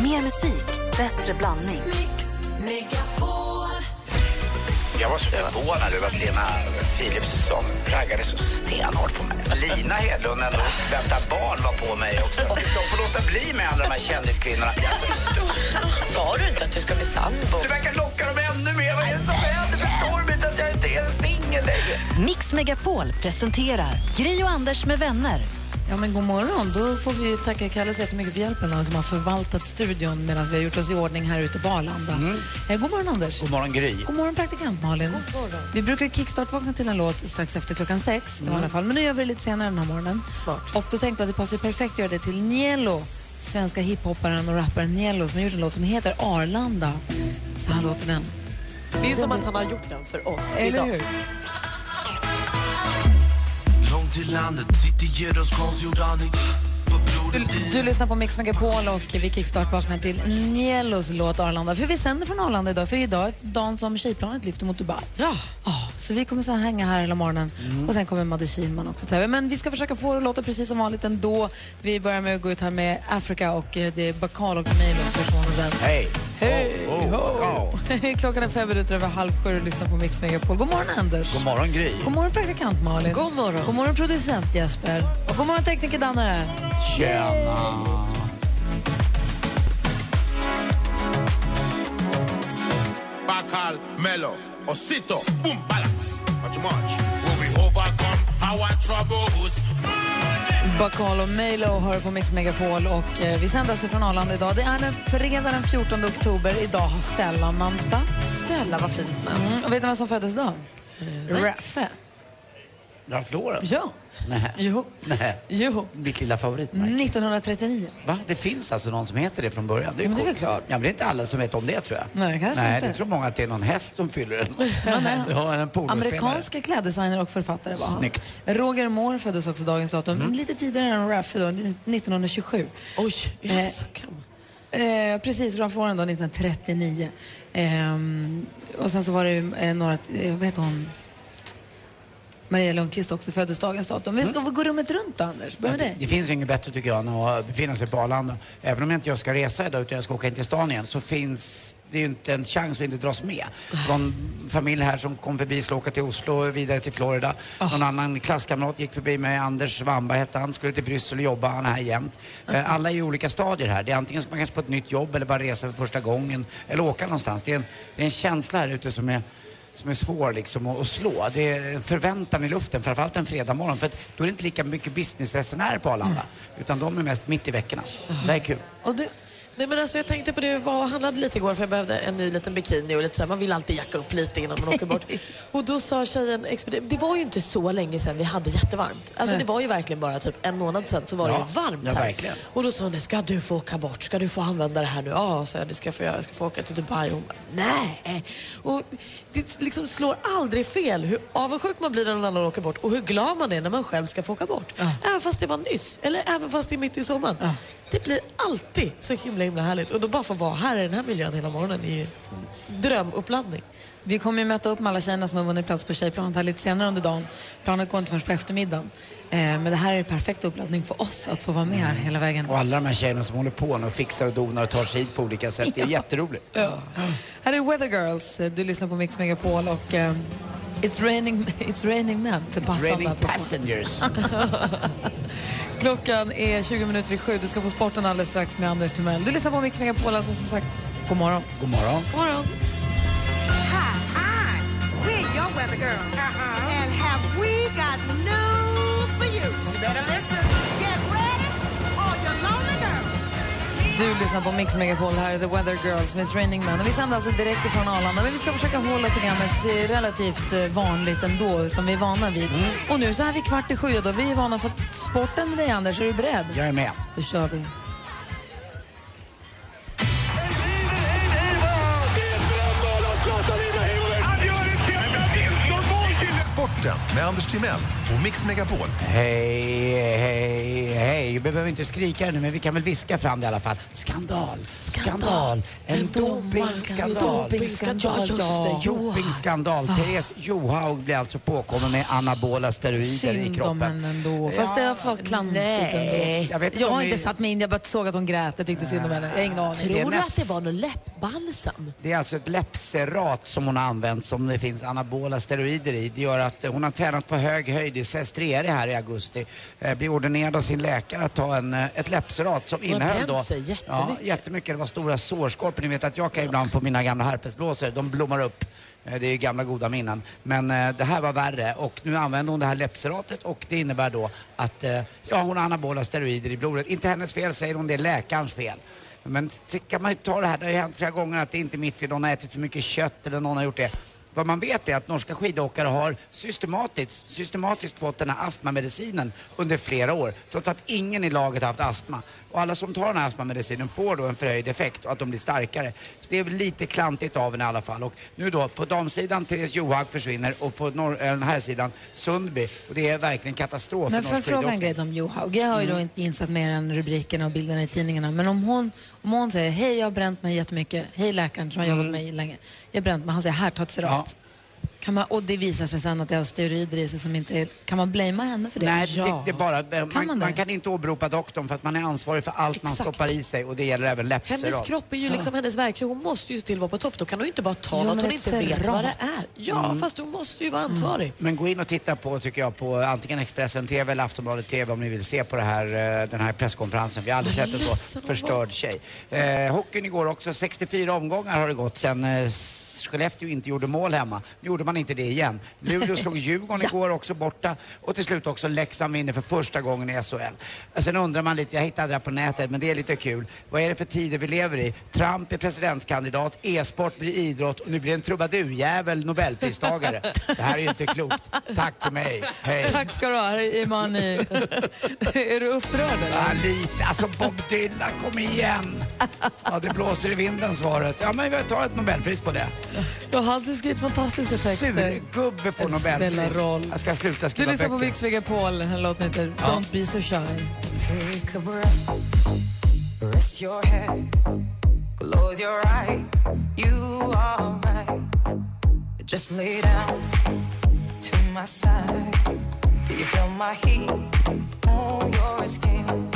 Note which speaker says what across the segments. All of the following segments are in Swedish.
Speaker 1: Mer musik, bättre blandning.
Speaker 2: Jag var så förvånad över att Lena Philipsson raggade så stenhårt på mig. Lina Hedlund, ändå vänta barn, var på mig också. De får låta bli med alla de här kändiskvinnorna. Jag är så stor.
Speaker 3: Sa du inte att du ska bli sambo?
Speaker 2: Du verkar locka dem ännu mer. Vad är det som händer? Förstår de inte att jag inte är singel längre?
Speaker 1: Mix Megapol presenterar Gri och Anders med vänner.
Speaker 4: Ja, men god morgon. Då får vi tacka Kalle så jättemycket för hjälpen han som har förvaltat studion medan vi har gjort oss i ordning här ute på Arlanda. Eh, god morgon, Anders.
Speaker 2: Mm. God morgon, Gry.
Speaker 4: God morgon, praktikant Malin. God morgon. Vi brukar kickstart-vakna till en låt strax efter klockan sex,
Speaker 2: Mm.
Speaker 4: i alla fall. men nu gör vi det lite senare den här morgonen. Smart. Och då tänkte jag att det passar perfekt att göra det till Nielo, svenska hiphopparen och rapparen Nielo som har gjort en låt som heter Arlanda. Så här låter den.
Speaker 3: Det är ju som att han har gjort den för oss
Speaker 4: Eller
Speaker 3: idag.
Speaker 4: hur?
Speaker 5: Långt till landet, sitter ger oss konstgjord andning Vad
Speaker 4: Du,
Speaker 5: blodet i
Speaker 4: du lyssnar på Mix Megapol och vi kickstart-vaknar till Nielos låt Arlanda. För vi sänder från Arlanda idag, för idag är dagen som tjejplanet lyfter mot Dubai. Ja. Mm. så vi kommer sen hänga här hela morgonen och sen kommer Madde Kihlman också ta över. Men vi ska försöka få det att låta precis som vanligt ändå. Vi börjar med att gå ut här med Africa och eh, det är Bakal och Nilos version av den.
Speaker 2: Hej!
Speaker 4: Hej,
Speaker 2: Ho, ho, ho.
Speaker 4: Klockan är fem minuter över halv sju och lyssnar på Mix Megapol. God morgon Anders.
Speaker 2: God morgon, Gry.
Speaker 4: God morgon praktikant Malin. God morgon. God morgon producent Jesper. Och god morgon tekniker Danne.
Speaker 2: Tjena!
Speaker 6: Bacal, Melo, Osito, boom, balance. Much, much. Will we overcome our troubles?
Speaker 4: Bacall och Milo hör på Mix Megapol och eh, vi sänder alltså från Arlanda idag. Det är den fredag den 14 oktober. Idag har Stellan namnsdag.
Speaker 3: Snälla, vad fint namn.
Speaker 4: Mm, och vet du vem som föddes då? Raffe.
Speaker 2: Ralf Lauren?
Speaker 4: Ja.
Speaker 7: Nej.
Speaker 4: Jo.
Speaker 7: Nej.
Speaker 4: Jo.
Speaker 7: Ditt lilla favoritmärke.
Speaker 4: 1939.
Speaker 7: Va? Det finns alltså någon som heter det från början? Det är,
Speaker 4: Men det är väl
Speaker 7: coolt.
Speaker 4: klart.
Speaker 7: Ja, men det är inte alla som vet om det tror jag.
Speaker 4: Nej, kanske
Speaker 7: Nej,
Speaker 4: inte.
Speaker 7: det tror många att det är någon häst som fyller den.
Speaker 4: Ja, nej.
Speaker 7: Ja, en polospelare.
Speaker 4: Amerikanske kläddesigner och författare var han.
Speaker 7: Snyggt.
Speaker 4: Roger Moore föddes också dagens datum, lite tidigare än Raffe då, 1927.
Speaker 3: Mm. Oj, är
Speaker 4: Eh,
Speaker 3: det så gammal?
Speaker 4: Eh, precis, Ralph Lauren då, 1939. Ehm, och sen så var det ju, eh, några, eh, vad heter hon? Maria Lundqvist också, föddes dagens datum.
Speaker 3: Mm.
Speaker 4: Vi ska få gå rummet runt då, Anders. Börja med
Speaker 7: det,
Speaker 4: dig.
Speaker 7: det finns ju inget bättre tycker jag än att befinna sig på Arlanda. Även om jag inte jag ska resa idag utan jag ska åka in till stan igen så finns det ju inte en chans att inte dras med. Det var en familj här som kom förbi, skulle åka till Oslo och vidare till Florida.
Speaker 4: Ah.
Speaker 7: Någon annan klasskamrat gick förbi mig, Anders Wamberg hette han, skulle till Bryssel och jobba, han är här jämt.
Speaker 4: Ah.
Speaker 7: Eh, Alla är i olika stadier här. Det är antingen ska man kanske på ett nytt jobb eller bara resa för första gången eller åka någonstans. Det är en, det är en känsla här ute som är som är svår liksom att, att slå. Det är en förväntan i luften, framförallt en fredagmorgon För att då är det inte lika mycket businessresenärer på Arlanda.
Speaker 4: Mm.
Speaker 7: Utan de är mest mitt i veckorna. Det här är kul.
Speaker 4: Och du,
Speaker 3: Nej, men alltså, jag tänkte på det, jag var och handlade lite igår för jag behövde en ny liten bikini och lite så här, man vill alltid jacka upp lite innan man åker bort. Och då sa tjejen, expedi- det var ju inte så länge sedan vi hade jättevarmt. Alltså det var ju verkligen bara typ en månad sedan så var det
Speaker 7: Ja,
Speaker 3: ju varmt
Speaker 7: ja,
Speaker 3: här.
Speaker 7: verkligen.
Speaker 3: Och då sa hon, ska du få åka bort? Ska du få använda det här nu? Ja, sa jag, det ska jag få göra. Jag ska få åka till Dubai. Och hon bara, nej. Och det liksom slår aldrig fel hur avundsjuk man blir när någon annan åker bort och hur glad man är när man själv ska få åka bort. Även fast det var nyss, eller även fast det är mitt i sommaren. Det blir alltid så himla himla härligt. Och då bara få vara här i den här miljön hela morgonen är ju som en drömuppladdning.
Speaker 4: vi kommer ju möta upp med alla tjejerna som har vunnit plats på tjejplanet här lite senare under dagen. Planet går inte förrän på eftermiddagen. Eh, men det här är en perfekt uppladdning för oss att få vara med
Speaker 3: Mm.
Speaker 4: här hela vägen.
Speaker 7: Och alla de här tjejerna som håller på nu och fixar och donar och tar sig hit på olika sätt. Det är jätteroligt.
Speaker 4: Här är Weather Girls. Du lyssnar på Mix Megapol och eh, It's raining, it's raining men. Så passande
Speaker 7: Raining
Speaker 4: apropå.
Speaker 7: passengers.
Speaker 4: Klockan är 20 minuter i sju. Du ska få sporten alldeles strax med Anders Timell. Du lyssnar på Mix Megapol, alltså som sagt, god morgon.
Speaker 7: God morgon.
Speaker 3: God morgon.
Speaker 8: Hi, hi. We're your weather girls.
Speaker 4: Uh-huh.
Speaker 8: And have we got news for you? You better listen. Get ready, all your lonely girls.
Speaker 4: Du lyssnar på Mix Megapol, här är The Weather Girls med It's Raining Man. Och vi sänder alltså direkt ifrån Arlanda, men vi ska försöka hålla programmet eh, relativt eh, vanligt ändå, som vi är vana vid.
Speaker 7: Mm.
Speaker 4: Och nu så här vid kvart i sju, då, vi är vana för sporten med dig Anders, är du beredd?
Speaker 7: Jag är med.
Speaker 4: Då kör vi.
Speaker 9: Sporten med Anders Timell och Mix Megapol.
Speaker 7: Hej, hej, hej. Vi behöver inte skrika nu, men vi kan väl viska fram det i alla fall. Skandal, skandal, en dopingskandal.
Speaker 3: Dopingskandal,
Speaker 7: Ja, just det. Dopingskandal. Therese Johaug blir alltså påkommen med anabola steroider i
Speaker 4: Synd om
Speaker 7: kroppen.
Speaker 4: henne ändå. Fast
Speaker 7: Ja,
Speaker 4: det var klantigt
Speaker 7: nej.
Speaker 4: ändå.
Speaker 7: Jag
Speaker 4: Jag,
Speaker 7: vet inte om
Speaker 4: har
Speaker 7: ni-
Speaker 4: inte satt mig in, jag bara såg att hon grät. Jag tyckte synd om henne. Jag har ingen aning.
Speaker 7: Det är
Speaker 3: Tror du
Speaker 7: näst-
Speaker 3: att det var någon läppbalsam?
Speaker 7: Det är alltså ett läppserat som hon har använt som det finns anabola steroider i. Det gör att eh, hon har tränat på hög höjd i Sestriere här i augusti. Eh, Blir ordinerad av sin läkare att ta en, eh, ett läppserat som innehöll
Speaker 3: bränt
Speaker 7: då...
Speaker 3: sig
Speaker 7: ja,
Speaker 3: jättemycket.
Speaker 7: jättemycket. Det var stora sårskorpor. Ni vet att jag kan ibland få mina gamla herpesblåsor. De blommar upp. Eh, Det är ju gamla goda minnen. Men eh, det här var värre och nu använder hon det här läppseratet och det innebär då att eh, ja, hon har anabola steroider i blodet. Inte hennes fel säger hon, det är läkarens fel. Men så kan man ju ta det här, det har ju hänt flera gånger att det inte är mitt fel, någon har ätit för mycket kött eller någon har gjort det. Vad man vet är att norska skidåkare har systematiskt, systematiskt fått den här astmamedicinen under flera år trots att ingen i laget har haft astma. Och alla som tar den här astmamedicinen får då en förhöjd effekt och att de blir starkare. Så det är väl lite klantigt av henne i alla fall. Och nu då på damsidan Therese Johaug försvinner och på norr, eh, den här sidan Sundby. Och det är verkligen katastrof
Speaker 4: Men
Speaker 7: för Mm.
Speaker 4: får jag
Speaker 7: norsk
Speaker 4: fråga en
Speaker 7: skidåkning.
Speaker 4: grej om Johaug? Jag har ju då inte insatt mer än rubrikerna och bilderna i tidningarna. Men om hon, om hon säger, hej jag har bränt mig jättemycket, hej läkaren som har
Speaker 7: Mm.
Speaker 4: jobbat med mig länge, jag har bränt mig, han säger, här ta ett serat. Kan man, och det visar sig sen att det har steroider i sig som inte är, kan man blamea henne för det?
Speaker 7: Nej, det, det är bara, man,
Speaker 4: man
Speaker 7: man,
Speaker 4: det?
Speaker 7: kan inte åberopa doktorn för att man är ansvarig för allt man
Speaker 3: Exakt.
Speaker 7: stoppar i sig och det gäller även läppserat.
Speaker 3: Hennes kropp är ju liksom hennes verktyg. Hon måste ju se till vara på topp. Då kan hon ju inte bara ta
Speaker 4: Jo,
Speaker 3: något
Speaker 4: men
Speaker 3: hon
Speaker 4: ett
Speaker 3: inte vet vad det
Speaker 4: serat. Mm.
Speaker 3: är. Ja, fast hon måste ju vara ansvarig.
Speaker 7: Mm. Men gå in och titta på, tycker jag, på antingen Expressen TV eller Aftonbladet TV om ni vill se på det här, eh, den här presskonferensen. Vi har aldrig
Speaker 3: Vad
Speaker 7: sett en så
Speaker 3: ledsen hon
Speaker 7: förstörd tjej. Eh, hockeyn igår också, 64 omgångar har det gått sen eh, Skellefteå inte gjorde mål hemma. Nu gjorde man inte det igen. Luleå slog Djurgården igår också borta och till slut också Leksand vinner för första gången i SHL. Eh, Sen undrar man lite, jag hittade det här på nätet men det är lite kul. Vad är det för tider vi lever i? Trump är presidentkandidat, e-sport blir idrott och nu blir en trubadurjävel nobelpristagare. Det här är ju inte klokt. Tack för mig. Hej.
Speaker 4: Tack ska du ha, här är Imani. är du upprörd eller?
Speaker 7: Ah, lite. Alltså Bob Dylan, kom igen! Ja, det blåser i vinden svaret. Ja, men vi tar ett nobelpris på det.
Speaker 4: Du har alltså skrivit fantastiska texter.
Speaker 7: Surgubbe får
Speaker 4: Det
Speaker 7: nobelpris.
Speaker 4: spelar roll.
Speaker 7: Jag ska sluta
Speaker 4: Du
Speaker 7: skriva
Speaker 4: lyssnar
Speaker 7: böcker.
Speaker 4: på Mix Megapol, den här låten heter Don't Be So Shy.
Speaker 10: Take a breath, rest your head, close your eyes. You are right. Just lay down to my side. Do you feel my heat on your skin?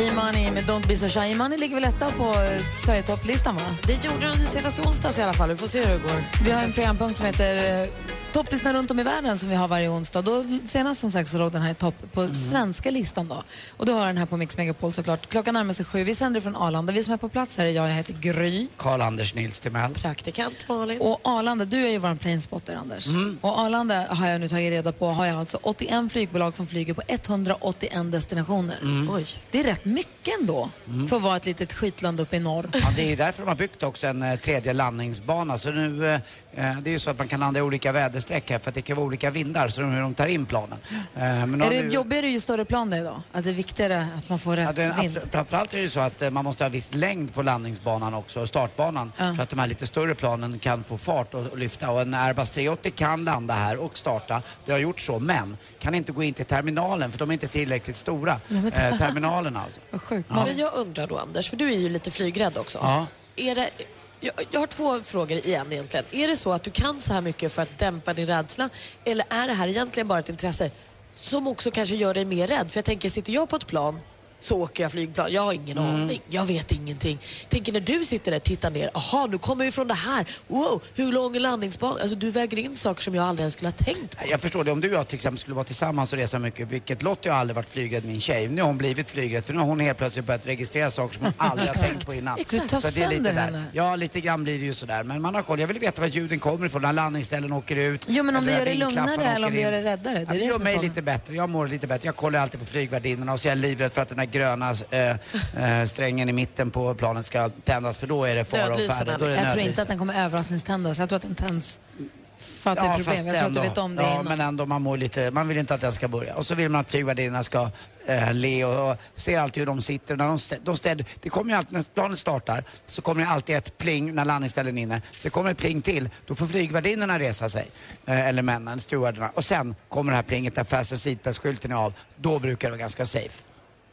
Speaker 4: Imani med Don't Be So Shy. Imani ligger väl etta på eh, Sverigetopplistan va?
Speaker 3: Det gjorde hon senast i onsdags i alla fall. Vi får se hur det går.
Speaker 4: Vi har en programpunkt som heter eh, Topplistan runt om i världen som vi har varje onsdag. Då, senast som sagt så låg den här i topp på
Speaker 3: Mhm.
Speaker 4: svenska listan då. Och då har jag den här på Mix Megapol såklart. Klockan närmar sig sju. Vi sänder från Arlanda. Vi som är på plats här är jag, jag heter Gry.
Speaker 7: Karl-Anders Nils Timell.
Speaker 3: Praktikant Malin.
Speaker 4: Och Arlanda, du är ju vår planespotter Anders.
Speaker 7: Mm.
Speaker 4: Och Arlanda har jag nu tagit reda på, har jag alltså 81 flygbolag som flyger på 181 destinationer.
Speaker 7: Mm.
Speaker 3: Oj.
Speaker 4: Det är rätt mycket ändå för att vara ett litet skitland uppe i norr.
Speaker 7: Ja, det är ju därför de har byggt också en eh, tredje landningsbana. Så nu, eh, eh, det är ju så att man kan landa i olika väderstreck här för att det kan vara olika vindar, så de, hur de tar in planen. Eh, Men
Speaker 4: Är det jobbigare ju större plan det är idag? Att det är viktigare att man får
Speaker 7: Ja,
Speaker 4: rätt
Speaker 7: det, är-
Speaker 4: vind?
Speaker 7: att- framförallt är det ju så att eh, man måste ha viss längd på landningsbanan också, och startbanan, för att de här lite större planen kan få fart och, och lyfta. Och en Airbus 380 kan landa här och starta, det har gjort så, men kan inte gå in till terminalen för de är inte tillräckligt stora, eh, terminalerna alltså.
Speaker 4: Vad sjukt.
Speaker 3: Men jag undrar då Anders, för du är ju lite flygrädd också.
Speaker 7: Ja.
Speaker 3: Är det, jag, jag har två frågor igen egentligen. Är det så att du kan så här mycket för att dämpa din rädsla eller är det här egentligen bara ett intresse som också kanske gör dig mer rädd? För jag tänker, sitter jag på ett plan så åker jag flygplan. Jag har ingen
Speaker 4: Mm.
Speaker 3: aning. Jag vet ingenting. Tänker när du sitter där och tittar ner. Aha, nu kommer vi från det här. Wow, hur lång är landningsbanan? Alltså du väger in saker som jag aldrig ens skulle ha tänkt på.
Speaker 7: Jag förstår det. Om du och jag till exempel skulle vara tillsammans och resa mycket, vilket Lottie har aldrig varit flygrädd min tjej. Nu har hon blivit flygrädd för nu har hon helt plötsligt börjat registrera saker som hon aldrig har tänkt på innan.
Speaker 4: Exakt. Du tar
Speaker 7: Så det är lite
Speaker 4: sönder
Speaker 7: där.
Speaker 4: henne.
Speaker 7: Ja, lite grann blir det ju sådär. Men man har koll. Jag vill veta var ljuden kommer ifrån, när landningsställen åker ut.
Speaker 4: Jo, men om
Speaker 7: eller
Speaker 4: det
Speaker 7: när
Speaker 4: gör det
Speaker 7: vindklaffarna
Speaker 4: lugnare
Speaker 7: åker
Speaker 4: eller om det
Speaker 7: in.
Speaker 4: gör det räddare? Det är
Speaker 7: Ja, det
Speaker 4: det
Speaker 7: gör
Speaker 4: som är
Speaker 7: mig
Speaker 4: frågan.
Speaker 7: lite bättre. Jag mår lite bättre. Jag kollar alltid på flygvärdinnorna och så är jag livrädd för att den här gröna eh, eh, strängen i mitten på planet ska tändas för då är det fara och
Speaker 3: Nödlysen,
Speaker 7: färde. Då är det
Speaker 4: liksom. Jag tror
Speaker 7: nödlys.
Speaker 4: inte att den kommer överraskningständas. Jag tror att den tänds För att det är problem.
Speaker 7: fast
Speaker 4: Jag tror att du
Speaker 7: ändå.
Speaker 4: vet om det
Speaker 7: Ja,
Speaker 4: innan.
Speaker 7: men ändå, man mår lite, man vill inte att den ska börja. Och så vill man att flygvärdinnan ska eh, le och, och ser alltid hur de sitter. När de, stä- de städ, det kommer ju alltid, när planet startar så kommer det alltid ett pling när landningsställen är inne. Sen kommer ett pling till, då får flygvärdinnorna resa sig. Eh, eller männen, stewarderna. Och sen kommer det här plinget där fastest seatbelt-skylten är av. Då brukar det vara ganska safe.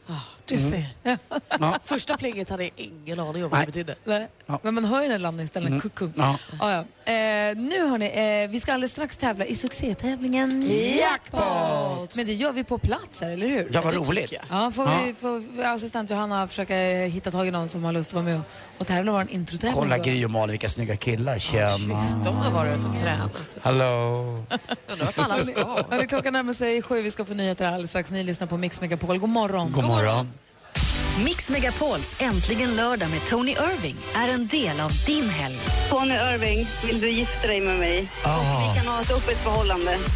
Speaker 4: Ah,
Speaker 3: Du
Speaker 7: Mm.
Speaker 3: ser.
Speaker 7: Ja.
Speaker 3: Första plinget hade jag ingen aning om vad
Speaker 7: Nej.
Speaker 3: det betydde.
Speaker 4: Nej. Men man hör ju när landningsställen
Speaker 7: Mm.
Speaker 4: kucku.
Speaker 7: Ja.
Speaker 4: Ja, ja. Eh, nu hörni, eh, vi ska alldeles strax tävla i succétävlingen
Speaker 7: Jackpot!
Speaker 4: Men det gör vi på plats här, eller hur?
Speaker 7: Ja, vad roligt.
Speaker 4: Ja, får,
Speaker 7: Ja.
Speaker 4: Vi, får vi- assistent Johanna försöka eh, hitta tag i någon som har lust att vara med och, och tävla i vår introtävling.
Speaker 7: Kolla
Speaker 4: då.
Speaker 7: Gry och Malin, vilka snygga killar. Tjena.
Speaker 3: De har varit ute och tränat.
Speaker 7: Hallå.
Speaker 4: Hörni, Klockan närmar sig sju, vi ska få nyheter alldeles strax. Ni lyssnar på Mix Megapol. God morgon.
Speaker 7: God morgon.
Speaker 1: Mix Megapols Äntligen lördag med Tony Irving är en del av din helg.
Speaker 11: Tony Irving, vill du gifta dig med mig?
Speaker 12: Ah.
Speaker 11: Vi kan ha ett öppet förhållande.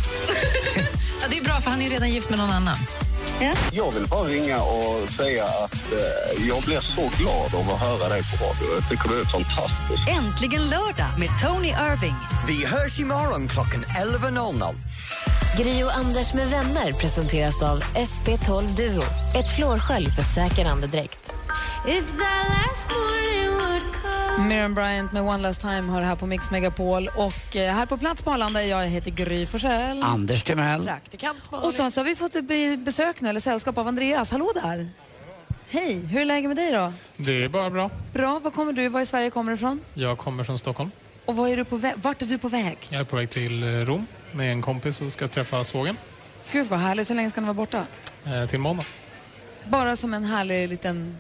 Speaker 13: Ja, det är bra, för han är redan gift med någon annan.
Speaker 12: Jag vill bara ringa och säga att eh, jag blev så glad av att höra dig på radio. Jag tycker du är fantastisk.
Speaker 1: Äntligen lördag med Tony Irving.
Speaker 14: Vi hörs imorgon klockan 11.00.
Speaker 15: Gri och Anders med vänner presenteras av SP12 Duo. Ett flårskölj för säker andedräkt.
Speaker 4: Miriam Bryant med One Last Time har här på Mix Megapol. Och eh, här på plats på Arlanda är jag, jag heter Gry Forssell.
Speaker 7: Anders Timell.
Speaker 4: Praktikant Och så, så har vi fått be- besök nu, eller sällskap av Andreas. Hallå där! Hej, hur är läget med dig då?
Speaker 16: Det är bara bra.
Speaker 4: Bra, var kommer du, var i Sverige kommer du ifrån?
Speaker 16: Jag kommer från Stockholm.
Speaker 4: Och var är du på väg? vart är du på väg?
Speaker 16: Jag är på väg till eh, Rom med en kompis och ska träffa svågen
Speaker 4: Gud vad härligt, så länge ska ni vara borta?
Speaker 16: eh, till måndag.
Speaker 4: Bara som en härlig liten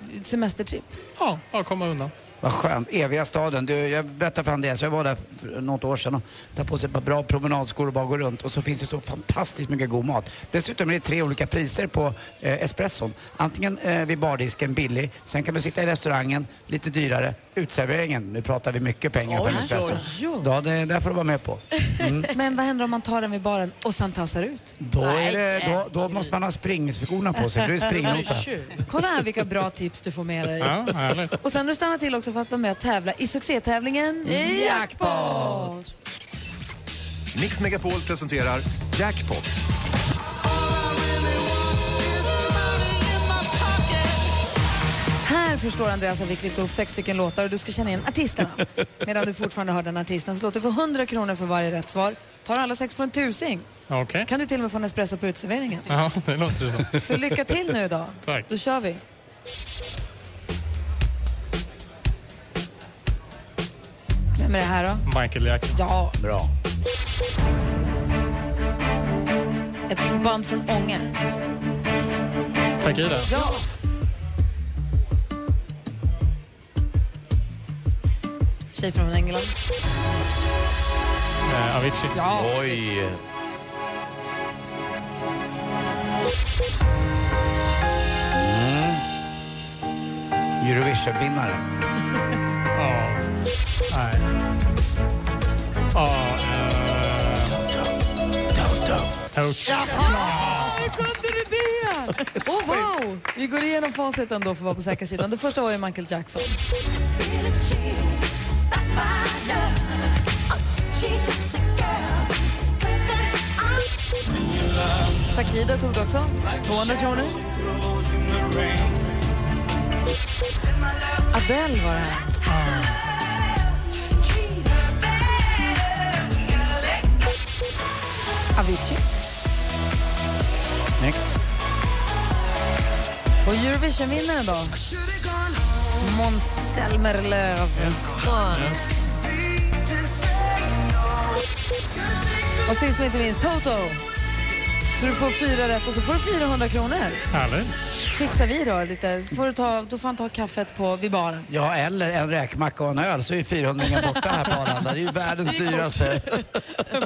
Speaker 4: eh, semestertrip.
Speaker 16: Ja, bara komma undan.
Speaker 7: Vad skönt. Eviga staden. Du, jag berättade för Andreas, jag var där för något år sedan och tar på sig ett par bra promenadskor och bara går runt. Och så finns det så fantastiskt mycket god mat. Dessutom är det tre olika priser på eh, espresson. Antingen eh, vid bardisken, billig. Sen kan du sitta i restaurangen, lite dyrare. Utserveringen, nu pratar vi mycket pengar för en
Speaker 4: Oj,
Speaker 7: espresso.
Speaker 4: oj, oj.
Speaker 7: Ja, det, där får du vara med på.
Speaker 4: Men vad händer om man tar den vid baren och sen tassar ut?
Speaker 7: Mm. Då, är det, då, då måste man ha springskorna på sig, för det är springnota.
Speaker 4: Kolla här vilka bra tips du får med dig.
Speaker 7: Ja, härligt.
Speaker 4: och sen du stannar till också för att vara med och tävla i succétävlingen
Speaker 7: Mm.
Speaker 9: Jackpot! Mix Megapol presenterar Jackpot.
Speaker 4: Här förstår Andreas att vi klippte ihop sex stycken låtar och du ska känna igen artisterna. Medan du fortfarande hör den artisten så låter du få 100 kronor för varje rätt svar. Tar alla sex får en tusing.
Speaker 16: Okej.
Speaker 7: Eh?
Speaker 4: Kan du till och med få en espresso på uteserveringen.
Speaker 16: Ja, det låter det som.
Speaker 4: Så lycka till nu då.
Speaker 16: Tack.
Speaker 4: Då kör vi. Vem är det här då?
Speaker 16: Michael Jackson.
Speaker 4: Ja.
Speaker 7: Bra.
Speaker 4: Ett band från Ånge.
Speaker 16: Takida.
Speaker 4: Ja. Tjej från England.
Speaker 16: Eh, Avicii.
Speaker 4: Ja.
Speaker 16: Oj.
Speaker 7: Mm. Eurovision-vinnare.
Speaker 16: Ja. Nej. Ja. eh,
Speaker 4: Hur kunde du det? Oh, wow! Vi går igenom facit ändå för att vara på säkra sidan. Det första var ju Michael Jackson. Takida tog du också. 200 kronor. Adele var det här. Avicii.
Speaker 7: Snyggt.
Speaker 4: Och Eurovision-vinnaren då? Måns Zelmerlöw. Ja. Och sist men inte minst, Toto. Så du får fyra rätt och så får du 400 kronor.
Speaker 16: Härligt.
Speaker 4: Fixar vi då lite. Får du, ta, du får han ta kaffet på, vid baren.
Speaker 7: Ja, eller en räkmacka och en öl så är 400 borta här på Arlanda. Det är ju världens dyraste.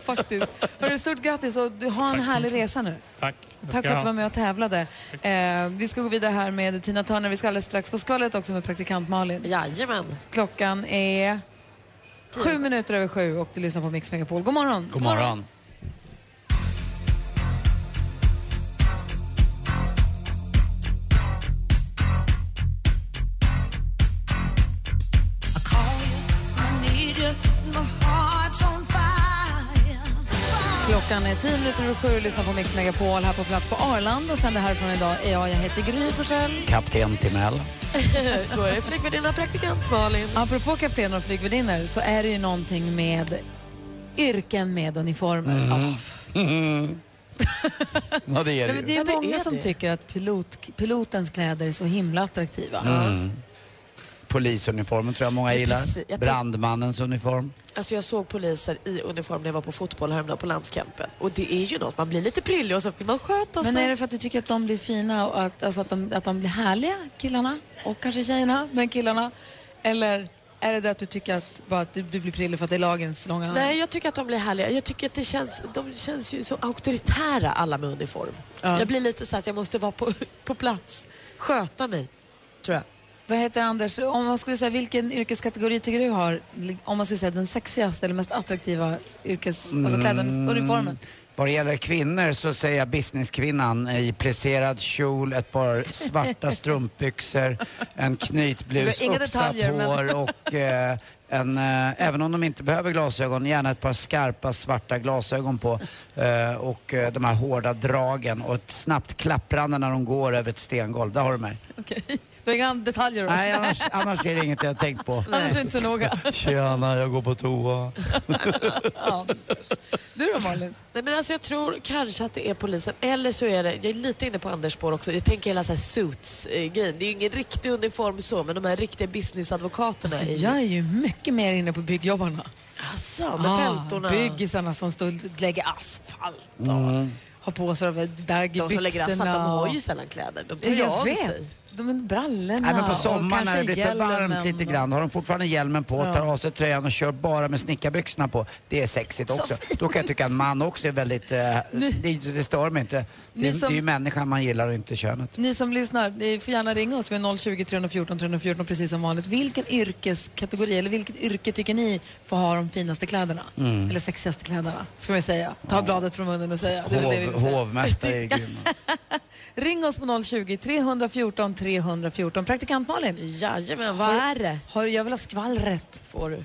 Speaker 4: Faktiskt. Hörru, stort grattis och du har en härlig resa nu.
Speaker 16: Tack. Det ska
Speaker 4: Tack för
Speaker 16: jag
Speaker 4: att du
Speaker 16: ha.
Speaker 4: var med och tävlade. Eh, vi ska gå vidare här med Tina Turner. Vi ska alldeles strax få skvallret också med praktikant Malin.
Speaker 3: Jajamän.
Speaker 4: Klockan är sju minuter över sju och du lyssnar på Mix Megapol. God morgon.
Speaker 7: God morgon.
Speaker 8: I call you, I need you, my heart's on
Speaker 4: Klockan är 10 minuter över sju och lyssnar på Mix Megapol här på plats på Arlanda. Sen det härifrån idag är jag, jag heter Gry Forssell.
Speaker 7: Kapten Timell.
Speaker 4: Då är det flygvärdinna praktikant Malin. Apropå kaptener och flygvärdinnor så är det ju någonting med yrken med uniformer. Ja.
Speaker 7: Mm. ja, det är det
Speaker 4: Nej, men det är
Speaker 7: ju.
Speaker 4: ju många som tycker att pilot, pilotens kläder är så himla attraktiva.
Speaker 7: Mm. Polisuniformen tror jag många gillar.
Speaker 3: Precis, jag tror-
Speaker 7: Brandmannens uniform.
Speaker 3: Alltså jag såg poliser i uniform när jag var på fotboll häromdagen på landskampen. Och det är ju något, man blir lite prillig och så vill man sköta sig.
Speaker 4: Men är det för att du tycker att de blir fina och att, alltså att, de, att de blir härliga, killarna? Och kanske tjejerna, men killarna? Eller är det det att du tycker att, bara att du, du blir prillig för att det är lagens långa...
Speaker 3: Nej, jag tycker att de blir härliga. Jag tycker att det känns, de känns ju så auktoritära alla med uniform.
Speaker 4: Ja.
Speaker 3: Jag blir lite så att jag måste vara på, på plats, sköta mig, tror jag.
Speaker 4: Vad heter Anders, om man skulle säga vilken yrkeskategori tycker du har, om man skulle säga den sexigaste eller mest attraktiva yrkes... Alltså
Speaker 7: Mm.
Speaker 4: kläden, uniformen?
Speaker 7: Vad det gäller kvinnor så säger jag businesskvinnan i plisserad kjol, ett par svarta strumpbyxor, en knytblus,
Speaker 4: Inga
Speaker 7: uppsatt
Speaker 4: detaljer, men-
Speaker 7: hår och eh, en, eh, även om de inte behöver glasögon, gärna ett par skarpa svarta glasögon på eh, och eh, de här hårda dragen och ett snabbt klapprande när de går över ett stengolv. Där har du mig.
Speaker 4: Du har inga detaljer? då?
Speaker 7: Nej, annars, annars är det inget jag har tänkt på.
Speaker 4: Annars är det inte så noga.
Speaker 7: Tjena, jag går på toa.
Speaker 4: Du då Malin?
Speaker 3: Nej, men alltså jag tror kanske att det är polisen. Eller så är det, jag är lite inne på Anders spår också. Jag tänker hela så här suits-grejen. Det är ju ingen riktig uniform så, men de här riktiga businessadvokaterna.
Speaker 4: Alltså,
Speaker 3: är ju-
Speaker 4: jag är ju mycket mer inne på byggjobbarna. Ah,
Speaker 3: Alltså, med pältorna.
Speaker 4: Byggisarna som står och lägger asfalt och
Speaker 7: Mm.
Speaker 4: har på sig de här baggy
Speaker 3: De som lägger asfalt,
Speaker 4: byxorna
Speaker 3: de har
Speaker 4: och-
Speaker 3: ju sällan kläder. De tar
Speaker 4: Ja,
Speaker 3: ju
Speaker 4: jag
Speaker 3: av
Speaker 4: vet.
Speaker 3: sig.
Speaker 4: De är brallorna
Speaker 7: Nej, men på
Speaker 4: och
Speaker 7: sommaren när
Speaker 4: kanske
Speaker 7: det blir för varmt
Speaker 4: hjälmen
Speaker 7: lite
Speaker 4: och-
Speaker 7: grann har de fortfarande hjälmen på,
Speaker 4: Ja.
Speaker 7: tar av sig tröjan och kör bara med snickarbyxorna på. Det är sexigt
Speaker 4: Så
Speaker 7: också. Då kan jag tycka att man också är väldigt... Eh, det, det stör mig inte. Det,
Speaker 4: Ni
Speaker 7: är-
Speaker 4: som-
Speaker 7: det är ju människan man gillar och inte könet.
Speaker 4: Ni som lyssnar, ni får gärna ringa oss. Vi är 020 314 314 precis som vanligt. Vilken yrkeskategori eller vilket yrke tycker ni får ha de finaste kläderna?
Speaker 7: Mm.
Speaker 4: Eller sexigaste kläderna, ska vi säga. Ta bladet från munnen och säga. Det är väl det vi vill
Speaker 7: Hov,
Speaker 4: säga.
Speaker 7: hovmästare är grym.
Speaker 4: Ring oss på 020 314 314. Praktikant Malin.
Speaker 3: Jajamän, vad är det?
Speaker 4: Har, jag vill ha skvallret.
Speaker 3: Får du.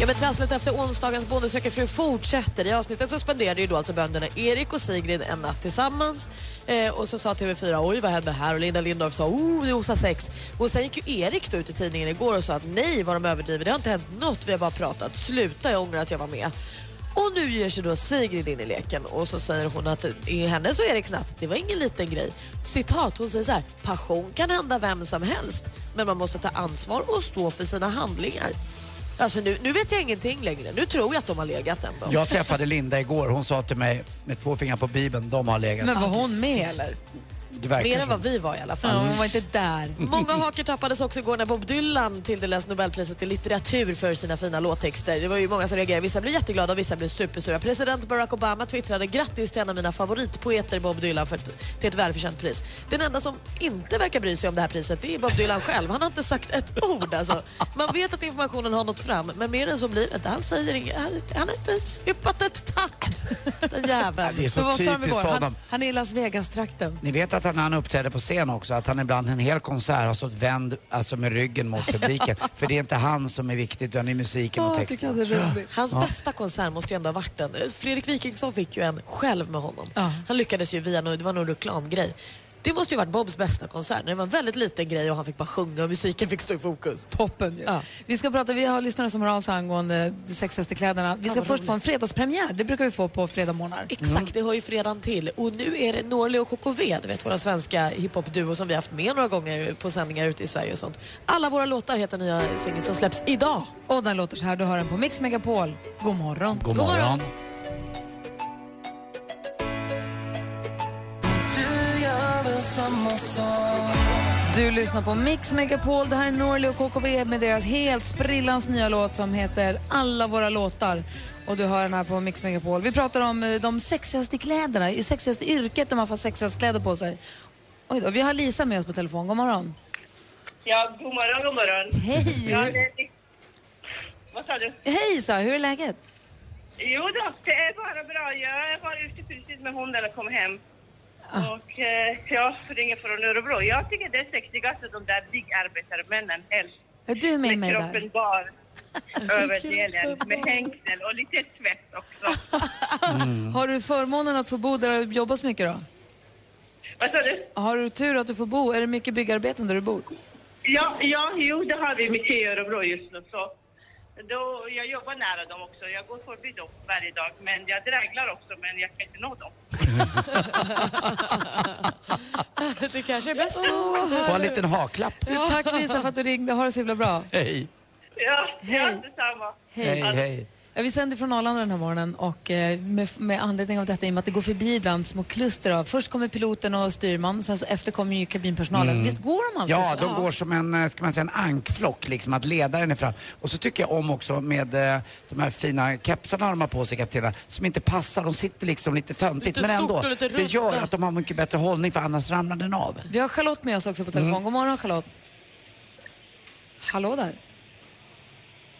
Speaker 3: Ja, men trasslet efter onsdagens Bonde söker fru fortsätter. I avsnittet så spenderade ju då alltså bönderna Erik och Sigrid en natt tillsammans. Eh, och så sa TV4 oj vad hände här och Linda Lindorff sa oh det osar sex. Och sen gick ju Erik då ut i tidningen igår och sa att nej vad de överdriver. Det har inte hänt något, vi har bara pratat. Sluta, jag ångrar att jag var med. Och nu ger sig då Sigrid in i leken och så säger hon att i hennes och Eriks natt, det var ingen liten grej. Citat, hon säger så här, passion kan hända vem som helst men man måste ta ansvar och stå för sina handlingar. Alltså nu, nu vet jag ingenting längre. Nu tror jag att de har legat ändå.
Speaker 7: Jag träffade Linda igår. Hon sa till mig med två fingrar på bibeln, de har legat.
Speaker 4: Men var hon med eller?
Speaker 7: Det verkar
Speaker 3: Mer än
Speaker 7: så. Mm.
Speaker 3: vad vi var i alla fall.
Speaker 4: Ja, hon var inte där.
Speaker 3: Många hakor tappades också igår när Bob Dylan tilldelades Nobelpriset i litteratur för sina fina låttexter. Det var ju många som reagerade. Vissa blev jätteglada och vissa blev supersura. President Barack Obama twittrade grattis till en av mina favoritpoeter Bob Dylan för ett, till ett välförtjänt pris. Den enda som inte verkar bry sig om det här priset det är Bob Dylan själv. Han har inte sagt ett ord alltså. Man vet att informationen har nått fram men mer än så blir det inte. Han säger inget. Han, han har inte ens yppat ett tack. Den jäveln.
Speaker 7: Det är så
Speaker 4: Men vad sa de
Speaker 7: typiskt
Speaker 4: igår? Han,
Speaker 7: honom.
Speaker 4: han är i Las Vegas-trakten.
Speaker 7: Ni vet att han- när han uppträder på scen också, att han ibland en hel konsert har stått vänd, alltså med ryggen mot publiken. För det är inte han som är viktigt, utan det är musiken och texten.
Speaker 3: Hans
Speaker 7: Ja.
Speaker 3: bästa konsert måste ju ändå ha varit den. Fredrik Wikingsson fick ju en själv med honom. Han lyckades ju via någon, det var någon reklamgrej. Det måste ju varit Bobs bästa konsert. Det var en väldigt liten grej och han fick bara sjunga och musiken fick stå i fokus.
Speaker 4: Toppen ju.
Speaker 3: Ja.
Speaker 4: Vi ska prata, vi har lyssnare som hör av sig angående de sexigaste kläderna. Vi ska först få en fredagspremiär, det brukar vi få på fredag morgnar.
Speaker 3: Exakt, det hör ju fredagen till. Och nu är det Norli och KKV, du vet våra svenska hiphop-duo som vi har haft med några gånger på sändningar ute i Sverige och sånt. Alla våra låtar heter nya singeln som släpps idag.
Speaker 4: Och den låter så här, du hör den på Mix Megapol. God morgon.
Speaker 7: God morgon.
Speaker 8: Du gör väl samma sak
Speaker 4: Du lyssnar på Mix Megapol. Det här är Norli och KKV med deras helt sprillans nya låt som heter Alla våra låtar. Och du hör den här på Mix Megapol. Vi pratar om eh, de sexigaste kläderna, i sexigaste yrket där man får sexigast kläder på sig. Oj då, vi har Lisa med oss på telefon. God morgon.
Speaker 17: Ja, god morgon, god morgon.
Speaker 4: Hej.
Speaker 17: Ja, det... Vad sa du?
Speaker 4: Hej Isa, hur är läget?
Speaker 17: Jo då, det är bara bra. Jag var ute precis med hunden och kom hem.
Speaker 4: Ah,
Speaker 17: Och eh, jag ringer från Örebro. Jag tycker det är sexigast att de där byggarbetarmännen helst.
Speaker 4: Är du med mig där?
Speaker 17: Kroppen bar. över delen med hängsel och lite svett också.
Speaker 4: Har du förmånen att få bo där det jobbas mycket då?
Speaker 17: Vad sa du?
Speaker 4: Har du tur att du får bo? Är det mycket byggarbeten där du bor?
Speaker 17: Ja, ja, jo, det har vi mycket i Örebro just nu. Så. Då, jag jobbar nära dem också. Jag går förbi dem varje dag. Men jag dräglar också, men jag kan inte nå dem.
Speaker 3: det kanske är bäst.
Speaker 7: På en liten haklapp.
Speaker 4: Tack Lisa för att du ringde. Ha det så himla bra.
Speaker 7: Hej.
Speaker 17: Ja,
Speaker 4: Hej.
Speaker 17: ja detsamma.
Speaker 7: Hej, hej.
Speaker 4: Ja, vi sänder från Arlanda den här morgonen och eh, med, med anledning av detta, i och med att det går förbi ibland små kluster av, först kommer piloten och styrman, sen så efter kommer ju kabinpersonalen.
Speaker 7: Mm.
Speaker 4: Visst går de alltid
Speaker 7: Ja,
Speaker 4: så?
Speaker 7: de går som en, eh, ska man säga, en ankflock liksom, att ledaren är fram. Och så tycker jag om också med eh, de här fina kepsarna de har på sig, kaptenerna, som inte passar. De sitter liksom lite töntigt,
Speaker 4: Lite
Speaker 7: men
Speaker 4: stort
Speaker 7: ändå.
Speaker 4: och lite
Speaker 7: Det gör
Speaker 4: runda.
Speaker 7: att de har mycket bättre hållning, för annars ramlar den av.
Speaker 4: Vi har Charlotte med oss också på telefon.
Speaker 7: Mm.
Speaker 4: God morgon Charlotte. Hallå där.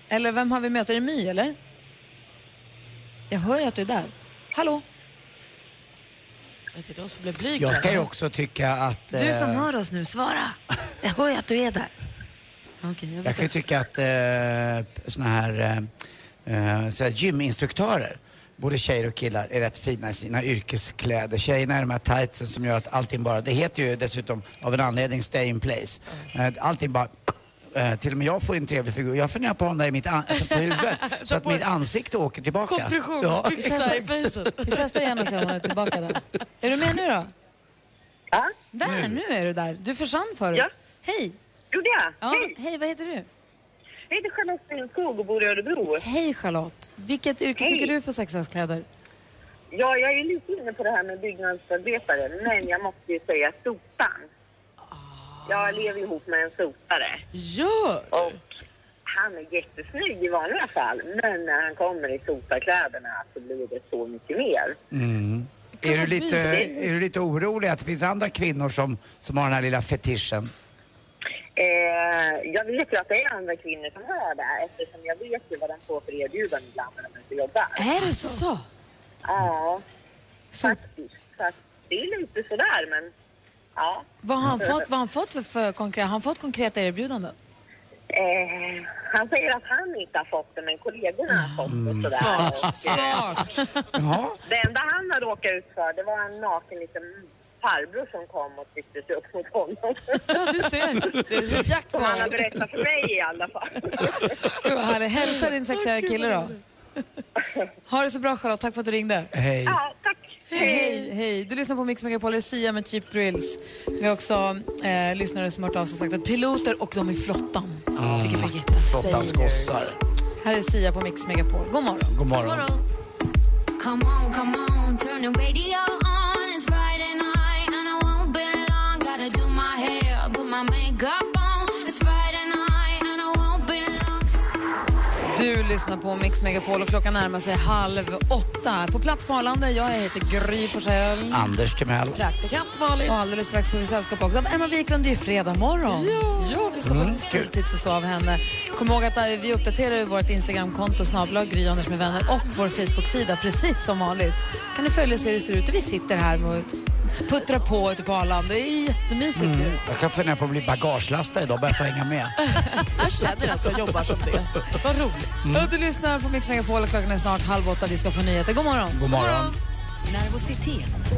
Speaker 4: Eller vem har vi med oss? Är det My eller? Jag hör ju att du är där. Hallå?
Speaker 3: Det är de som blir blyga.
Speaker 7: Jag kan ju också tycka att...
Speaker 3: Du som
Speaker 7: eh,
Speaker 4: hör oss nu, svara. Jag hör ju att du är där. Okej, jag
Speaker 7: Jag
Speaker 4: vet
Speaker 7: kan ju
Speaker 4: inte.
Speaker 7: tycka att eh, såna här eh, eh, så här gyminstruktörer, både tjejer och killar, är rätt fina i sina yrkeskläder. Tjejerna är de här tightsen som gör att allting bara, det heter ju dessutom av en anledning stay in place. Eh, allting bara eh, till och med jag får en trevlig figur. Jag funderar på att ha den där i mitt an- alltså på huvudet så att mitt ansikte åker tillbaka. Ja.
Speaker 4: Vi testar- Vi testar igen och ser om hon är tillbaka där. Är du med nu då?
Speaker 18: Ja.
Speaker 4: Där, nu är du där. Du försvann förut.
Speaker 18: Ja.
Speaker 4: Hej!
Speaker 18: Gjorde jag?
Speaker 4: Ja,
Speaker 18: Hej.
Speaker 4: hej. vad heter du?
Speaker 18: Jag heter Charlotte Lindskog och bor i Örebro.
Speaker 4: Hej Charlotte. Vilket yrke
Speaker 18: Hej.
Speaker 4: tycker du för sexhästkläder?
Speaker 18: Ja, jag är lite inne på det här med byggnadsarbetare, men jag måste ju säga sopan.
Speaker 4: Ah.
Speaker 18: Jag lever ihop med en sopare.
Speaker 3: Gör
Speaker 18: Och han är jättesnygg i vanliga fall, men när han kommer i soparkläderna så blir det så mycket mer.
Speaker 7: Mm. Är du, lite,
Speaker 18: mysigt.
Speaker 7: är du lite orolig att det finns andra kvinnor som, som har den här lilla fetischen?
Speaker 18: Eh, jag vet ju att det är andra kvinnor som hör det eftersom jag vet ju vad de får för erbjudanden ibland när de inte jobbar.
Speaker 4: Är det så?
Speaker 18: Ja, faktiskt. Så att det är lite sådär, men ja.
Speaker 4: Vad har han fått, vad har han fått för, för konkret, har han fått konkreta erbjudanden?
Speaker 18: Eh, han säger att han inte har fått det, men kollegorna har fått
Speaker 7: Mm.
Speaker 18: det. Sådär.
Speaker 4: Smart,
Speaker 18: Och, eh, Det enda han har råkat ut för det var en naken liten farbror som kom och tryckte sig upp mot honom.
Speaker 3: Du ser, det är jakt på
Speaker 18: Som han har
Speaker 3: allt.
Speaker 18: berättat för mig i alla fall.
Speaker 4: Gud vad härligt. Hälsa din sexiga kille då. Ha det så bra Charlotte, tack för att du ringde.
Speaker 7: Hej.
Speaker 18: Ja, tack.
Speaker 4: Hej, hej. Du lyssnar på Mix Megapol, det är Sia med Cheap Thrills. Vi har också eh, lyssnare som hört av sig och sagt att piloter och de i flottan. Tycker vi är jättesayers.
Speaker 7: Flottans gossar.
Speaker 4: Här är Sia på Mix Megapol. God morgon.
Speaker 7: God morgon.
Speaker 19: Come on, come on, turn the radio on. It's Friday night and I won't be long. Gotta do my hair, put my makeup on. It's Friday night and I won't be long.
Speaker 4: Du lyssnar på Mix Megapol och klockan närmar sig halv åtta. På plats på Arlanda, jag heter Gry Forssell.
Speaker 7: Anders Timell.
Speaker 4: Praktikant Malin. Och alldeles strax får vi sällskap också av Emma Wiklund. Det är ju fredag morgon. Ja, vi ska
Speaker 7: Mm,
Speaker 4: få ett tidstips och så av henne. Kom ihåg att eh, vi uppdaterar ju vårt Instagramkonto, snabla Gry Anders med vänner och vår Facebook-sida precis som vanligt. kan du följa oss hur det ser ut. Vi sitter här och puttrar på ute på Arlanda. Det är jättemysigt ju.
Speaker 7: Mm. Jag kan fundera på att bli bagagelastare idag, bara för att hänga med.
Speaker 4: Jag känner att jag jobbar som det. Vad roligt.
Speaker 7: Mm.
Speaker 4: Du lyssnar på Mix Megapol och klockan är snart halv åtta. Vi ska få nyheter. God morgon.
Speaker 7: God morgon.
Speaker 1: Nervositet,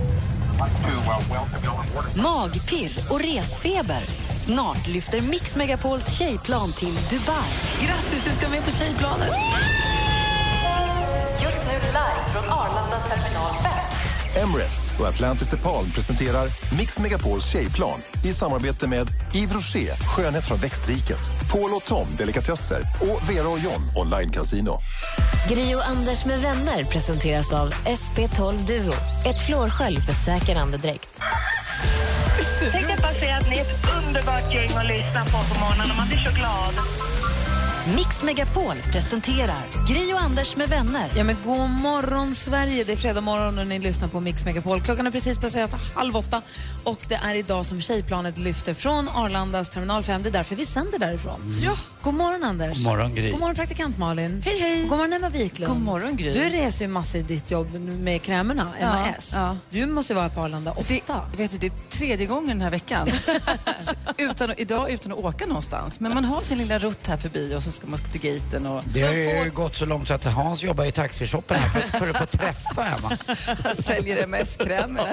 Speaker 1: magpirr och resfeber. Snart lyfter Mix Megapols tjejplan till Dubai.
Speaker 4: Grattis, du ska med på Tjejplanet.
Speaker 1: Just nu live från Arlanda terminal 5.
Speaker 9: Emirates och Atlantis DePaul presenterar Mix Megapols tjejplan i samarbete med Yves Rocher, skönhet från växtriket, Paul och Tom, delikatesser och Vera och John, online casino.
Speaker 15: Gri och Anders med vänner presenteras av SP12 Duo. Ett flårskölj för säker andedräkt.
Speaker 8: Tänk att bara säga att ni är ett underbart gäng att lyssna på på morgonen och man blir så glad.
Speaker 1: Mix Megapol presenterar Gri och Anders med vänner.
Speaker 4: Ja, men god morgon, Sverige. Det är fredag morgon och ni lyssnar på Mix Megapol. Klockan är precis passerat halv åtta och det är idag som Tjejplanet lyfter från Arlandas terminal 5. Det är därför vi sänder därifrån. Ja. God morgon, Anders.
Speaker 7: Mm. God morgon, Gry.
Speaker 4: God morgon, praktikant Malin. Hej, hej. God morgon, Emma Wiklund.
Speaker 13: God morgon, Gry.
Speaker 4: Du reser ju massor i ditt jobb med krämerna,
Speaker 13: Ja,
Speaker 4: MAS. Du måste ju vara på Arlanda ofta.
Speaker 13: Vet du, det är tredje gången
Speaker 20: Alltså,
Speaker 13: den här veckan. Så utan, att- idag utan att åka någonstans. Men man har sin lilla rutt här förbi och så
Speaker 20: ska man ska till gaten och...
Speaker 7: Det har ju gått så långt så att Hans jobbar i taxfree-shoppen här för, att- för att få träffa Emma.
Speaker 20: Han säljer MS-krämer.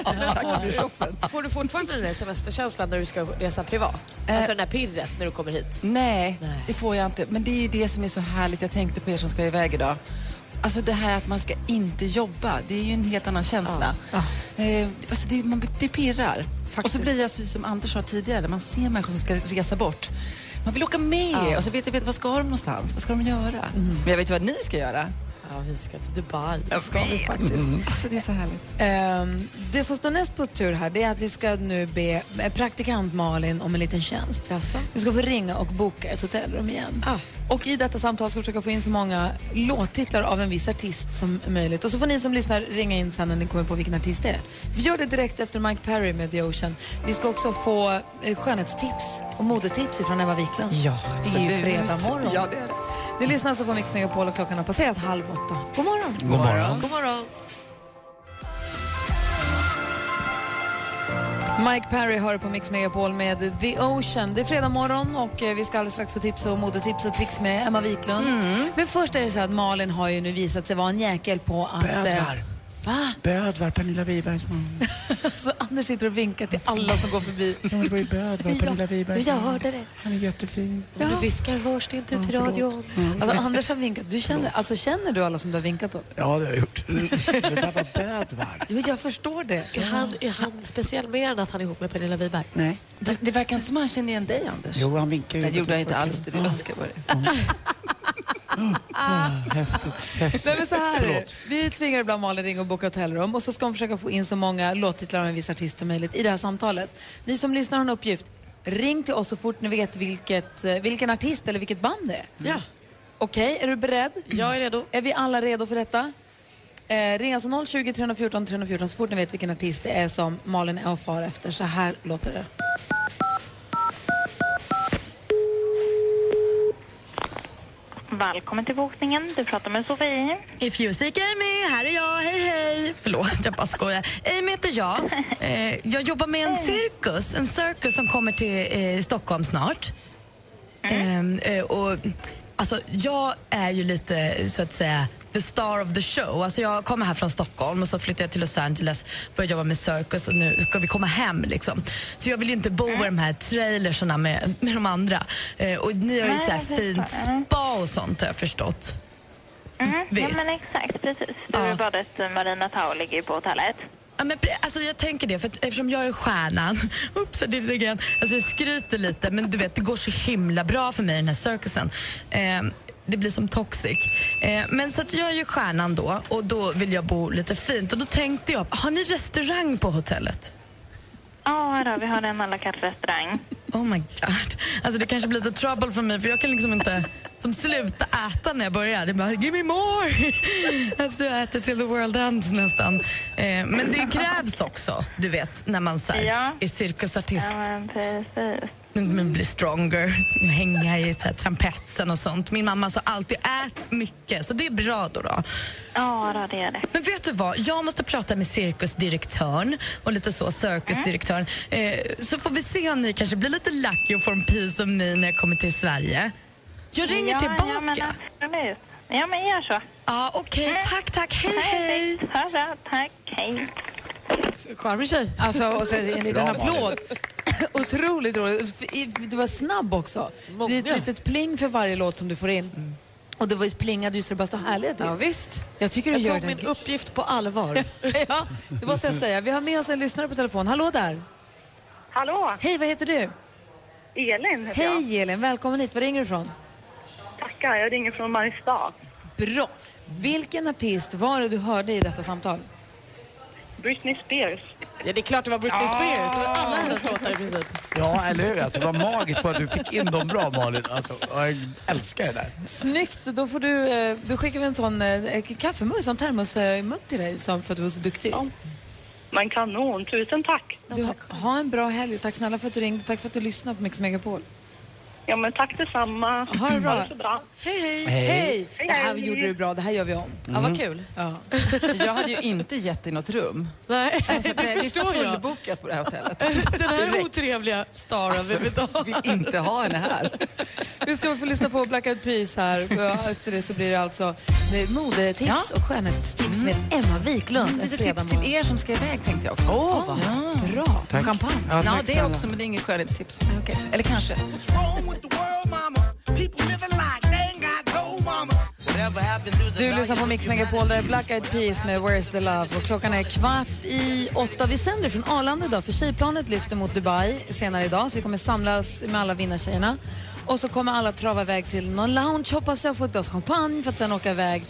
Speaker 21: Får du fortfarande den där semesterkänslan när du ska resa privat?
Speaker 20: Eh.
Speaker 21: Alltså den där pirret när du kommer hit?
Speaker 20: Nej, det får jag inte. Men det är ju det som är så härligt. Jag tänkte på er som ska iväg idag. Alltså det här att man ska inte jobba, det är ju en helt annan känsla. Eh, alltså det, man, det pirrar. Och så blir jag så som Anders sa tidigare, man ser människor som ska resa bort. Man vill åka med och så vet jag vet, vad ska de någonstans? Vad ska de göra?
Speaker 4: Mm.
Speaker 20: Men jag vet ju vad ni ska göra.
Speaker 21: Ja, vi ska till Dubai.
Speaker 20: Jag ska vi faktiskt. Alltså det är så härligt.
Speaker 4: Mm. Ehm, det som står näst på tur här det är att vi ska nu be eh, praktikant Malin om en liten tjänst. Du ska få ringa och boka ett hotellrum igen.
Speaker 20: Ah.
Speaker 4: Och i detta samtal ska vi försöka få in så många låttitlar av en viss artist som möjligt. Och så får ni som lyssnar ringa in sen när ni kommer på vilken artist det är. Vi gör det direkt efter Mike Perry med The Ocean. Vi ska också få eh, skönhetstips och modetips från Eva Wiklund.
Speaker 20: Ja,
Speaker 4: Det är ju
Speaker 20: absolut.
Speaker 4: fredag morgon.
Speaker 20: Ja, det är det.
Speaker 4: Ni lyssnar alltså på Mix Megapol och klockan har passerat halv åtta. God morgon!
Speaker 7: God morgon.
Speaker 4: God morgon. Mike Perry hör på Mix Megapol med The Ocean. Det är fredag morgon och eh, vi ska alldeles strax få tips och modetips och tricks med Emma Wiklund.
Speaker 20: Mm.
Speaker 4: Men först är det så här att Malin har ju nu visat sig vara en jäkel på att... eh,
Speaker 20: Bödlar.
Speaker 4: Va?
Speaker 20: Böd var Pernilla Wibergs man.
Speaker 4: Så Anders sitter och vinkar till alla som går förbi.
Speaker 20: Det var ju böd var Pernilla Wibergs
Speaker 4: jag hörde det.
Speaker 20: Han är jättefin.
Speaker 4: Om du viskar hörs det inte ut i radion. Alltså Anders har vinkat. Du känner, alltså, känner du alla som du har vinkat åt?
Speaker 7: Ja, det har jag gjort. Mm.
Speaker 4: Jo, jag förstår det.
Speaker 21: Är han, är han speciell mer än att han är ihop med Pernilla Wiberg?
Speaker 7: Nej.
Speaker 20: Det, det verkar inte som han känner igen dig, Anders.
Speaker 7: Jo, han vinkar ju. Mm.
Speaker 20: Nej, det gjorde jag inte alls. Det önskar jag bara.
Speaker 7: Häftigt.
Speaker 4: Nej, men så här Ah. är det.
Speaker 7: Förlåt.
Speaker 4: Vi tvingar ibland Malin ringa och boka hotellrum och så ska hon försöka få in så många låttitlar av en viss artist som möjligt i det här samtalet. Ni som lyssnar har en uppgift. Ring till oss så fort ni vet vilket, eh, vilken artist eller vilket band det är. Ja. Okej, är du beredd? Jag är redo. Är vi alla redo för detta? Eh, ring alltså 020 314 314 så fort ni vet vilken artist det är som Malin är och far efter. Så här låter det.
Speaker 22: Välkommen till bokningen. Du pratar med Sofie.
Speaker 3: If you seek Amy, här är jag. Hej, hej! Förlåt, jag bara skojar. Amy heter jag. Eh, jag jobbar med en cirkus, en cirkus som kommer till eh, Stockholm snart. Eh, eh, och, alltså, jag är ju lite, så att säga, the star of the show. Alltså, jag kommer här från Stockholm och så flyttade jag till Los Angeles började jobba med cirkus och nu ska vi komma hem. Liksom. Så jag vill ju inte bo i de här trailersarna med, med de andra. Eh, och ni har ju
Speaker 22: Nej,
Speaker 3: så här
Speaker 22: jag
Speaker 3: fint
Speaker 22: fattar. Mm.
Speaker 3: spa och sånt har jag förstått.
Speaker 22: Mm. Ja,
Speaker 3: Visst.
Speaker 22: men exakt, precis. Sturebadet eh, Marina Tau ligger ju på hotellet.
Speaker 3: Ja, men, pre- alltså, jag tänker det, för att, eftersom jag är stjärnan. Ups, det är lite grann. Alltså, jag skryter lite, men du vet, det går så himla bra för mig i den här cirkusen. Eh, det blir som toxic. Eh, men så att jag är ju stjärnan då och då vill jag bo lite fint. Och då tänkte jag, har ni restaurang på hotellet?
Speaker 22: Ja, här har vi har en à la carte restaurang.
Speaker 3: Oh my god. Alltså det kanske blir lite trouble för mig för jag kan liksom inte som sluta äta när jag börjar. Det är bara give me more! Alltså jag äter till the world ends nästan. Eh, men det krävs också, du vet, när man så här, är cirkusartist.
Speaker 22: Ja, men precis.
Speaker 3: Man blir stronger, hänga i så här, trampetsen och sånt. Min mamma sa alltid ät mycket, så det är bra då. då.
Speaker 22: Ja, då, det är det.
Speaker 3: Men vet du vad? Jag måste prata med cirkusdirektören och lite så, cirkusdirektören. Eh, så får vi se om ni kanske blir lite lucky och får en piece av mig när jag kommer till Sverige. Jag ringer
Speaker 22: ja, Ja, men alltså-
Speaker 3: tillbaka.
Speaker 22: absolut. Ja, men gör så. Mm.
Speaker 3: Ja, okej. Tack, tack. Hej, hej.
Speaker 22: Ha bra. Tack. Hej.
Speaker 4: Charmig tjej. Alltså, och sen en liten
Speaker 3: Bra,
Speaker 4: applåd. Otroligt roligt. Du var snabb också. Det är ett litet pling för varje låt som du får in.
Speaker 21: Mm.
Speaker 4: Och det var ju plingade ju så det bara stod härliga till. Ja, visst. Jag tycker du
Speaker 21: Jag
Speaker 4: gör
Speaker 21: tog
Speaker 4: det.
Speaker 21: min uppgift på allvar.
Speaker 4: ja, det måste jag säga. Vi har med oss en lyssnare på telefon. Hallå där!
Speaker 23: Hallå!
Speaker 4: Hej, vad heter du?
Speaker 23: Elin heter jag.
Speaker 4: Hej Elin, välkommen hit. Var ringer du ifrån?
Speaker 23: Tackar, jag ringer från Mariestad.
Speaker 4: Bra. Vilken artist var det du hörde i detta samtal?
Speaker 23: Britney Spears.
Speaker 21: Ja, det är klart det var Britney Spears. Det var alla hennes låtar i princip.
Speaker 7: Ja, eller hur? Alltså, det var magiskt bara att du fick in dem bra, Malin. Alltså, jag älskar det där.
Speaker 4: Snyggt! Då, får du, eh, då skickar vi en sån eh, kaffemugg, en termosmugg till dig som för att du var så duktig.
Speaker 23: Men kanon, tusen tack.
Speaker 4: Du, ha en bra helg. Tack snälla för att du ringde. Tack för att du lyssnade på Mix Megapol.
Speaker 24: Ja, men tack detsamma.
Speaker 4: Ha det bra.
Speaker 24: så bra.
Speaker 4: Hej, hej.
Speaker 24: Hej.
Speaker 4: Hej.
Speaker 24: Hej,
Speaker 4: Det här
Speaker 24: hej.
Speaker 4: gjorde du bra. Det här gör vi om. Mm.
Speaker 20: Ja, vad kul.
Speaker 4: Ja.
Speaker 20: Jag hade ju inte gett dig något rum.
Speaker 3: Nej,
Speaker 20: Alltså, det,
Speaker 3: det
Speaker 20: är
Speaker 3: förstår jag.
Speaker 20: fullbokat på det här hotellet.
Speaker 3: Den här
Speaker 20: Direkt.
Speaker 3: otrevliga Star
Speaker 20: Alltså,
Speaker 3: av
Speaker 20: vi vill inte ha henne här.
Speaker 4: Vi ska få lyssna på Black Eyed Peas här. Och Efter det så blir det alltså eh, modetips
Speaker 20: Ja.
Speaker 4: och skönhetstips med Emma Wiklund. en
Speaker 20: Lite
Speaker 4: fredag
Speaker 20: tips till er som ska iväg tänkte jag också. Mm, Åh,
Speaker 4: vad
Speaker 20: bra.
Speaker 4: Tack.
Speaker 20: Champagne.
Speaker 4: Ja,
Speaker 20: Ja, Ah,
Speaker 4: tack
Speaker 20: det
Speaker 4: snälla.
Speaker 20: också, men det är inget skönhetstips. Eller kanske.
Speaker 4: Du lyssnar på Mix Megapol, där är Black Eyed Peas med Where's the Love. Och klockan är kvart i åtta. Vi sänder från Arlanda idag, för tjejplanet lyfter mot Dubai senare idag. Så vi kommer samlas med alla vinnartjejerna. Och så kommer alla trava iväg till någon lounge, hoppas jag, få ett glas champagne för att sen åka iväg.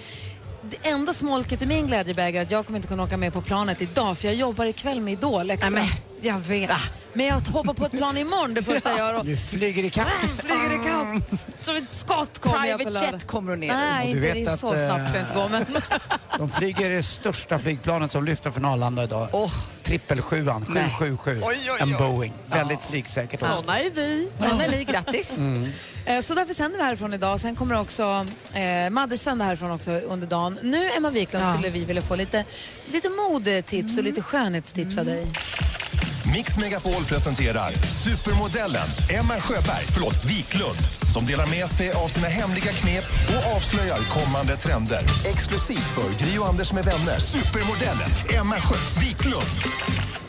Speaker 4: Det enda smolket i min glädjebägare är att jag kommer inte kunna åka med på planet idag för jag jobbar ikväll med Idol extra.
Speaker 20: Nej,
Speaker 4: jag vet. Men jag hoppar på ett plan imorgon det första jag gör. Och
Speaker 7: Du flyger i kapp.
Speaker 4: flyger ikapp. Som ett skott kommer jag på
Speaker 20: Private
Speaker 4: lördag.
Speaker 20: jet kommer du eh, ner
Speaker 4: Nej,
Speaker 20: i.
Speaker 7: Och du vet
Speaker 4: inte det är
Speaker 7: att, eh,
Speaker 4: så snabbt kan det inte gå. Men...
Speaker 7: De flyger det största flygplanet som lyfter från Arlanda idag.
Speaker 20: Oh.
Speaker 7: Trippelsjuan,
Speaker 20: Nej.
Speaker 7: 777.
Speaker 20: Oj, oj, oj.
Speaker 7: En Boeing. Väldigt flygsäkert också.
Speaker 4: Såna är vi. Såna är ni, grattis.
Speaker 7: Mm.
Speaker 4: Eh, Så därför sänder vi härifrån idag. Sen kommer också eh, Madde sända härifrån också under dagen. Nu, Emma Wiklund,
Speaker 20: Ja. Mm.
Speaker 4: skulle vi vilja få lite, lite modetips och lite skönhetstips av dig.
Speaker 9: Mix Megapol presenterar supermodellen Emma Sjöberg, förlåt, Wiklund som delar med sig av sina hemliga knep och avslöjar kommande trender. Exklusivt för Gri och Anders med vänner. Supermodellen Emma Sjö Wiklund.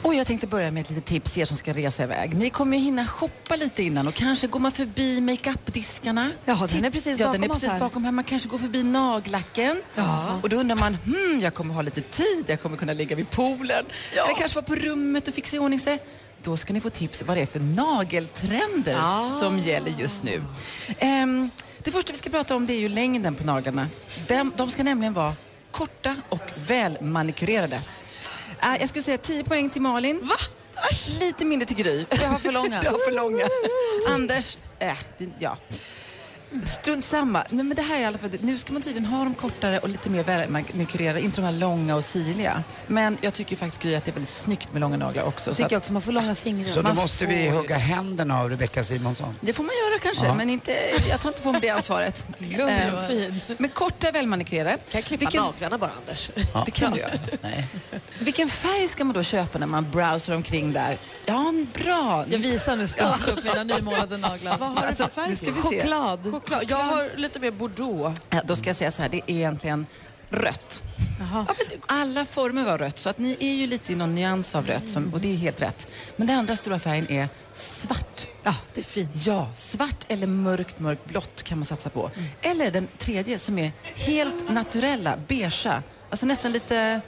Speaker 20: Och jag tänkte börja med ett litet tips, er som ska resa iväg. Ni kommer ju hinna shoppa lite innan och kanske går man förbi makeupdiskarna.
Speaker 4: Jaha, den är precis
Speaker 20: ja,
Speaker 4: bakom
Speaker 20: den är
Speaker 4: oss
Speaker 20: precis
Speaker 4: här.
Speaker 20: bakom här. Man kanske går förbi nagellacken.
Speaker 4: Ja.
Speaker 20: Och då undrar man, hmm, jag kommer ha lite tid, jag kommer kunna ligga vid poolen. Eller kanske vara på rummet och fixa i ordning sig. Då ska ni få tips vad det är för nageltrender
Speaker 4: Ah.
Speaker 20: som gäller just nu. Ehm, det första vi ska prata om det är ju längden på naglarna. De, de ska nämligen vara korta och välmanikurerade. Äh, jag skulle säga 10 poäng till Malin. Va? Lite mindre till Gry.
Speaker 4: Jag har för långa.
Speaker 20: jag har för långa. Anders, äh, det- ja. Strunt samma. Nej, men det här är i alla fall, nu ska man tydligen ha dem kortare och lite mer välmakurerade, inte de här långa och sirliga. Men jag tycker faktiskt Gry att det är väldigt snyggt med långa naglar också.
Speaker 4: Tycker jag
Speaker 20: att,
Speaker 4: också, man får långa fingrar.
Speaker 7: Så då
Speaker 20: Man
Speaker 7: måste vi
Speaker 20: får ju
Speaker 7: hugga händerna av Rebecca Simonsson.
Speaker 20: det får man göra kanske,
Speaker 7: Ja.
Speaker 20: men inte, jag tar inte på mig det ansvaret.
Speaker 4: Glöm det,
Speaker 20: Eh,
Speaker 4: vad fin.
Speaker 20: Men korta, välmanikurerade. Kan jag klippa
Speaker 3: naglarna bara, Anders?
Speaker 7: Ja.
Speaker 20: Det kan du göra. Vilken färg ska man då köpa när man browsar omkring där? Ja, en bra.
Speaker 4: Jag visar nu stolt upp mina nymålade naglar.
Speaker 20: Vad har du för färg?
Speaker 4: Nu ska vi se. Choklad.
Speaker 3: Choklad. Jag har lite mer bordeaux.
Speaker 20: Ja, då ska jag säga så här, det är egentligen rött. Ja, men Alla former var rött, så att ni är ju lite i någon nyans av rött, som, och det är helt rätt. Men den andra stora färgen är svart.
Speaker 4: Ja, det är fint.
Speaker 20: Ja, svart eller mörkt, mörkt blått kan man satsa på.
Speaker 4: Mm.
Speaker 20: Eller den tredje som är helt naturella, beigea. Alltså nästan lite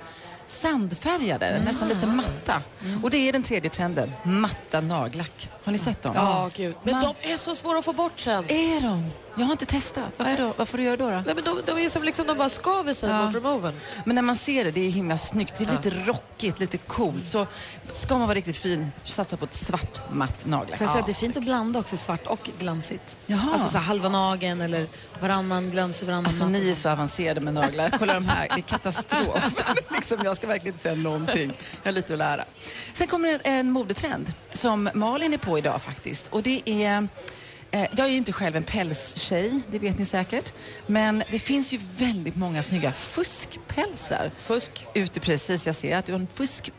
Speaker 20: sandfärgade,
Speaker 4: Mm.
Speaker 20: nästan lite matta. Och det är den tredje trenden, matta nagellack. Har ni sett dem?
Speaker 3: Ja, gud. Men
Speaker 20: Man-
Speaker 3: de är så svåra att få bort sen.
Speaker 20: Är de? Jag har inte testat. Varför då? Vad får du göra då? då?
Speaker 3: Nej, men de, de är som liksom, de bara skaver sig
Speaker 20: Ja.
Speaker 3: mot removen.
Speaker 20: Men när man ser det, det är himla snyggt. Det är lite rockigt, lite coolt. Så ska man vara riktigt fin, satsa på ett svart matt nagellack.
Speaker 4: Får jag säga att det är fint att blanda också, svart och glansigt.
Speaker 20: Jaha.
Speaker 4: Alltså så här, halva nageln eller varannan glans i varannan
Speaker 20: Alltså
Speaker 4: natt.
Speaker 20: ni är så avancerade med naglar. Kolla de här, det är katastrof. liksom, jag ska verkligen inte säga någonting. Jag har lite att lära. Sen kommer det en modetrend som Malin är på idag faktiskt. Och det är... eh, Jag är ju inte själv en pälstjej, det vet ni säkert. Men det finns ju väldigt många snygga fuskpälsar.
Speaker 3: Fusk.
Speaker 20: Ute precis, jag ser att du har en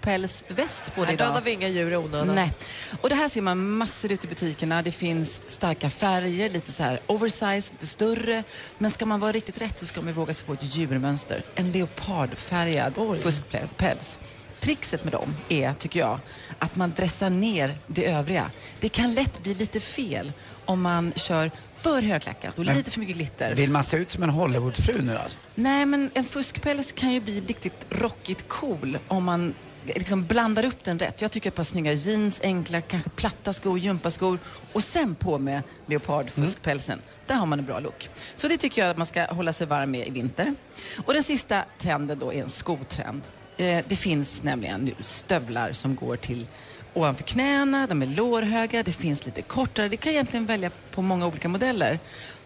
Speaker 20: fuskpälsväst på dig
Speaker 3: Nej,
Speaker 20: idag.
Speaker 3: dödar vi inga djur i onödan.
Speaker 20: Nej. Och det här ser man massor ute i butikerna. Det finns starka färger, lite så här oversized, lite större. Men ska man vara riktigt rätt så ska man våga sig på ett djurmönster. En leopardfärgad fuskpäls. Trixet med dem är, tycker jag, att man dressar ner det övriga. Det kan lätt bli lite fel om man kör för högklackat och
Speaker 7: Men-
Speaker 20: lite för mycket glitter.
Speaker 7: Vill man se ut som en Hollywoodfru nu alltså?
Speaker 20: Nej, men en fuskpäls kan ju bli riktigt rockigt cool om man liksom blandar upp den rätt. Jag tycker ett par snygga jeans, enkla, kanske platta skor, gympaskor och sen på med leopardfuskpälsen. Där har man en bra look. Så det tycker jag att man ska hålla sig varm med i vinter. Och den sista trenden då är en skotrend. Eh, det finns nämligen nu stövlar som går till ovanför knäna, de är lårhöga, det finns lite kortare. Det kan jag egentligen välja på många olika modeller.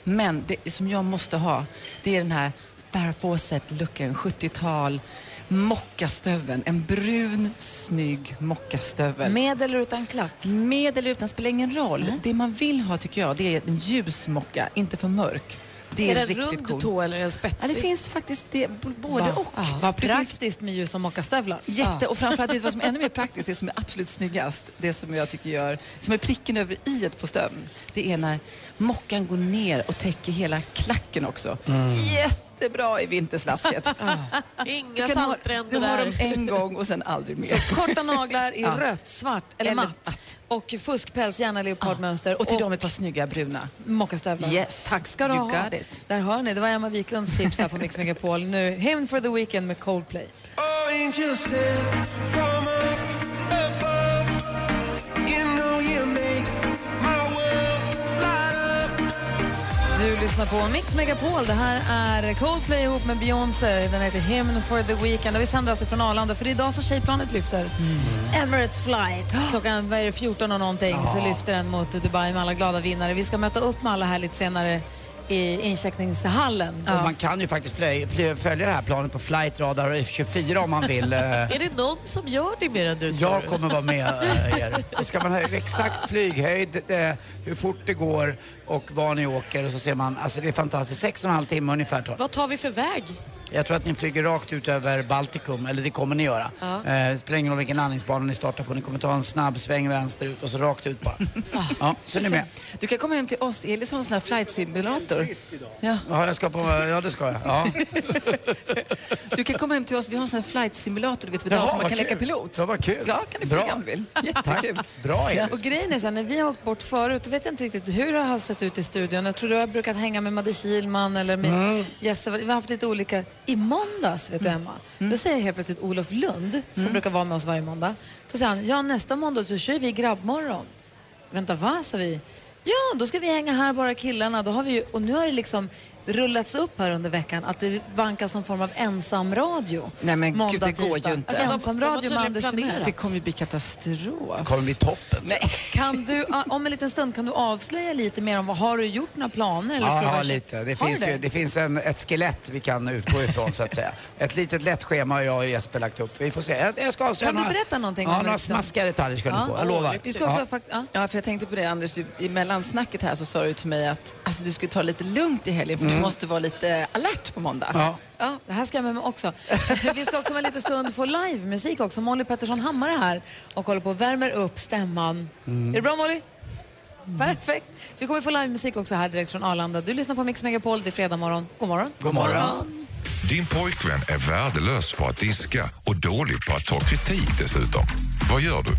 Speaker 20: Men det som jag måste ha, det är den här Farfawcett-looken, 70-tal. mockastöveln. En brun, snygg mockastövel.
Speaker 4: Med eller utan klack? Mm.
Speaker 20: Med eller utan spelar ingen roll. Det man vill ha tycker jag, det är en ljus mocka, inte för mörk. Det är,
Speaker 4: är det en
Speaker 20: riktigt
Speaker 4: rund
Speaker 20: cool.
Speaker 4: tå eller en spetsig?
Speaker 20: Ja, det finns faktiskt det, b- både och.
Speaker 4: Ah, vad praktiskt med ljus och mockastövlar.
Speaker 20: Jätte,
Speaker 4: Ah.
Speaker 20: och framförallt det som är ännu mer praktiskt, det som är absolut snyggast, det som jag tycker gör, som är pricken över i på stöveln, det är när mockan går ner och täcker hela klacken också. Jättebra i vinterslasket.
Speaker 3: Inga
Speaker 20: kan ha-
Speaker 3: saltränder
Speaker 20: Du har
Speaker 3: där.
Speaker 20: dem en gång och sen aldrig mer.
Speaker 4: Korta naglar i
Speaker 20: Ja.
Speaker 4: rött, svart eller,
Speaker 20: Eller Ah.
Speaker 4: matt. Och fuskpäls, gärna leopardmönster.
Speaker 20: Och till dem ett par snygga bruna.
Speaker 4: Mockastövlar.
Speaker 20: Yes,
Speaker 4: Tack ska du
Speaker 20: you
Speaker 4: ha.
Speaker 20: got it.
Speaker 4: Där har ni, det var Emma Wiklunds tips här på Mix Megapol. Nu, Hymn for the Weekend med Coldplay.
Speaker 8: Oh, angel said from up above, you know you make my world light up.
Speaker 4: Du lyssnar på Mix Megapol. Det här är Coldplay ihop med Beyoncé. Den heter Hymn for the Weekend. Och vi sänder alltså från Arlanda, för det är idag som tjejplanet lyfter. Mm. Emirates flight. Klockan vad är det, 14 och någonting så lyfter den mot Dubai med alla glada vinnare. Vi ska möta upp med alla här lite senare i incheckningshallen.
Speaker 7: Och man kan ju faktiskt flö, flö, följa det här planet på Flight Radar 24 om man vill. eh.
Speaker 3: Är det någon som gör det mer än du tror
Speaker 7: Jag
Speaker 3: du?
Speaker 7: kommer vara med eh, er. Då Ska man ha exakt flyghöjd, eh, hur fort det går och var ni åker och så ser man, alltså det är fantastiskt. Sex och en halv timme ungefär tar det.
Speaker 3: Vad tar vi för väg?
Speaker 7: Jag tror att ni flyger rakt ut över Baltikum, eller det kommer ni göra.
Speaker 3: Ja.
Speaker 7: Eh, det spelar ingen roll vilken landningsbana ni startar på, ni kommer ta en snabb sväng vänsterut och så rakt ut bara. Ja, så är ni med.
Speaker 20: Du kan komma hem till oss. Elis har en sån här flight simulator. Ja.
Speaker 7: Ja, jag ska på, ja det ska jag. Ja.
Speaker 20: Du kan komma hem till oss. Vi har en sån här flight simulator. Du vet, vid
Speaker 7: Jaha,
Speaker 20: datorn man
Speaker 7: vad
Speaker 20: kan leka
Speaker 7: kul.
Speaker 20: pilot.
Speaker 7: Ja, vad kul.
Speaker 20: Ja, kan du
Speaker 7: Bra.
Speaker 20: flyga om du vill. Jättekul.
Speaker 7: Bra Elis.
Speaker 4: Och grejen är så här, när vi har åkt bort förut, då vet jag inte riktigt hur det har sett ut i studion. Jag tror du har brukat hänga med Madde Kihlman eller med
Speaker 25: Mm.
Speaker 4: Jesse. Vi har haft lite olika. I måndags, vet du Emma, då säger helt plötsligt Olof Lund, som brukar vara med oss varje måndag, då säger han, ja nästa måndag så kör vi grabbmorgon. Vänta, va? sa vi. Ja, då ska vi hänga här bara killarna. Då har vi ju, och nu har det liksom rullats upp här under veckan att det vankas någon form av ensamradio.
Speaker 20: Nej men
Speaker 4: Måndag,
Speaker 20: gud, det går
Speaker 4: tisdag.
Speaker 20: ju inte.
Speaker 4: Alltså, ensamradio med Anders
Speaker 20: Det
Speaker 4: Timell.
Speaker 20: kommer ju bli katastrof.
Speaker 7: Det kommer bli toppen.
Speaker 4: Kan du, om en liten stund, kan du avslöja lite mer om vad har du gjort några planer? Eller
Speaker 7: Ja,
Speaker 4: ska du
Speaker 7: ja,
Speaker 4: bara-
Speaker 7: lite. Det
Speaker 4: Har
Speaker 7: finns,
Speaker 4: du
Speaker 7: ju, det finns en, ett skelett vi kan utgå ifrån så att säga. Ett litet lätt schema har jag och Jesper lagt upp. Vi får se. Jag, jag ska avslöja
Speaker 4: Kan du
Speaker 7: några-
Speaker 4: berätta någonting
Speaker 7: Ja,
Speaker 4: om liksom? det
Speaker 7: några
Speaker 4: också?
Speaker 7: smaskiga detaljer ska ni få. Jag lovar.
Speaker 20: Vi ska också
Speaker 7: Ja.
Speaker 20: ha
Speaker 4: fakt- ja.
Speaker 20: för jag tänkte på det Anders, du, i mellansnacket här så sa du till mig att alltså, du skulle ta lite lugnt i helgen för
Speaker 4: Mm.
Speaker 20: du måste vara lite alert på måndag.
Speaker 4: Ja. det här ska jag med mig också. Vi ska också om en liten stund få livemusik också. Molly Pettersson Hammar är här och håller på och värmer upp stämman.
Speaker 25: Mm.
Speaker 4: Är det bra Molly? Perfekt. Så vi kommer få livemusik också här direkt från Arlanda. Du lyssnar på Mix Megapol, det är fredag morgon. God morgon.
Speaker 2: God morgon. Din pojkvän är värdelös på att diska och dålig på att ta kritik dessutom. Vad gör du?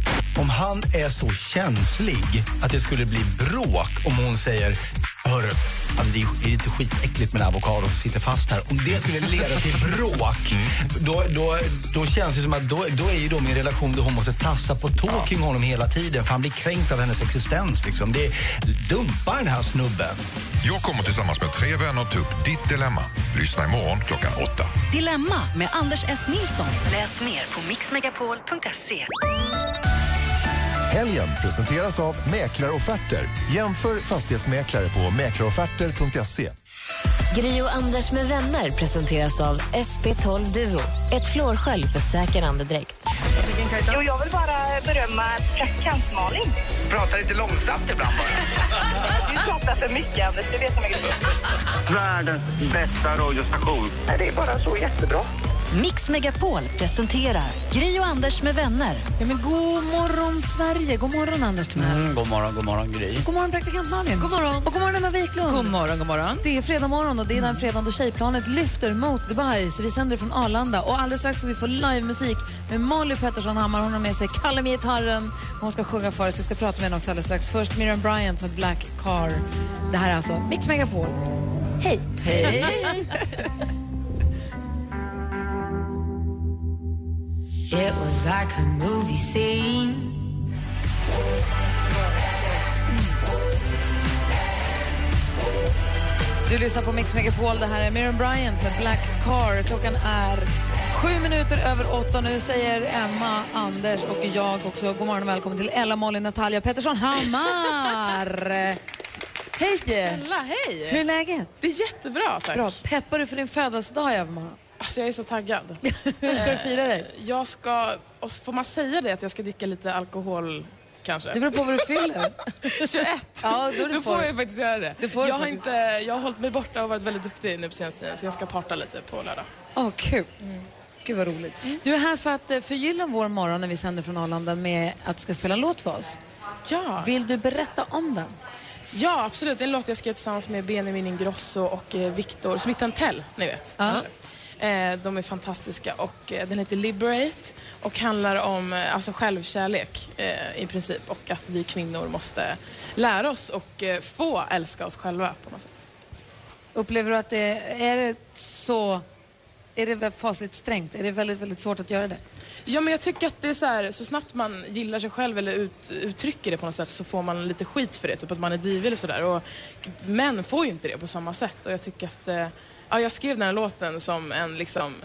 Speaker 5: Om han är så känslig att det skulle bli bråk om hon säger Hörru, alltså det är lite skitäckligt med den här avokadon som sitter fast här. Om det skulle leda till bråk, då, då, då känns det som att då, då är ju då min relation där hon måste tassa på tå kring honom hela tiden för han blir kränkt av hennes existens. Liksom. Det är, dumpa den här snubben.
Speaker 2: Jag kommer tillsammans med tre vänner ta upp ditt dilemma. Lyssna imorgon klockan åtta.
Speaker 1: Dilemma med Anders S. Nilsson. Läs mer på mixmegapol.se.
Speaker 9: Helgen presenteras av Mäklarofferter. Jämför fastighetsmäklare på mäklarofferter.se.
Speaker 15: Gri och Anders med vänner presenteras av SP12 Duo. Ett flårskölj för säker andedräkt.
Speaker 24: Jo, jag vill bara berömma praktikant Malin.
Speaker 5: Prata lite långsamt ibland
Speaker 24: Du pratar för mycket, Anders. Du vet hur mycket
Speaker 12: Världens bästa radiostation.
Speaker 24: Det är bara så jättebra.
Speaker 1: Mix Megapol presenterar Gri och Anders med vänner.
Speaker 4: Ja, men god morgon Sverige. God morgon Anders Timell.
Speaker 7: Mm, god morgon, god morgon Gry.
Speaker 4: God morgon, praktikant Malin. God morgon. Och god morgon, Emma Wiklund. God morgon, god morgon. Mm. Det är fredag morgon och det är den fredagen då tjejplanet lyfter mot Dubai. Så vi sänder från Arlanda och alldeles strax ska vi få livemusik med Molly Pettersson Hammar. Hon har med sig Kalle med gitarren. Hon ska sjunga för oss. Vi ska prata med henne också alldeles strax. Först Miriam Bryant med Black Car. Det här är alltså Mix Megapol. Hej!
Speaker 8: Hej.
Speaker 6: It was like a movie scene.
Speaker 4: Du lyssnar på Mix Megapol. Det här är Miriam Bryant med Black Car. Klockan är sju minuter över åtta. Nu säger Emma, Anders och jag också god morgon och välkommen till Ella, Malin, Natalia Pettersson Hammar. Hej!
Speaker 26: Snälla, hej!
Speaker 4: Hur är läget?
Speaker 26: Det är jättebra, tack.
Speaker 4: Bra. Peppar du för din födelsedag i övermorgon?
Speaker 10: Alltså jag är så taggad. Eh,
Speaker 4: Ska du fira dig?
Speaker 10: Jag ska... åh, Får man säga det att jag ska dricka lite alkohol kanske?
Speaker 4: Det beror på vad du fyller.
Speaker 10: 21.
Speaker 4: Ja, då
Speaker 10: då,
Speaker 4: är det
Speaker 10: får
Speaker 4: folk.
Speaker 10: jag faktiskt göra det.
Speaker 4: Det får du
Speaker 10: jag, har
Speaker 4: faktiskt.
Speaker 10: inte, jag har hållit mig borta och varit väldigt duktig nu på senaste tiden så jag ska parta lite på lördag.
Speaker 4: Åh, kul.
Speaker 26: Mm.
Speaker 4: Gud vad roligt. Du är här för att eh, förgylla vår morgon när vi sänder från Arlanda med att du ska spela en låt för oss.
Speaker 10: Ja.
Speaker 4: Vill du berätta om den?
Speaker 10: Ja, absolut. En låt jag skrev tillsammans med Benjamin Ingrosso och eh, Victor Smittantell, ni vet.
Speaker 4: Ja.
Speaker 10: kanske. Eh, de är fantastiska och eh, den heter Liberate och handlar om eh, alltså självkärlek eh, i princip och att vi kvinnor måste lära oss och eh, få älska oss själva på något sätt.
Speaker 4: Upplever du att det är det så... Är det väl fasligt strängt? Är det väldigt, väldigt svårt att göra det?
Speaker 10: Ja, men jag tycker att det är så här, så snabbt man gillar sig själv eller ut, uttrycker det på något sätt så får man lite skit för det, typ att man är divig eller sådär. Och män får ju inte det på samma sätt och jag tycker att, eh, ja, jag skrev den här låten som en liksom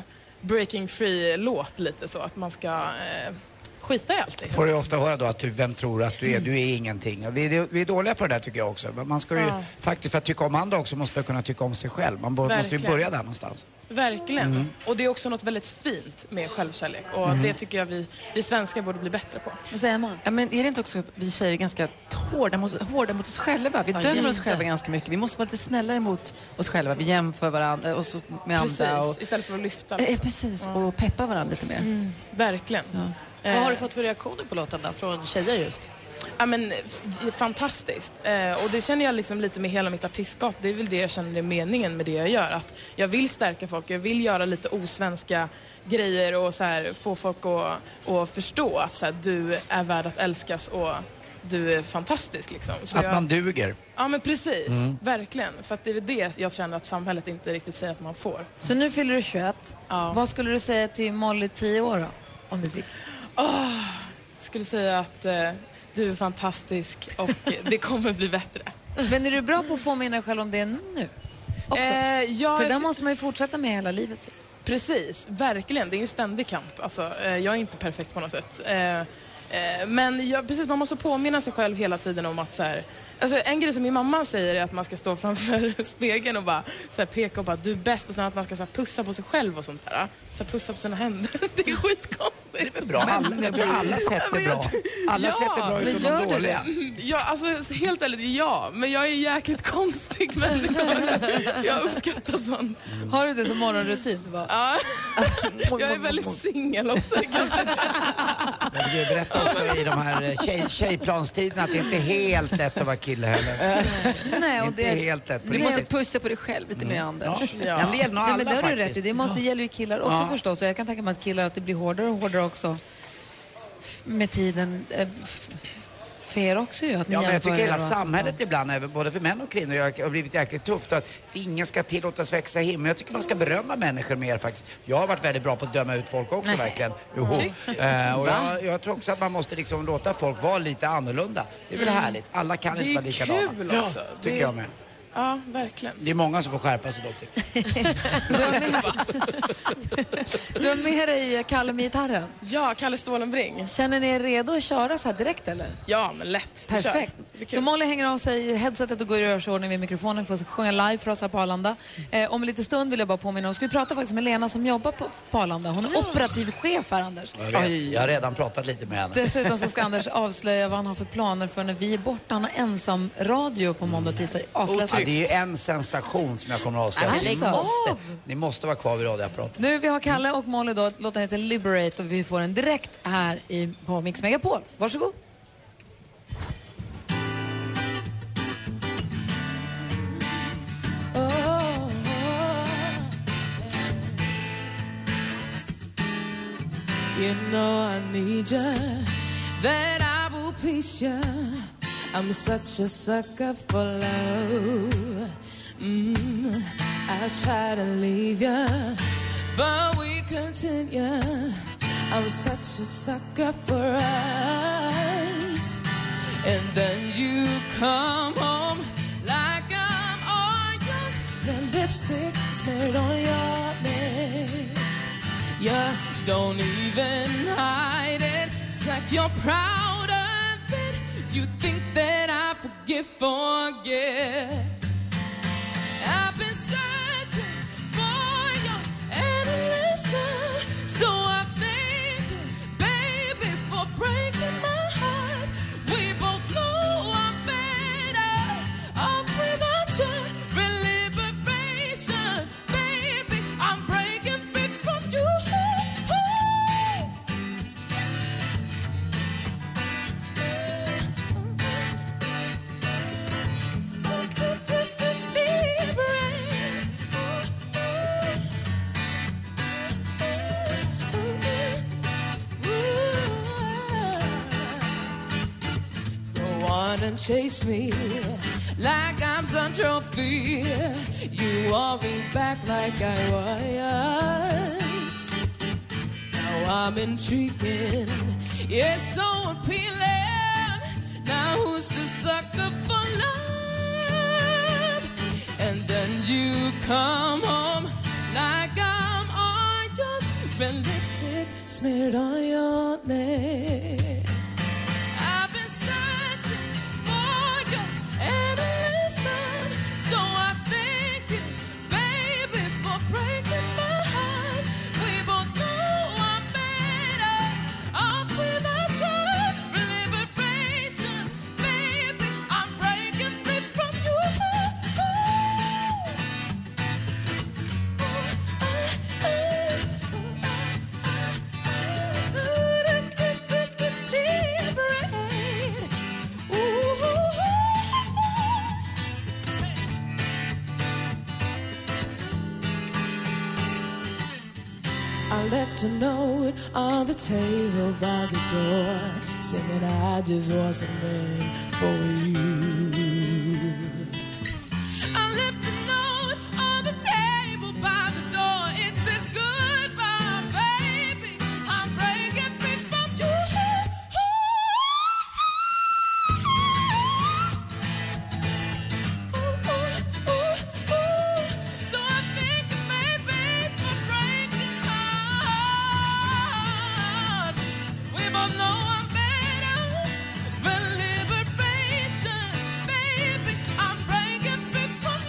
Speaker 10: breaking free-låt lite så, att man ska eh, skita i allt liksom.
Speaker 7: Får du ofta höra då att du, vem tror att du är? Du är ingenting. Och vi, är, vi är dåliga på det där tycker jag också. Men Man ska ju
Speaker 10: Ja.
Speaker 7: faktiskt, för att tycka om andra också, måste man kunna tycka om sig själv. Man bör, måste ju
Speaker 10: Verkligen.
Speaker 7: börja där någonstans.
Speaker 10: Verkligen.
Speaker 7: Mm.
Speaker 10: Och det är också något väldigt fint med självkärlek och
Speaker 7: Mm.
Speaker 10: det tycker jag vi, vi svenskar borde bli bättre på.
Speaker 4: Vad säger man?
Speaker 20: Ja, men är det inte också att vi tjejer är ganska hårda mot, hårda mot oss själva? Vi
Speaker 10: Ja,
Speaker 20: dömer oss
Speaker 10: jätte.
Speaker 20: själva ganska mycket. Vi måste vara lite snällare mot oss själva. Vi jämför varandra, oss med
Speaker 10: Precis,
Speaker 20: andra. Och,
Speaker 10: istället för att lyfta.
Speaker 20: Eh, precis, och peppa varandra lite mer.
Speaker 10: Mm, verkligen.
Speaker 20: Vad har du
Speaker 10: fått för reaktioner på låten då, från tjejer just? Eh. Ja, men, f- fantastiskt. Eh, och det känner jag liksom lite med hela mitt artistskap. Det är väl det jag känner är meningen med det jag gör. Att jag vill stärka folk, jag vill göra lite osvenska grejer och så här, få folk att, att förstå att så här, du är värd att älskas och du är fantastisk. Liksom. Så
Speaker 7: Att
Speaker 10: jag-
Speaker 7: man duger.
Speaker 10: Ja men precis,
Speaker 7: Mm.
Speaker 10: verkligen. För att det är väl det jag känner att samhället inte riktigt säger att man får.
Speaker 4: Så nu fyller du 21. Vad skulle du säga till Molly 10 år då? Om du fick.
Speaker 10: Åh, Ah, skulle säga att eh, du är fantastisk och det kommer bli bättre.
Speaker 4: Men är du bra på att påminna dig själv om det nu? Också?
Speaker 10: Eh, ja,
Speaker 4: För
Speaker 10: jag
Speaker 4: den
Speaker 10: ty-
Speaker 4: måste man ju fortsätta med hela livet. typ.
Speaker 10: Precis, verkligen. Det är ju en ständig kamp. Alltså, eh, jag är inte perfekt på något sätt. Eh, eh, men jag, precis, man måste påminna sig själv hela tiden om att så här, Alltså en grej som min mamma säger är att man ska stå framför spegeln och bara så här, peka och bara du är bäst och sen att man ska så här, pussa på sig själv och sånt där. Så här, pussa på sina händer. Det är skitkonstigt. Det är
Speaker 7: Bra. Alla, jag tror alla sätt är bra. Alla sätt är bra utom de dåliga.
Speaker 10: det? Ja, alltså helt ärligt, ja. Men jag är en jäkligt konstig människa. Jag uppskattar sånt.
Speaker 4: Har du det som morgonrutin?
Speaker 10: Ja. Jag är väldigt singel också. Det kanske
Speaker 7: Men du berättar också i de här eh, tjej, tjejplanstiderna att det inte är helt lätt att vara kille heller.
Speaker 4: Nej, och
Speaker 7: Inte
Speaker 4: det,
Speaker 7: helt lätt på
Speaker 20: Du måste
Speaker 7: riktigt.
Speaker 20: pussa på dig själv lite mer, Anders.
Speaker 7: Ja. Ja, men det gäller nog
Speaker 4: Nej,
Speaker 7: alla
Speaker 4: men det har du
Speaker 7: faktiskt.
Speaker 4: rätt i. Det måste,
Speaker 7: Ja.
Speaker 4: gäller ju killar också
Speaker 7: Ja.
Speaker 4: förstås. Och jag kan tänka mig att killar att det blir hårdare och hårdare också f- med tiden. eh, f- För er också ju. Att ni
Speaker 7: Ja, men jag
Speaker 4: jämför
Speaker 7: tycker hela
Speaker 4: er och att-
Speaker 7: samhället ibland, även både för män och kvinnor, har har blivit jäkligt tufft. Att ingen ska tillåtas växa i himlen. Jag tycker man ska berömma människor mer faktiskt. Jag har varit väldigt bra på att döma ut folk också
Speaker 4: Nej.
Speaker 7: verkligen. Jo.
Speaker 4: Tycker-
Speaker 7: Eh, och
Speaker 4: Va?
Speaker 7: jag, jag tror också att man måste liksom låta folk vara lite annorlunda. Det är väl
Speaker 10: Mm.
Speaker 7: härligt. Alla kan
Speaker 10: Det
Speaker 7: inte
Speaker 10: är
Speaker 7: vara likadana.
Speaker 10: kul
Speaker 7: Ja,
Speaker 10: också.
Speaker 7: tycker
Speaker 10: Det-
Speaker 7: jag med.
Speaker 10: Ja, verkligen.
Speaker 7: Det är många som får skärpa sig dock.
Speaker 4: Du har med dig Kalle med gitarren.
Speaker 10: Ja, Kalle Stålenbring.
Speaker 4: Känner ni er redo att köra så här direkt eller?
Speaker 10: Ja, men lätt. Vi kör.
Speaker 4: Perfekt.
Speaker 10: Det är kul.
Speaker 4: Så Molly hänger av sig headsetet och går i rörsordning vid mikrofonen för att sjunga live för oss här på Arlanda. Eh, om en liten stund vill jag bara påminna om, ska vi prata faktiskt med Lena som jobbar på, på Arlanda. Hon är operativ chef här Anders.
Speaker 7: Jag, vet, jag har redan pratat lite med henne.
Speaker 4: Dessutom så ska Anders avslöja vad han har för planer för när vi är borta. Han har ensam radio på måndag, tisdag.
Speaker 7: Mm. Ja,
Speaker 4: Avslöja
Speaker 7: det är ju en sensation som jag kommer att avslöja.
Speaker 4: Alltså.
Speaker 7: Ni, måste, ni måste vara kvar vid radioapparaten.
Speaker 4: Nu, vi har Kalle och Molly då. Låten heter Liberate och vi får den direkt här i, på Mix Megapol. Varsågod.
Speaker 24: You know I need ya, that I will please ya. I'm such a sucker for love. Mm, I try to leave ya, but we continue. I'm such a sucker for us. And then you come home like I'm all yours. The lipstick smeared on your neck. You don't even hide it. It's like you're proud of it. You think that I forget, forget. I've been searching for you, and and chase me like I'm some trophy. You want me back like I was. Now I'm intriguing, yes, so appealing. Now who's the sucker for love? And then you come home like I'm on just red lipstick smeared on your neck. I've been searching for your endless love, so I thank you, baby, for breaking my heart. We both know I'm better off without your liberation, baby. I'm breaking free from you. I left a note on the table by the door, saying I just wasn't meant for you. I left a note on the table by the door. It says goodbye, baby. I'm breaking free from you. So I think maybe for breaking my heart. We both know I'm better than liberation, baby. I'm breaking free from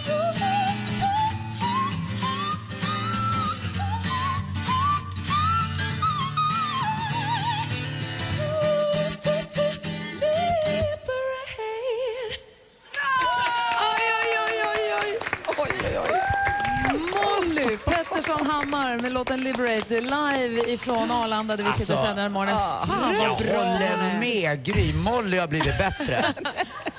Speaker 24: you.
Speaker 4: Molly Pettersson Hammar med låten Liberate live ifrån Arlanda där vi sitter och
Speaker 7: Alltså,
Speaker 4: sänder den här morgonen. Ah, Fan
Speaker 7: Jag
Speaker 4: vad bra den
Speaker 7: håller
Speaker 4: är.
Speaker 7: med Gry. Molly har blivit bättre.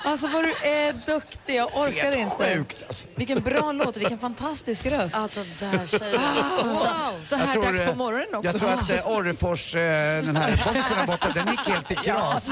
Speaker 4: Alltså vad du är duktig, jag orkar
Speaker 7: Helt
Speaker 4: inte.
Speaker 7: sjukt, alltså.
Speaker 4: Vilken bra låt, vilken fantastisk röst. Ah, Alltså där tjejen. Så, så
Speaker 7: Jag
Speaker 4: här
Speaker 7: tror,
Speaker 4: dags på
Speaker 7: eh,
Speaker 4: morgonen också.
Speaker 7: Jag tror att eh, Orrefors, eh, den här boxen där borta, den gick helt i kras.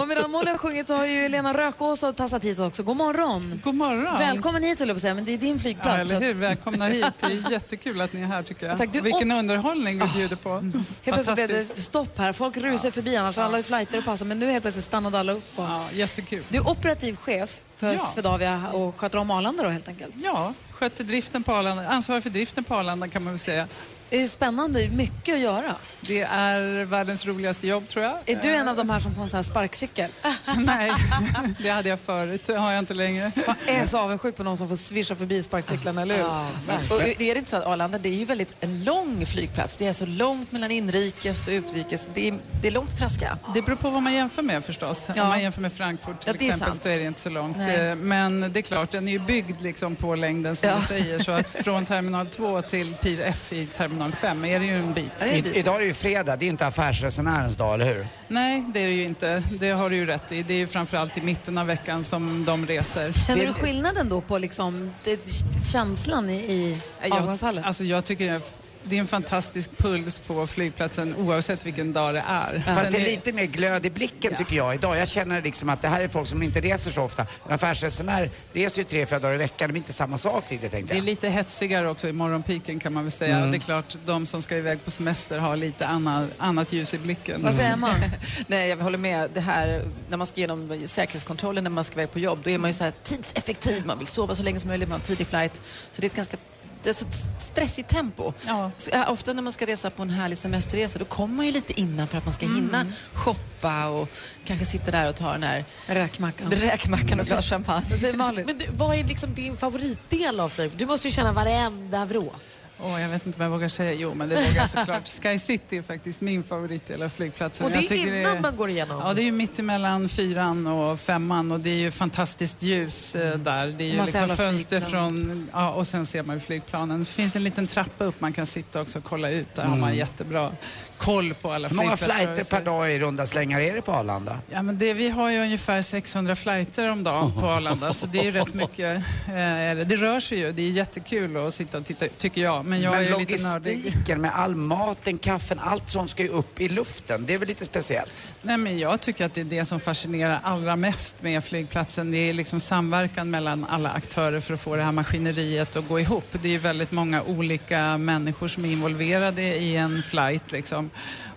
Speaker 4: Och medan Molly har sjungit så har ju Lena Rökås och tassat hit också. God morgon!
Speaker 11: God morgon!
Speaker 4: Välkommen hit höll jag på att säga, men det är din flygplats.
Speaker 11: Ja, eller hur?
Speaker 4: så att-
Speaker 11: Välkomna hit. Det är jättekul att ni är här tycker jag.
Speaker 4: Tack, du-
Speaker 11: Vilken
Speaker 4: och- Ah. Mm.
Speaker 11: underhållning vi bjuder på.
Speaker 4: Helt plötsligt blev
Speaker 11: Fantastiskt.
Speaker 4: det stopp här. Folk rusar förbi annars. Alla har ju flighter och passar. Men nu helt plötsligt stannade alla upp. Och...
Speaker 11: Ja, jättekul.
Speaker 4: Du är operativ chef för
Speaker 11: Ja.
Speaker 4: Swedavia och sköter om Arlanda då helt enkelt.
Speaker 11: Ja, sköter driften på Arlanda. Ansvarig för driften på Arlanda kan man väl säga.
Speaker 4: Det är spännande, mycket att göra.
Speaker 11: Det är världens roligaste jobb tror jag.
Speaker 4: Är du en av de här som får en sån här sparkcykel?
Speaker 11: Nej, det hade jag förut. Det har jag inte längre.
Speaker 4: Jag är så avundsjuk på någon som får svischa förbi sparkcyklarna, eller hur?
Speaker 20: Men- och det är det inte så att Arlanda det är ju väldigt en lång flygplats. Det är så långt mellan inrikes och utrikes. Det är, det är långt att traska.
Speaker 11: Det beror på vad man jämför med förstås.
Speaker 20: Ja.
Speaker 11: Om man jämför med Frankfurt till
Speaker 20: Ja, det är
Speaker 11: exempel
Speaker 20: sant.
Speaker 11: så är det inte så långt.
Speaker 20: Nej.
Speaker 11: Eh, Men det är klart, den är ju byggd liksom på längden som
Speaker 20: Ja.
Speaker 11: du säger. Så att från terminal 2 till Pir F i terminal 5 är det ju en bit.
Speaker 7: I, idag är det ju fredag, det är ju inte affärsresenärens dag, eller hur?
Speaker 11: Nej, det är det ju inte. Det har du ju rätt i. Det är ju framförallt i mitten av veckan som de reser.
Speaker 4: Känner
Speaker 11: Det-
Speaker 4: du skillnaden då på liksom, det, känslan i, i
Speaker 11: jag,
Speaker 4: avgångshallen?
Speaker 11: alltså jag tycker det är, det är en fantastisk puls på flygplatsen oavsett vilken dag det är.
Speaker 7: Fast
Speaker 11: Sen
Speaker 7: det är lite mer glöd i blicken tycker jag idag. Jag känner liksom att det här är folk som inte reser så ofta. En affärsresenär reser ju tre, fyra dagar i veckan. Det är inte samma sak riktigt tänkte
Speaker 11: Det är
Speaker 7: jag.
Speaker 11: lite hetsigare också i morgonpiken kan man väl säga.
Speaker 7: Mm.
Speaker 11: Och det är klart, de som ska iväg på semester har lite annan, annat ljus i blicken.
Speaker 20: Mm. Nej, jag håller med. Det här, när man ska genom säkerhetskontrollen när man ska iväg på jobb, då är man ju så här tidseffektiv. Man vill sova så länge som möjligt, man har en tidig flight. Så det är ett ganska det är så ett stressigt tempo. Så, eh, ofta när man ska resa på en härlig semesterresa, då kommer man ju lite innan för att man ska
Speaker 4: Mm.
Speaker 20: hinna shoppa och kanske sitta där och ta den här
Speaker 4: räkmackan,
Speaker 20: räkmackan och ett glas champagne.
Speaker 11: Alltså,
Speaker 3: Men du, vad är liksom din favoritdel av flyg? Du måste ju känna varenda vrå.
Speaker 11: Åh, jag vet inte om jag vågar säga. Jo, men det vågar jag såklart. Sky City är faktiskt min favoritdel av flygplatsen.
Speaker 3: Och det är
Speaker 11: Jag tycker
Speaker 3: innan man går igenom?
Speaker 11: Ja, det är ju mitt emellan fyran och femman och det är ju fantastiskt ljus eh, där. Det är ju Massa liksom jävla fönster flygplan. från... Ja, och sen ser man ju flygplanen. Det finns en liten trappa upp man kan sitta också och kolla ut. Där har man
Speaker 7: Mm.
Speaker 11: jättebra koll på alla
Speaker 7: Hur många
Speaker 11: flygplatsrörelser.
Speaker 7: flighter per dag i runda slängar är det på Arlanda?
Speaker 11: Ja, men det, vi har ju ungefär 600 flighter om dagen på Arlanda, så det är ju rätt mycket. Eh, eller det rör sig ju. Det är jättekul att sitta och titta, tycker jag. men jag är lite nördig.
Speaker 7: logistiken med all maten, kaffen, allt sånt ska ju upp i luften. Det är väl lite speciellt?
Speaker 11: Nej, men jag tycker att det är det som fascinerar allra mest med flygplatsen. Det är liksom samverkan mellan alla aktörer för att få det här maskineriet att gå ihop. Det är ju väldigt många olika människor som är involverade i en flight. Liksom.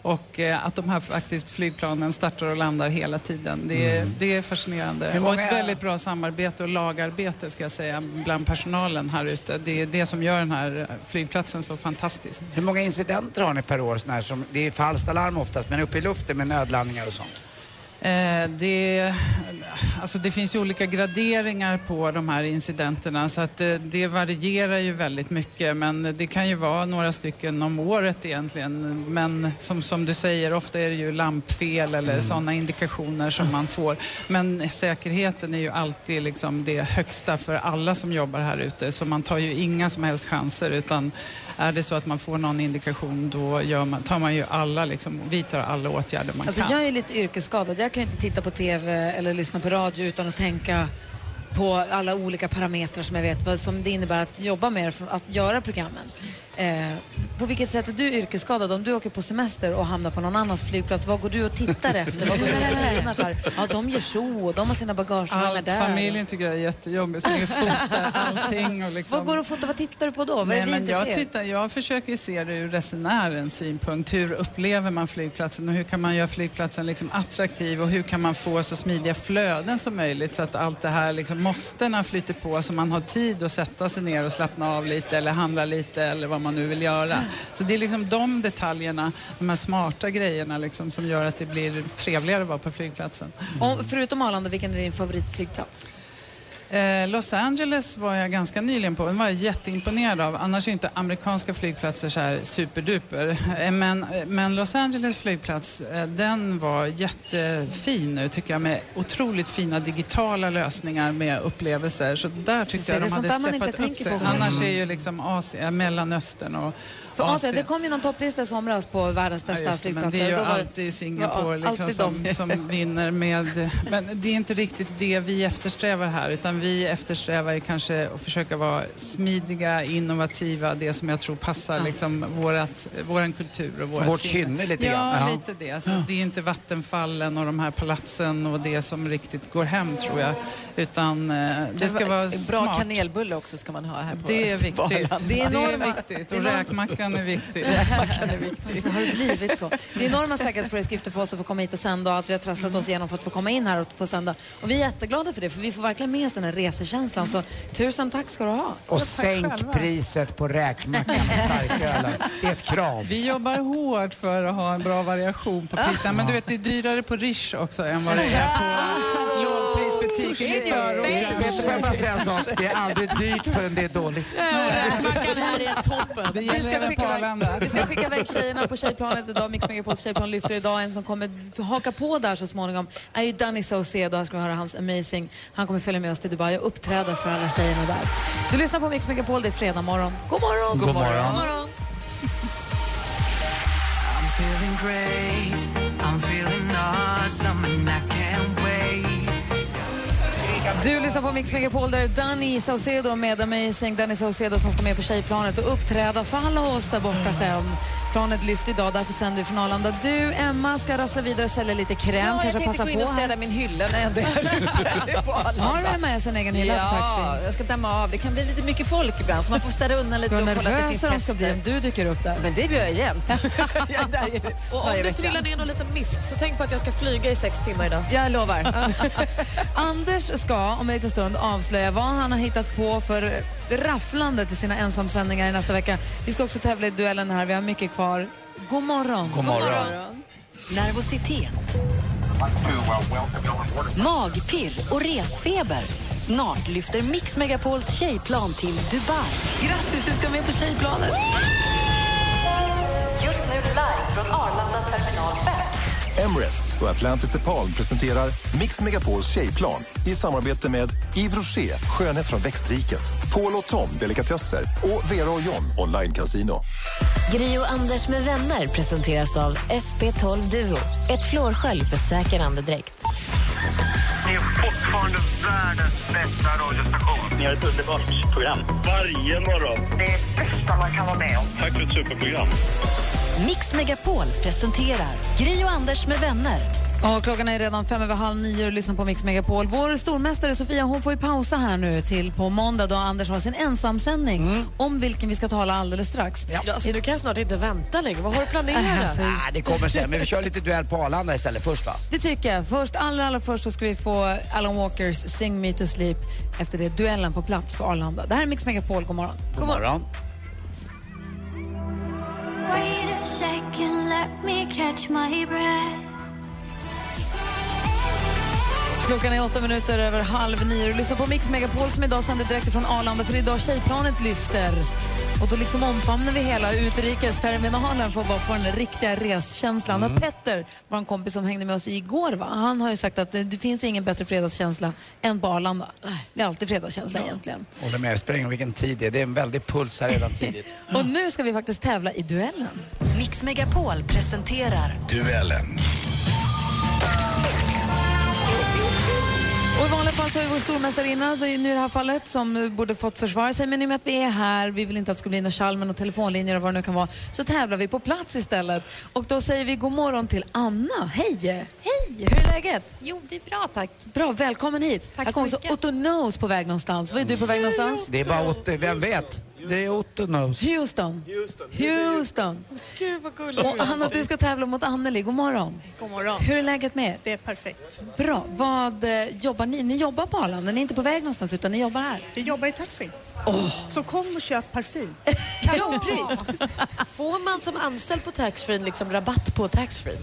Speaker 11: Och eh, att de här faktiskt flygplanen startar och landar hela tiden. Det är,
Speaker 5: Mm.
Speaker 11: det är fascinerande.
Speaker 5: Hur
Speaker 11: Och
Speaker 5: många-
Speaker 11: ett väldigt bra samarbete och lagarbete ska jag säga bland personalen här ute. Det är det som gör den här flygplatsen så fantastisk.
Speaker 7: Hur många incidenter har ni per år? Såna här som, det är falskt alarm oftast, men uppe i luften med nödlandningar och sånt.
Speaker 11: Eh, det, alltså det finns ju olika graderingar på de här incidenterna så att eh, det varierar ju väldigt mycket men det kan ju vara några stycken om året egentligen. Men som, som du säger, ofta är det ju lampfel eller
Speaker 5: Mm.
Speaker 11: sådana indikationer som man får. Men säkerheten är ju alltid liksom det högsta för alla som jobbar här ute så man tar ju inga som helst chanser utan är det så att man får någon indikation då gör man, tar man ju alla, liksom, vi tar alla åtgärder man
Speaker 4: Alltså,
Speaker 11: kan.
Speaker 4: jag är lite yrkesskadad. Jag kan ju inte titta på TV eller lyssna på radio utan att tänka på alla olika parametrar som jag vet vad som det innebär att jobba med det, för att göra programmen. Eh, på vilket sätt är du yrkesskadad? Om du åker på semester och hamnar på någon annans flygplats, vad går du och tittar efter? Vad går du och synar? Så här, Ja, de gör så, och de har sina bagagehallar
Speaker 11: Allt,
Speaker 4: där.
Speaker 11: familjen tycker jag är jättejobbigt. Springer och fotar allting och liksom...
Speaker 4: Vad går du och fotar? Vad tittar du på då? Vad är
Speaker 11: Nej,
Speaker 4: det vi
Speaker 11: men
Speaker 4: inte
Speaker 11: jag,
Speaker 4: ser?
Speaker 11: tittar, jag försöker ju se det ur resenärens synpunkt. Hur upplever man flygplatsen och hur kan man göra flygplatsen liksom attraktiv och hur kan man få så smidiga flöden som möjligt så att allt det här liksom måstena flyter på så man har tid att sätta sig ner och slappna av lite eller handla lite eller vad man nu vill göra. Så det är liksom de detaljerna, de här smarta grejerna liksom, som gör att det blir trevligare att vara på flygplatsen.
Speaker 4: Om, förutom Arlanda, vilken är din favoritflygplats?
Speaker 11: Eh, Los Angeles var jag ganska nyligen på. Den var jag jätteimponerad av. Annars är inte amerikanska flygplatser så här superduper. Eh, men, eh, men Los Angeles flygplats, eh, den var jättefin nu tycker jag med otroligt fina digitala lösningar med upplevelser. Så där tyckte
Speaker 4: ser,
Speaker 11: jag
Speaker 4: det är
Speaker 11: de hade
Speaker 4: sånt där man
Speaker 11: steppat
Speaker 4: inte
Speaker 11: upp
Speaker 4: tänker
Speaker 11: sig.
Speaker 4: på.
Speaker 11: Annars är
Speaker 4: Mm.
Speaker 11: ju liksom Asien, Mellanöstern och
Speaker 4: För Asien, det kom ju någon topplista i somras på världens bästa
Speaker 11: Ja, just det, men
Speaker 4: flygplatser.
Speaker 11: det är ju
Speaker 4: Då var
Speaker 11: alltid Singapore
Speaker 4: Ja,
Speaker 11: liksom,
Speaker 4: alltid
Speaker 11: som,
Speaker 4: de.
Speaker 11: som vinner med... Men det är inte riktigt det vi eftersträvar här utan vi eftersträvar ju kanske att försöka vara smidiga, innovativa, det som jag tror passar liksom, vårat, våran kultur och vårat
Speaker 7: Vårt
Speaker 11: sinne.
Speaker 7: kynne lite
Speaker 11: ja,
Speaker 7: grann. Ja.
Speaker 11: lite det. Så Det är inte vattenfallen och de här palatsen och det som riktigt går hem tror jag. Utan eh, det ska vara
Speaker 20: Bra
Speaker 11: smart.
Speaker 20: kanelbulle också ska man ha här på
Speaker 11: Det är viktigt.
Speaker 20: Arlanda.
Speaker 11: Det är, viktigt. Och räkmackan är viktig.
Speaker 4: Varför har det blivit så? Det är enorma säkerhetsföreskrifter för oss att få komma hit och sända och allt vi har trasslat
Speaker 11: Mm.
Speaker 4: oss igenom för att få komma in här och få sända. Och vi är jätteglada för det, för vi får verkligen med oss den här resekänslan. Så tusen tack ska du ha.
Speaker 7: Och sänk priset på räkmackan och starkölen. Det är ett krav.
Speaker 11: Vi jobbar hårt för att ha en bra variation på pizzan. Men du vet, det är dyrare på Rish också än vad det är på lågprisbutiker i
Speaker 7: Vet
Speaker 11: förorten.
Speaker 7: du, får jag bara säga en sak? Det är aldrig dyrt förrän det är dåligt.
Speaker 11: Det
Speaker 4: Vi ska,
Speaker 11: gäller även på
Speaker 4: skicka iväg,
Speaker 11: Arlanda.
Speaker 4: vi ska skicka iväg tjejerna på tjejplanet idag. Mix Megapols tjejplan lyfter idag. En som kommer haka på där så småningom är ju Danny Saucedo. Här ska vi höra hans Amazing. Han kommer följa med oss till Dubai och uppträda för alla tjejerna där. Du lyssnar på Mix Megapol. Det är fredag morgon. God morgon!
Speaker 8: God morgon.
Speaker 4: God morgon.
Speaker 8: I'm feeling great. I'm feeling awesome and I can't wait.
Speaker 4: Du lyssnar på Mix Megapol där Danny Saucedo med Amazing. Danny Saucedo som ska med på tjejplanet och uppträda för alla oss där borta sen. Planet lyfter idag, därför sänder vi från Arlanda. Du, Emma, ska rassla vidare och sälja lite kräm.
Speaker 20: Ja, jag
Speaker 4: Kanske
Speaker 20: tänkte
Speaker 4: passa
Speaker 20: gå
Speaker 4: på
Speaker 20: in och
Speaker 4: här.
Speaker 20: städa min hylla när jag ändå är ute på Arlanda.
Speaker 4: Har du Emma Ess en egen hylla på
Speaker 20: Ja,
Speaker 4: taxfree?
Speaker 20: jag ska damma av. Det kan bli lite mycket folk ibland så man får städa undan lite
Speaker 4: Vad
Speaker 20: och kolla att det finns
Speaker 4: nervösa de ska bli
Speaker 20: tester.
Speaker 4: om du dyker upp där.
Speaker 20: Men det gör jag jämt. Jag är där ju
Speaker 14: Och om
Speaker 20: varje
Speaker 14: det
Speaker 20: vecka.
Speaker 14: trillar ner någon liten mist så tänk på att jag ska flyga i sex timmar idag.
Speaker 20: Jag lovar.
Speaker 4: Anders ska om en liten stund avslöja vad han har hittat på för rafflande till sina ensamsändningar i nästa vecka. Vi ska också tävla i duellen här. Vi har mycket kvar. God morgon!
Speaker 1: God morgon. God morgon. Nervositet, magpirr och resfeber. Snart lyfter Mix Megapols tjejplan till Dubai.
Speaker 4: Grattis, du ska med på tjejplanet!
Speaker 1: Just nu live från Arlanda terminal 5.
Speaker 9: Emirates och Atlantis DePaul presenterar Mix Megapols tjejplan i samarbete med Yves Rocher, skönhet från växtriket, Paul och Tom, delikatesser och Vera och John, online casino.
Speaker 15: Gri och Anders med vänner presenteras av SP12 Duo. Ett fluorskölj för säker andedräkt.
Speaker 16: Ni är fortfarande världens bästa bästa radiostation. Ni har ett underbart program. Varje morgon. Det är det bästa man kan vara med om. Tack för ett superprogram.
Speaker 1: Mix Megapol presenterar Gri och Anders med vänner.
Speaker 4: Och klockan är redan fem över halv nio och lyssnar på Mix Megapol. Vår stormästare Sofia hon får ju pausa här nu till på måndag då Anders har sin ensamsändning om vilken vi ska tala alldeles strax.
Speaker 3: Mm. Ja, alltså, du kan snart inte vänta längre. Vad har du planerat?
Speaker 4: Alltså,
Speaker 7: Nej, det kommer sen. Men vi kör lite duell på Arlanda istället först va?
Speaker 4: Det tycker jag. Först, allra, allra först så ska vi få Alan Walkers Sing Me To Sleep. Efter det duellen på plats på Arlanda. Det här är Mix Megapol. God morgon.
Speaker 7: God morgon.
Speaker 19: Wait a second, let me catch my breath.
Speaker 4: Klockan är åtta minuter över halv nio och lyssnar på Mix Megapol som idag sänder direkt från Arlanda för idag tjejplanet lyfter. Och då liksom omfamnar vi hela utrikesterminalen för att bara få den riktiga reskänslan. Och Petter, vår kompis som hängde med oss igår, va? han har ju sagt att eh, det, det finns ingen bättre fredagskänsla än på Arlanda. Det är alltid fredagskänsla egentligen.
Speaker 7: Håller med, det spelar ingen roll vilken tid det är. Det är en väldig puls här redan tidigt.
Speaker 4: Och nu ska vi faktiskt tävla i duellen.
Speaker 1: Mix Megapol presenterar
Speaker 7: Duellen.
Speaker 4: Och I vanliga fall så är vår stormästarinna, det är ju nu i det här fallet, som borde fått försvara sig. Men i och med att vi är här, vi vill inte att det ska bli några tjalmen och telefonlinjer och vad det nu kan vara, så tävlar vi på plats istället. Och då säger vi god morgon till Anna. Hej! Hej! Hur är läget?
Speaker 17: Jo, det är bra tack.
Speaker 4: Bra, välkommen hit.
Speaker 17: Tack
Speaker 4: Här
Speaker 17: så
Speaker 4: kom också
Speaker 17: mycket.
Speaker 4: Otto Knows på väg någonstans. Var är du på väg någonstans?
Speaker 7: Det är bara Otto, vem vet? Det är Otto Knows.
Speaker 4: Houston. Houston. Houston.
Speaker 17: Gud vad gulligt.
Speaker 4: Och Anna, du ska tävla mot Anneli. God morgon.
Speaker 17: God morgon.
Speaker 4: Hur är läget med er?
Speaker 17: Det är perfekt.
Speaker 4: Bra. Vad eh, jobbar ni? Ni jobbar på Arlanda, ni är inte på väg någonstans utan ni jobbar här.
Speaker 17: Vi jobbar i taxfree.
Speaker 4: Så
Speaker 17: kom och köp parfym.
Speaker 3: Kanonpris! Får man som anställd på taxfree liksom rabatt på taxfree?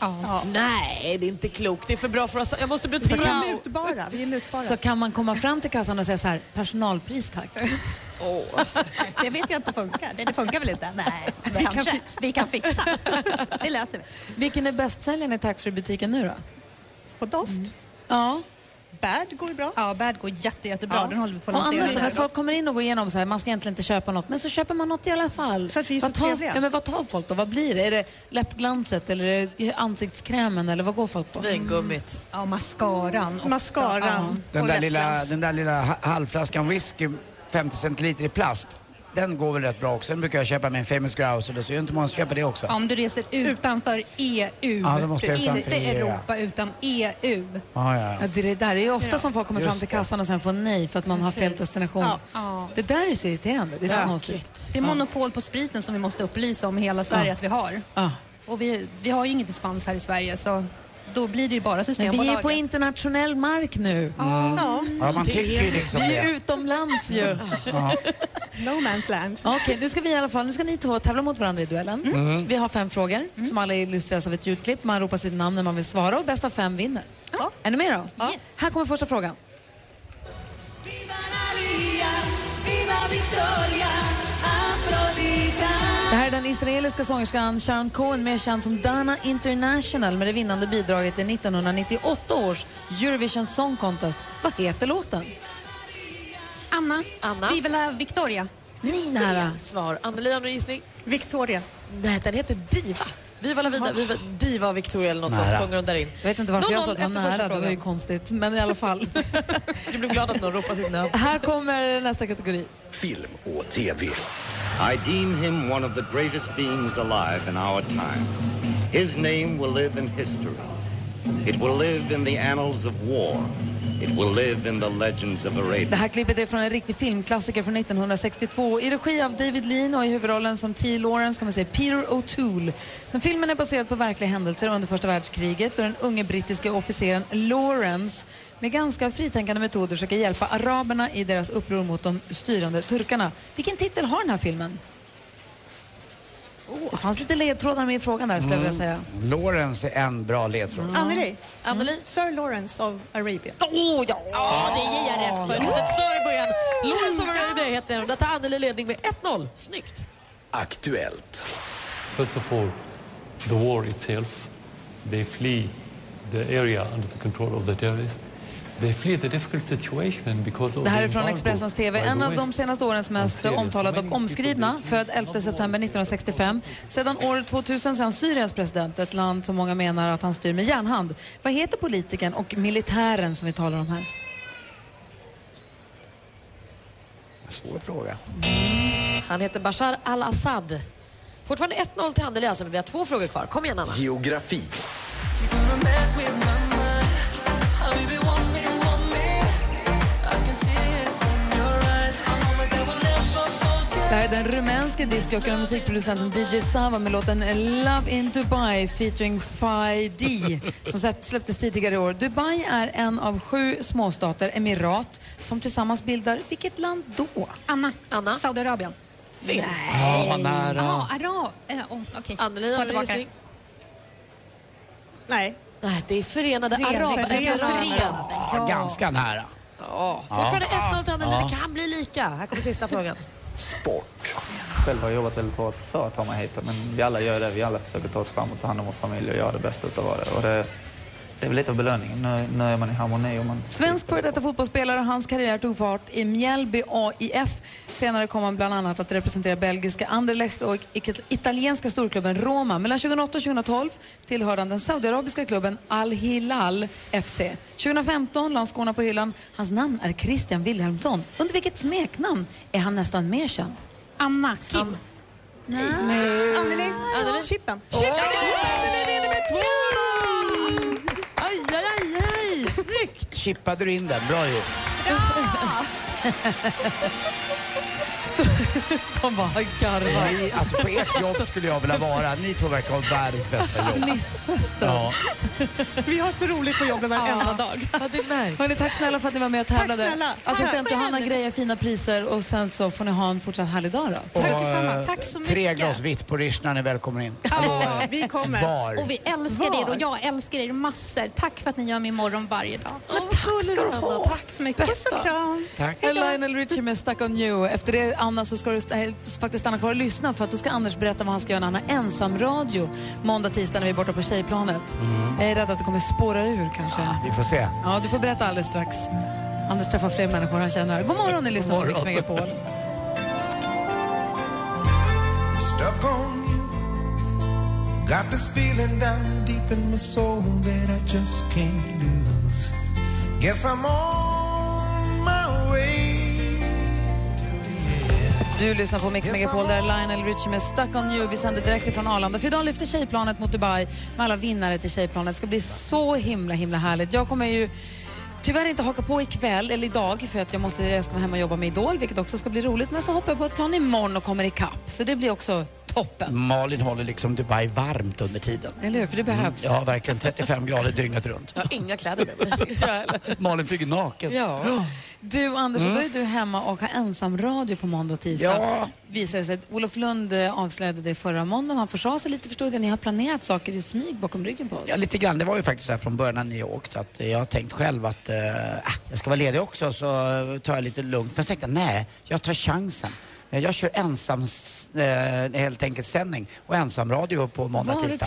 Speaker 4: Ja.
Speaker 3: Nej, det är inte klokt. Det är för bra för oss. Jag måste bli
Speaker 17: Vi är
Speaker 3: tillbaka.
Speaker 17: mutbara. Vi är mutbara.
Speaker 4: Så kan man komma fram till kassan och säga så här, personalpris tack.
Speaker 17: Det vet jag inte funkar. Det, det funkar väl inte? Nej,
Speaker 4: Vi kan
Speaker 17: kanske. Vi kan fixa. Det löser vi.
Speaker 4: Vilken är bästsäljaren i taxfreebutiken nu då?
Speaker 17: På doft?
Speaker 4: Ja.
Speaker 17: Bad går ju bra. Ja, Bad går jätte, jättebra. Den håller vi på att
Speaker 4: Och
Speaker 17: lansera
Speaker 4: annars då,
Speaker 17: nu.
Speaker 22: alltså,
Speaker 4: när folk kommer in och går igenom så här, man ska egentligen inte köpa något, men så köper man något i alla fall. För att vi
Speaker 17: är
Speaker 4: vad
Speaker 17: så
Speaker 4: tar,
Speaker 17: trevliga.
Speaker 4: ja, men vad tar folk då? Vad blir det? Är det läppglanset eller är det ansiktskrämen eller vad går folk på?
Speaker 3: Vingummit.
Speaker 17: Ja, mascaran.
Speaker 4: ofta.
Speaker 17: Mascaran.
Speaker 7: Den
Speaker 17: och
Speaker 7: där, lilla,
Speaker 17: läppglans.
Speaker 7: den där lilla ha- halvflaskan whisky, 50 centiliter i plast, den går väl rätt bra också. Den brukar jag köpa med en Famous Grouse eller så. Jag är inte många som köper det också.
Speaker 17: Ja, Om du reser utanför EU,
Speaker 7: Ja, då måste jag utanför
Speaker 22: E
Speaker 17: inte
Speaker 7: EU, ja.
Speaker 17: Europa utan EU.
Speaker 7: Ja, ja,
Speaker 4: Ja, det är det där. Det är ofta
Speaker 17: Ja.
Speaker 4: som folk kommer fram
Speaker 17: Just
Speaker 4: till
Speaker 17: det.
Speaker 4: kassan och sen får nej för att man har fel destination.
Speaker 17: Ja.
Speaker 4: Det där är så irriterande. Det är så konstigt.
Speaker 17: Det är monopol på spriten som vi måste upplysa om i hela Sverige
Speaker 4: Ja.
Speaker 17: att vi har.
Speaker 4: Ja.
Speaker 17: Och vi, vi har ju ingen dispens här i Sverige så då blir det ju bara
Speaker 4: Men vi är
Speaker 17: Systembolaget.
Speaker 4: på internationell mark nu.
Speaker 17: Mm. Ja.
Speaker 7: Ja, man tycker ju liksom
Speaker 4: Vi är
Speaker 7: det.
Speaker 4: utomlands ju.
Speaker 7: Ja.
Speaker 17: No man's land.
Speaker 4: Okej, nu ska vi i alla fall, nu ska ni två tävla mot varandra i duellen.
Speaker 17: Mm.
Speaker 4: Vi har fem frågor som alla illustreras av ett ljudklipp. Man ropar sitt namn när man vill svara och bäst av fem vinner. Är ni med då? Här kommer första frågan. Det här är den israeliska sångerskan Sharon Cohen, mer känd som Dana International med det vinnande bidraget i 1998 års Eurovision Song Contest. Vad heter låten?
Speaker 17: Anna, Anna. vi vill ha Victoria.
Speaker 4: Ni nära.
Speaker 3: Svar. Anneli, har du en gissning?
Speaker 17: Victoria.
Speaker 3: Nej, den heter Diva. Viva la vida, viva, Diva Victoria eller något
Speaker 4: Nära.
Speaker 3: sånt sjunger de där in.
Speaker 4: Jag vet inte varför jag sa
Speaker 3: 0-0
Speaker 4: att det var
Speaker 3: efter första
Speaker 4: nära, det var ju
Speaker 3: frågan.
Speaker 4: konstigt. Men i alla fall.
Speaker 3: Du blir glad att någon ropar sitt namn.
Speaker 4: Här kommer nästa kategori.
Speaker 18: Film och TV. I deem him one of the greatest beings alive in our time. His name will live in history. It will live in the annals of war. It will live in the legends of Arabia.
Speaker 4: Det här klippet är från en riktig filmklassiker från 1962 i regi av David Lean och i huvudrollen som T. Lawrence kan man säga Peter O'Toole. Den filmen är baserad på verkliga händelser under första världskriget då den unge brittiske officeren Lawrence med ganska fritänkande metoder försöker hjälpa araberna i deras uppror mot de styrande turkarna. Vilken titel har den här filmen? Det fanns lite ledtrådar med i frågan där skulle jag vilja säga.
Speaker 7: Mm.
Speaker 4: Mm.
Speaker 7: Lawrence är en bra ledtråd.
Speaker 17: Mm. Anneli. Anneli. Sir Lawrence of Arabia.
Speaker 3: Åh, ja! Ja, det ger jag rätt för. Ett litet sör i början. Lawrence of Arabia heter den. Där tar Anneli ledning med 1-0. Snyggt!
Speaker 26: Aktuellt. First of all, the war itself. They flee the area under the control of the terrorists. They flee the difficult situation because of
Speaker 4: Det här
Speaker 26: the
Speaker 4: är från
Speaker 26: embargo
Speaker 4: Expressens TV,
Speaker 26: by the
Speaker 4: en av de
Speaker 26: West.
Speaker 4: senaste årens mest omtalade och omskrivna. Född 11 september 1965. Sedan år 2000 så är han Syriens president, ett land som många menar att han styr med järnhand. Vad heter politikern och militären som vi talar om här?
Speaker 7: Svår fråga.
Speaker 3: Han heter Bashar al-Assad. Fortfarande 1-0 till Handel i Alsen, men vi har två frågor kvar. Kom igen, Anna.
Speaker 2: Geografi.
Speaker 4: Det här är den rumänske discjockeyn och musikproducenten DJ Sava med låten Love in Dubai featuring Fai D som släpp- släpptes tidigare i år. Dubai är en av sju småstater, emirat, som tillsammans bildar vilket land då?
Speaker 17: Anna. Anna. Saudiarabien.
Speaker 3: Fel.
Speaker 7: Ja, vad nära.
Speaker 17: Ja, ara. Eh, oh, Okej.
Speaker 3: Anneli,
Speaker 17: Ta
Speaker 3: har du en
Speaker 17: tillbaka
Speaker 3: gissning?
Speaker 17: det. Nej.
Speaker 3: Nej, det är Förenade
Speaker 17: Förenade
Speaker 3: Arabemiraten.
Speaker 17: Arabemiraten.
Speaker 7: Ja, ganska nära.
Speaker 3: Ja, Fortfarande 1-0 till Anneli. Det kan bli lika. Här kommer sista frågan.
Speaker 13: Själv har jag jobbat väldigt hårt för att ta mig hit, men vi alla gör det. Vi alla försöker ta oss fram och ta hand om vår familj och göra det bästa utav det. Och det, det är väl lite av belöningen. Nu, nu är man i harmoni och man
Speaker 4: Svensk före detta fotbollsspelare och hans karriär tog fart i Mjällby AIF. Senare kom han bland annat att representera belgiska Anderlecht och ik- italienska storklubben Roma. Mellan 2008 och 2012 tillhörde han den saudiarabiska klubben Al Hilal FC. 2015 la han skorna på hyllan. Hans namn är Christian Wilhelmsson. Under vilket smeknamn är han nästan mer känd?
Speaker 17: Anna. Kim.
Speaker 4: Nej.
Speaker 17: Anneli. Anneli. Chippen.
Speaker 3: Aj, aj, aj, aj. Snyggt!
Speaker 7: Chippade du in den? Bra gjort.
Speaker 4: De bara
Speaker 7: Ni,
Speaker 4: garvar.
Speaker 7: alltså på ert jobb skulle jag vilja vara. Ni två verkar ha världens bästa jobb.
Speaker 4: Nissfesten.
Speaker 7: Ja.
Speaker 4: Vi har så roligt på jobbet varenda dag. Ja, det märks. Hörrni, tack snälla för att ni var med och tävlade.
Speaker 17: Tack snälla.
Speaker 4: Assistent
Speaker 17: Tack.
Speaker 4: Johanna grejer fina priser och sen så får ni ha en fortsatt härlig dag då.
Speaker 7: Och, eh,
Speaker 17: Tack så
Speaker 7: Tre
Speaker 17: mycket.
Speaker 7: glas vitt på Rish när ni välkommen in.
Speaker 17: Ja, vi
Speaker 7: kommer. Var?
Speaker 17: Och vi älskar
Speaker 7: Var?
Speaker 17: er och jag älskar er massor. Tack för att ni gör min morgon varje dag.
Speaker 4: Tack ska du ha.
Speaker 17: Tack så mycket. Puss och kram.
Speaker 7: Tack.
Speaker 4: Lionel Richie med Stuck on you. Efter det, Anna, så ska du st- eh, faktiskt stanna kvar och lyssna för att då ska Anders berätta vad han ska göra när han har ensam radio måndag, tisdag när vi är borta på tjejplanet. Jag är rädd att det kommer spåra ur kanske.
Speaker 7: Mm. Vi får se.
Speaker 4: Ja, du får berätta alldeles strax. Anders träffar fler människor han känner. God morgon, ni lyssnar på Mix Megapol.
Speaker 22: Stuck on you. Got this feeling down deep in my soul that I just can't lose. Guess I'm on my way.
Speaker 4: Du lyssnar på Mix Megapol, där är Lionel Richie med Stuck on you. Vi sänder direkt ifrån Arlanda. För idag lyfter tjejplanet mot Dubai med alla vinnare till tjejplanet. Det ska bli så himla, himla härligt. Jag kommer ju tyvärr inte haka på ikväll, eller idag, för att jag, måste, jag ska vara hemma och jobba med Idol, vilket också ska bli roligt. Men så hoppar jag på ett plan imorgon och kommer ikapp. Så det blir också toppen.
Speaker 7: Malin håller liksom Dubai varmt under tiden. Mm.
Speaker 4: Eller hur? För det behövs.
Speaker 7: Ja, verkligen. 35 grader dygnet runt.
Speaker 3: Jag har inga kläder med mig.
Speaker 7: Malin flyger naken.
Speaker 4: Ja. Du Anders,
Speaker 7: Mm.
Speaker 4: och då är du hemma och har ensam radio på måndag och tisdag.
Speaker 7: Ja.
Speaker 4: Visar det sig att Olof Lund eh, avslöjade det förra måndagen. Han försade sig lite förstod jag. Ni har planerat saker i smyg bakom ryggen på oss.
Speaker 7: Ja, lite grann. Det var ju faktiskt så här från början när ni åkte att eh, jag har tänkt själv att eh, ah, jag ska vara ledig också så eh, tar jag lite lugnt. Men sen tänkte jag, nej, jag tar chansen. Eh, Jag kör ensam, s- eh, helt enkelt sändning och ensamradio på måndag,
Speaker 4: Vad har du
Speaker 7: tisdag.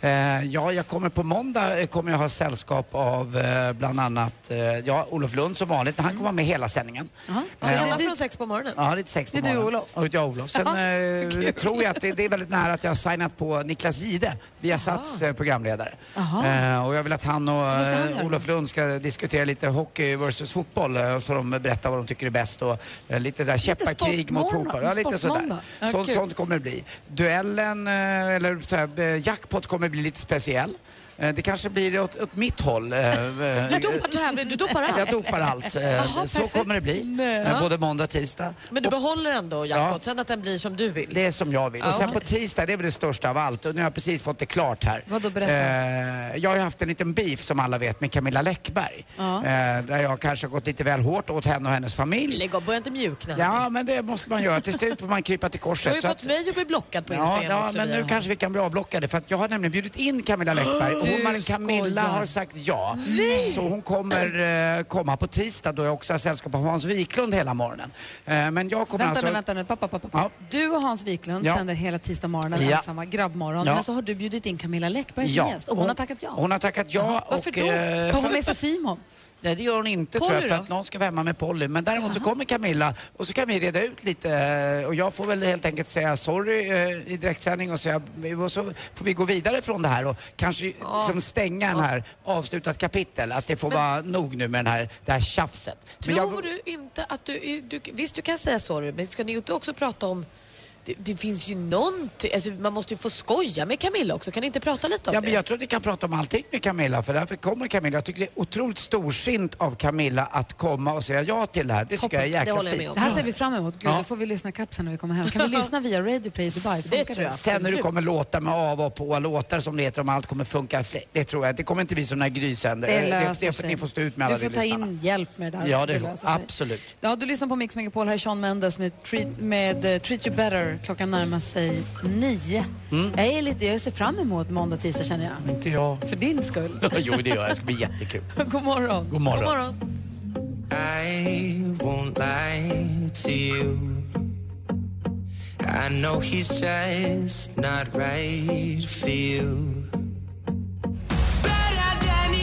Speaker 4: planerat?
Speaker 7: Eh, ja, jag kommer på måndag eh, kommer jag ha sällskap av eh, bland annat eh, ja, Olof Lund som vanligt. men
Speaker 4: Mm.
Speaker 7: Han kommer vara med hela sändningen.
Speaker 3: Ska
Speaker 7: Eh,
Speaker 3: jag hålla från sex på morgonen?
Speaker 7: Ja, det är sex på
Speaker 3: Det är du och
Speaker 7: morgonen.
Speaker 3: Olof. Ah,
Speaker 7: Och jag och Olof. Sen eh, jag tror jag att det, det är väldigt nära att jag har signat på Niklas Jihde, Viasats eh, programledare.
Speaker 4: Jaha.
Speaker 7: Eh, och jag vill att han och
Speaker 4: ska han
Speaker 7: eh,
Speaker 4: göra?
Speaker 7: Olof Lund ska diskutera lite hockey versus fotboll. eh, Så de berättar vad de tycker är bäst och eh, lite där käppakrig mot
Speaker 4: sportmorgon-
Speaker 7: fotboll. Ja, lite sådär.
Speaker 4: sportmåndag. Ja,
Speaker 7: Sånt,
Speaker 4: kul.
Speaker 7: sånt kommer det bli. Duellen, eh, eller så här, eh, jackpot kommer bli lite speciell. Eh, Det kanske blir åt, åt mitt håll. eh, eh,
Speaker 3: Du dopar, tävling, du dopar allt?
Speaker 7: Jag dopar allt. Eh,
Speaker 3: Jaha,
Speaker 7: så
Speaker 3: perfekt.
Speaker 7: kommer det bli.
Speaker 3: Nej.
Speaker 7: Eh, Både måndag och tisdag.
Speaker 3: Men du behåller ändå jackpot, sen att den blir som du vill?
Speaker 7: Det är som jag vill.
Speaker 3: Ja,
Speaker 7: och sen
Speaker 3: okej.
Speaker 7: på tisdag, det är väl det största av allt. Och nu har jag precis fått det klart här.
Speaker 4: Vadå,
Speaker 7: eh, jag har ju haft en liten beef som alla vet med Camilla Läckberg.
Speaker 3: Ja.
Speaker 7: Eh, där jag kanske har gått lite väl hårt åt henne och hennes familj.
Speaker 3: Lägg av, börja inte mjukna.
Speaker 7: Ja, men det måste man göra. Till slut får man krypa till
Speaker 3: Du har
Speaker 7: korset.
Speaker 3: ju
Speaker 7: Så
Speaker 3: fått
Speaker 7: att-
Speaker 3: mig att bli blockad på
Speaker 7: Ja,
Speaker 3: Instagram
Speaker 7: ja
Speaker 3: också.
Speaker 7: men
Speaker 3: via
Speaker 7: nu kanske vi kan bli avblockade för att jag har nämligen bjudit in Camilla Läckberg och
Speaker 3: Du
Speaker 7: hon, Marin Camilla
Speaker 3: skojar.
Speaker 7: har sagt ja. Så hon kommer eh, komma på tisdag då jag också har sällskap av Hans Wiklund hela morgonen. Eh, men jag kommer
Speaker 4: Vänta
Speaker 7: alltså...
Speaker 4: nu, vänta nu. Pappa, pappa, pappa. Du och Hans Wiklund
Speaker 7: Ja.
Speaker 4: sänder hela tisdag morgonen
Speaker 7: Ja.
Speaker 4: ensamma, grabbmorgon.
Speaker 7: Ja.
Speaker 4: Men så har du bjudit in Camilla Läckberg som gäst och hon har tackat ja.
Speaker 7: Hon har tackat ja.
Speaker 4: Varför
Speaker 7: och,
Speaker 4: då?
Speaker 7: eh,
Speaker 4: Tar hon
Speaker 7: för-
Speaker 4: med sig Simon?
Speaker 7: Nej, det gör hon inte
Speaker 4: Polly
Speaker 7: tror jag, för
Speaker 4: då?
Speaker 7: att någon ska vara hemma med Polly. Men däremot så kommer Camilla och så kan vi reda ut lite eh, och jag får väl helt enkelt säga sorry eh, i direktsändning och, säga, och så får vi gå vidare från det här och kanske liksom stänga den här avslutat kapitel. Att det får vara nog nu med den här, det här tjafset. Men jag-
Speaker 3: Tror du inte att du, du... Visst, du kan säga sorry, men ska ni inte också prata om... Det, det finns ju någonting... Alltså, man måste ju få skoja med Camilla också. Kan ni inte prata lite om
Speaker 7: Ja,
Speaker 3: det?
Speaker 7: men jag tror att vi kan prata om allting med Camilla, för därför kommer Camilla. Jag tycker det är otroligt storsint av Camilla att komma och säga ja till det här. Det tycker jag är jäkla fint.
Speaker 4: Det här ser vi fram emot. Gud,
Speaker 7: Ja.
Speaker 4: då får vi lyssna kapp sen när vi kommer hem. Kan vi lyssna via Radio Play Dubai? Funkar
Speaker 7: Sen hur det kommer låtar med av och på låtar som det heter om allt kommer funka. fl- Det tror jag. Det kommer inte bli som när Gry sänder.
Speaker 4: Det
Speaker 7: Eh,
Speaker 4: löser
Speaker 7: det, det, Ni får stå ut med
Speaker 4: Du
Speaker 7: alla
Speaker 4: får
Speaker 7: ni
Speaker 4: ta
Speaker 7: lyssnarna.
Speaker 4: in hjälp med det där.
Speaker 7: Ja,
Speaker 4: också,
Speaker 7: det får
Speaker 4: löser sig.
Speaker 7: absolut.
Speaker 4: Ja, du lyssnar på Mix Megapol. Här är Sean Mendes med, treat, med eh, Treat You Better. Klockan närmar sig nio.
Speaker 7: Mm.
Speaker 4: Jag, är lite, jag ser fram emot måndag, tisdag känner jag.
Speaker 7: Inte jag.
Speaker 4: För din skull.
Speaker 7: jo, det gör jag. Det ska bli jättekul.
Speaker 4: God morgon.
Speaker 7: God morgon.
Speaker 4: God morgon.
Speaker 2: I won't lie to you. I know he's just not right for you.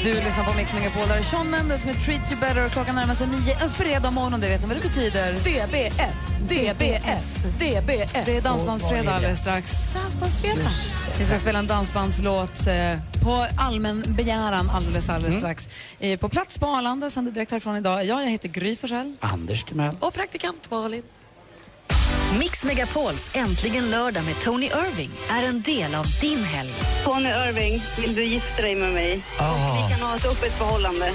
Speaker 4: Du lyssnar på Mix Megapol. Där är Sean Mendes med Treat You Better. Klockan närmar sig nio. En fredag morgon, det vet ni vad det betyder. DBF, DBF, DBF. Det är
Speaker 3: Och vad är det?
Speaker 4: dansbandsfredag alldeles strax. Dansbandsfredag. Vi ska spela en dansbandslåt eh, på allmän begäran alldeles, alldeles
Speaker 7: Mm.
Speaker 4: strax. Eh, På plats på Arlanda, sänder direkt härifrån idag. Ja, jag heter Gry Forssell.
Speaker 7: Anders Timell.
Speaker 4: Och praktikant Malin.
Speaker 1: Mix Megapols Äntligen lördag med Tony Irving är en del av din helg.
Speaker 6: Tony Irving, vill du gifta dig med mig? Vi kan ha ett öppet förhållande.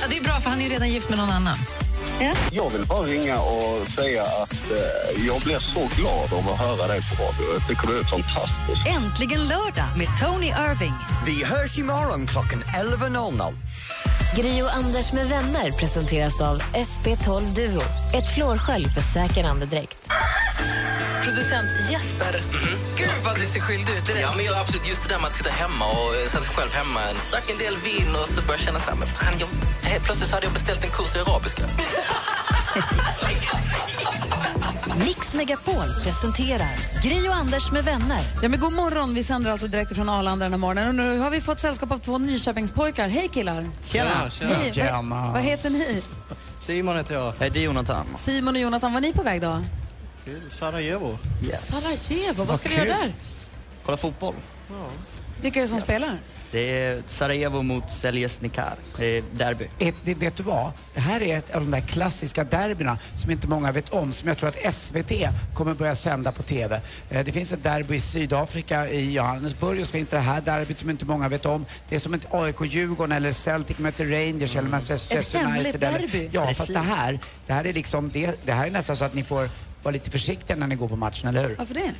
Speaker 4: Ja, det är bra, för han är ju redan gift med någon annan.
Speaker 12: Jag vill bara ringa och säga att eh, jag blev så glad av att höra dig på radio. Jag tycker du är fantastisk.
Speaker 1: Äntligen lördag med Tony Irving.
Speaker 25: Vi hörs imorgon klockan 11.00.
Speaker 15: Gri och Anders med vänner presenteras av SP12 Duo. Ett flårskölj för säker andedräkt.
Speaker 4: Producent Jesper.
Speaker 27: Mm-hmm. Gud vad du ser skyldig ut Ja men jag absolut just det där med att sitta hemma och eh, sätta sig själv hemma. Drack en del vin och så började jag känna så här, men fan jag, helt plötsligt så hade jag beställt en kurs i arabiska.
Speaker 1: Mix Megapol presenterar Gri och Anders med vänner.
Speaker 4: Ja, men god morgon. Vi sänder alltså direkt från Arlanda den här morgonen. Och nu har vi fått sällskap av två Nyköpingspojkar. Hej killar!
Speaker 28: Tjena. Tjena.
Speaker 4: Hej,
Speaker 28: Tjena.
Speaker 4: Vad, vad heter ni?
Speaker 28: Simon heter jag. Jag heter Jonathan.
Speaker 4: Simon och Jonathan, var ni på väg då?
Speaker 28: Till Sarajevo. Yes.
Speaker 3: Sarajevo, vad ska ni
Speaker 28: Vad
Speaker 3: göra där?
Speaker 28: Kolla fotboll.
Speaker 4: Vilka är det som spelar?
Speaker 28: Det är Sarajevo mot Seljesnikar. Det är derby.
Speaker 7: Ett, det, vet du vad? Det här är ett av de där klassiska derbyna som inte många vet om, som jag tror att SVT kommer börja sända på TV. Eh, Det finns ett derby i Sydafrika, i Johannesburg, och så finns det här derbyt som inte många vet om. Det är som ett AIK-Djurgården eller Celtic möter Rangers eller Manchester
Speaker 4: Mm. Ett
Speaker 7: United.
Speaker 4: hemligt
Speaker 7: eller-
Speaker 4: derby.
Speaker 7: Ja,
Speaker 4: Precis.
Speaker 7: fast det här, det här är liksom, det, det här är nästan så att ni får vara lite försiktiga när ni går på matchen, eller hur?
Speaker 4: Varför det?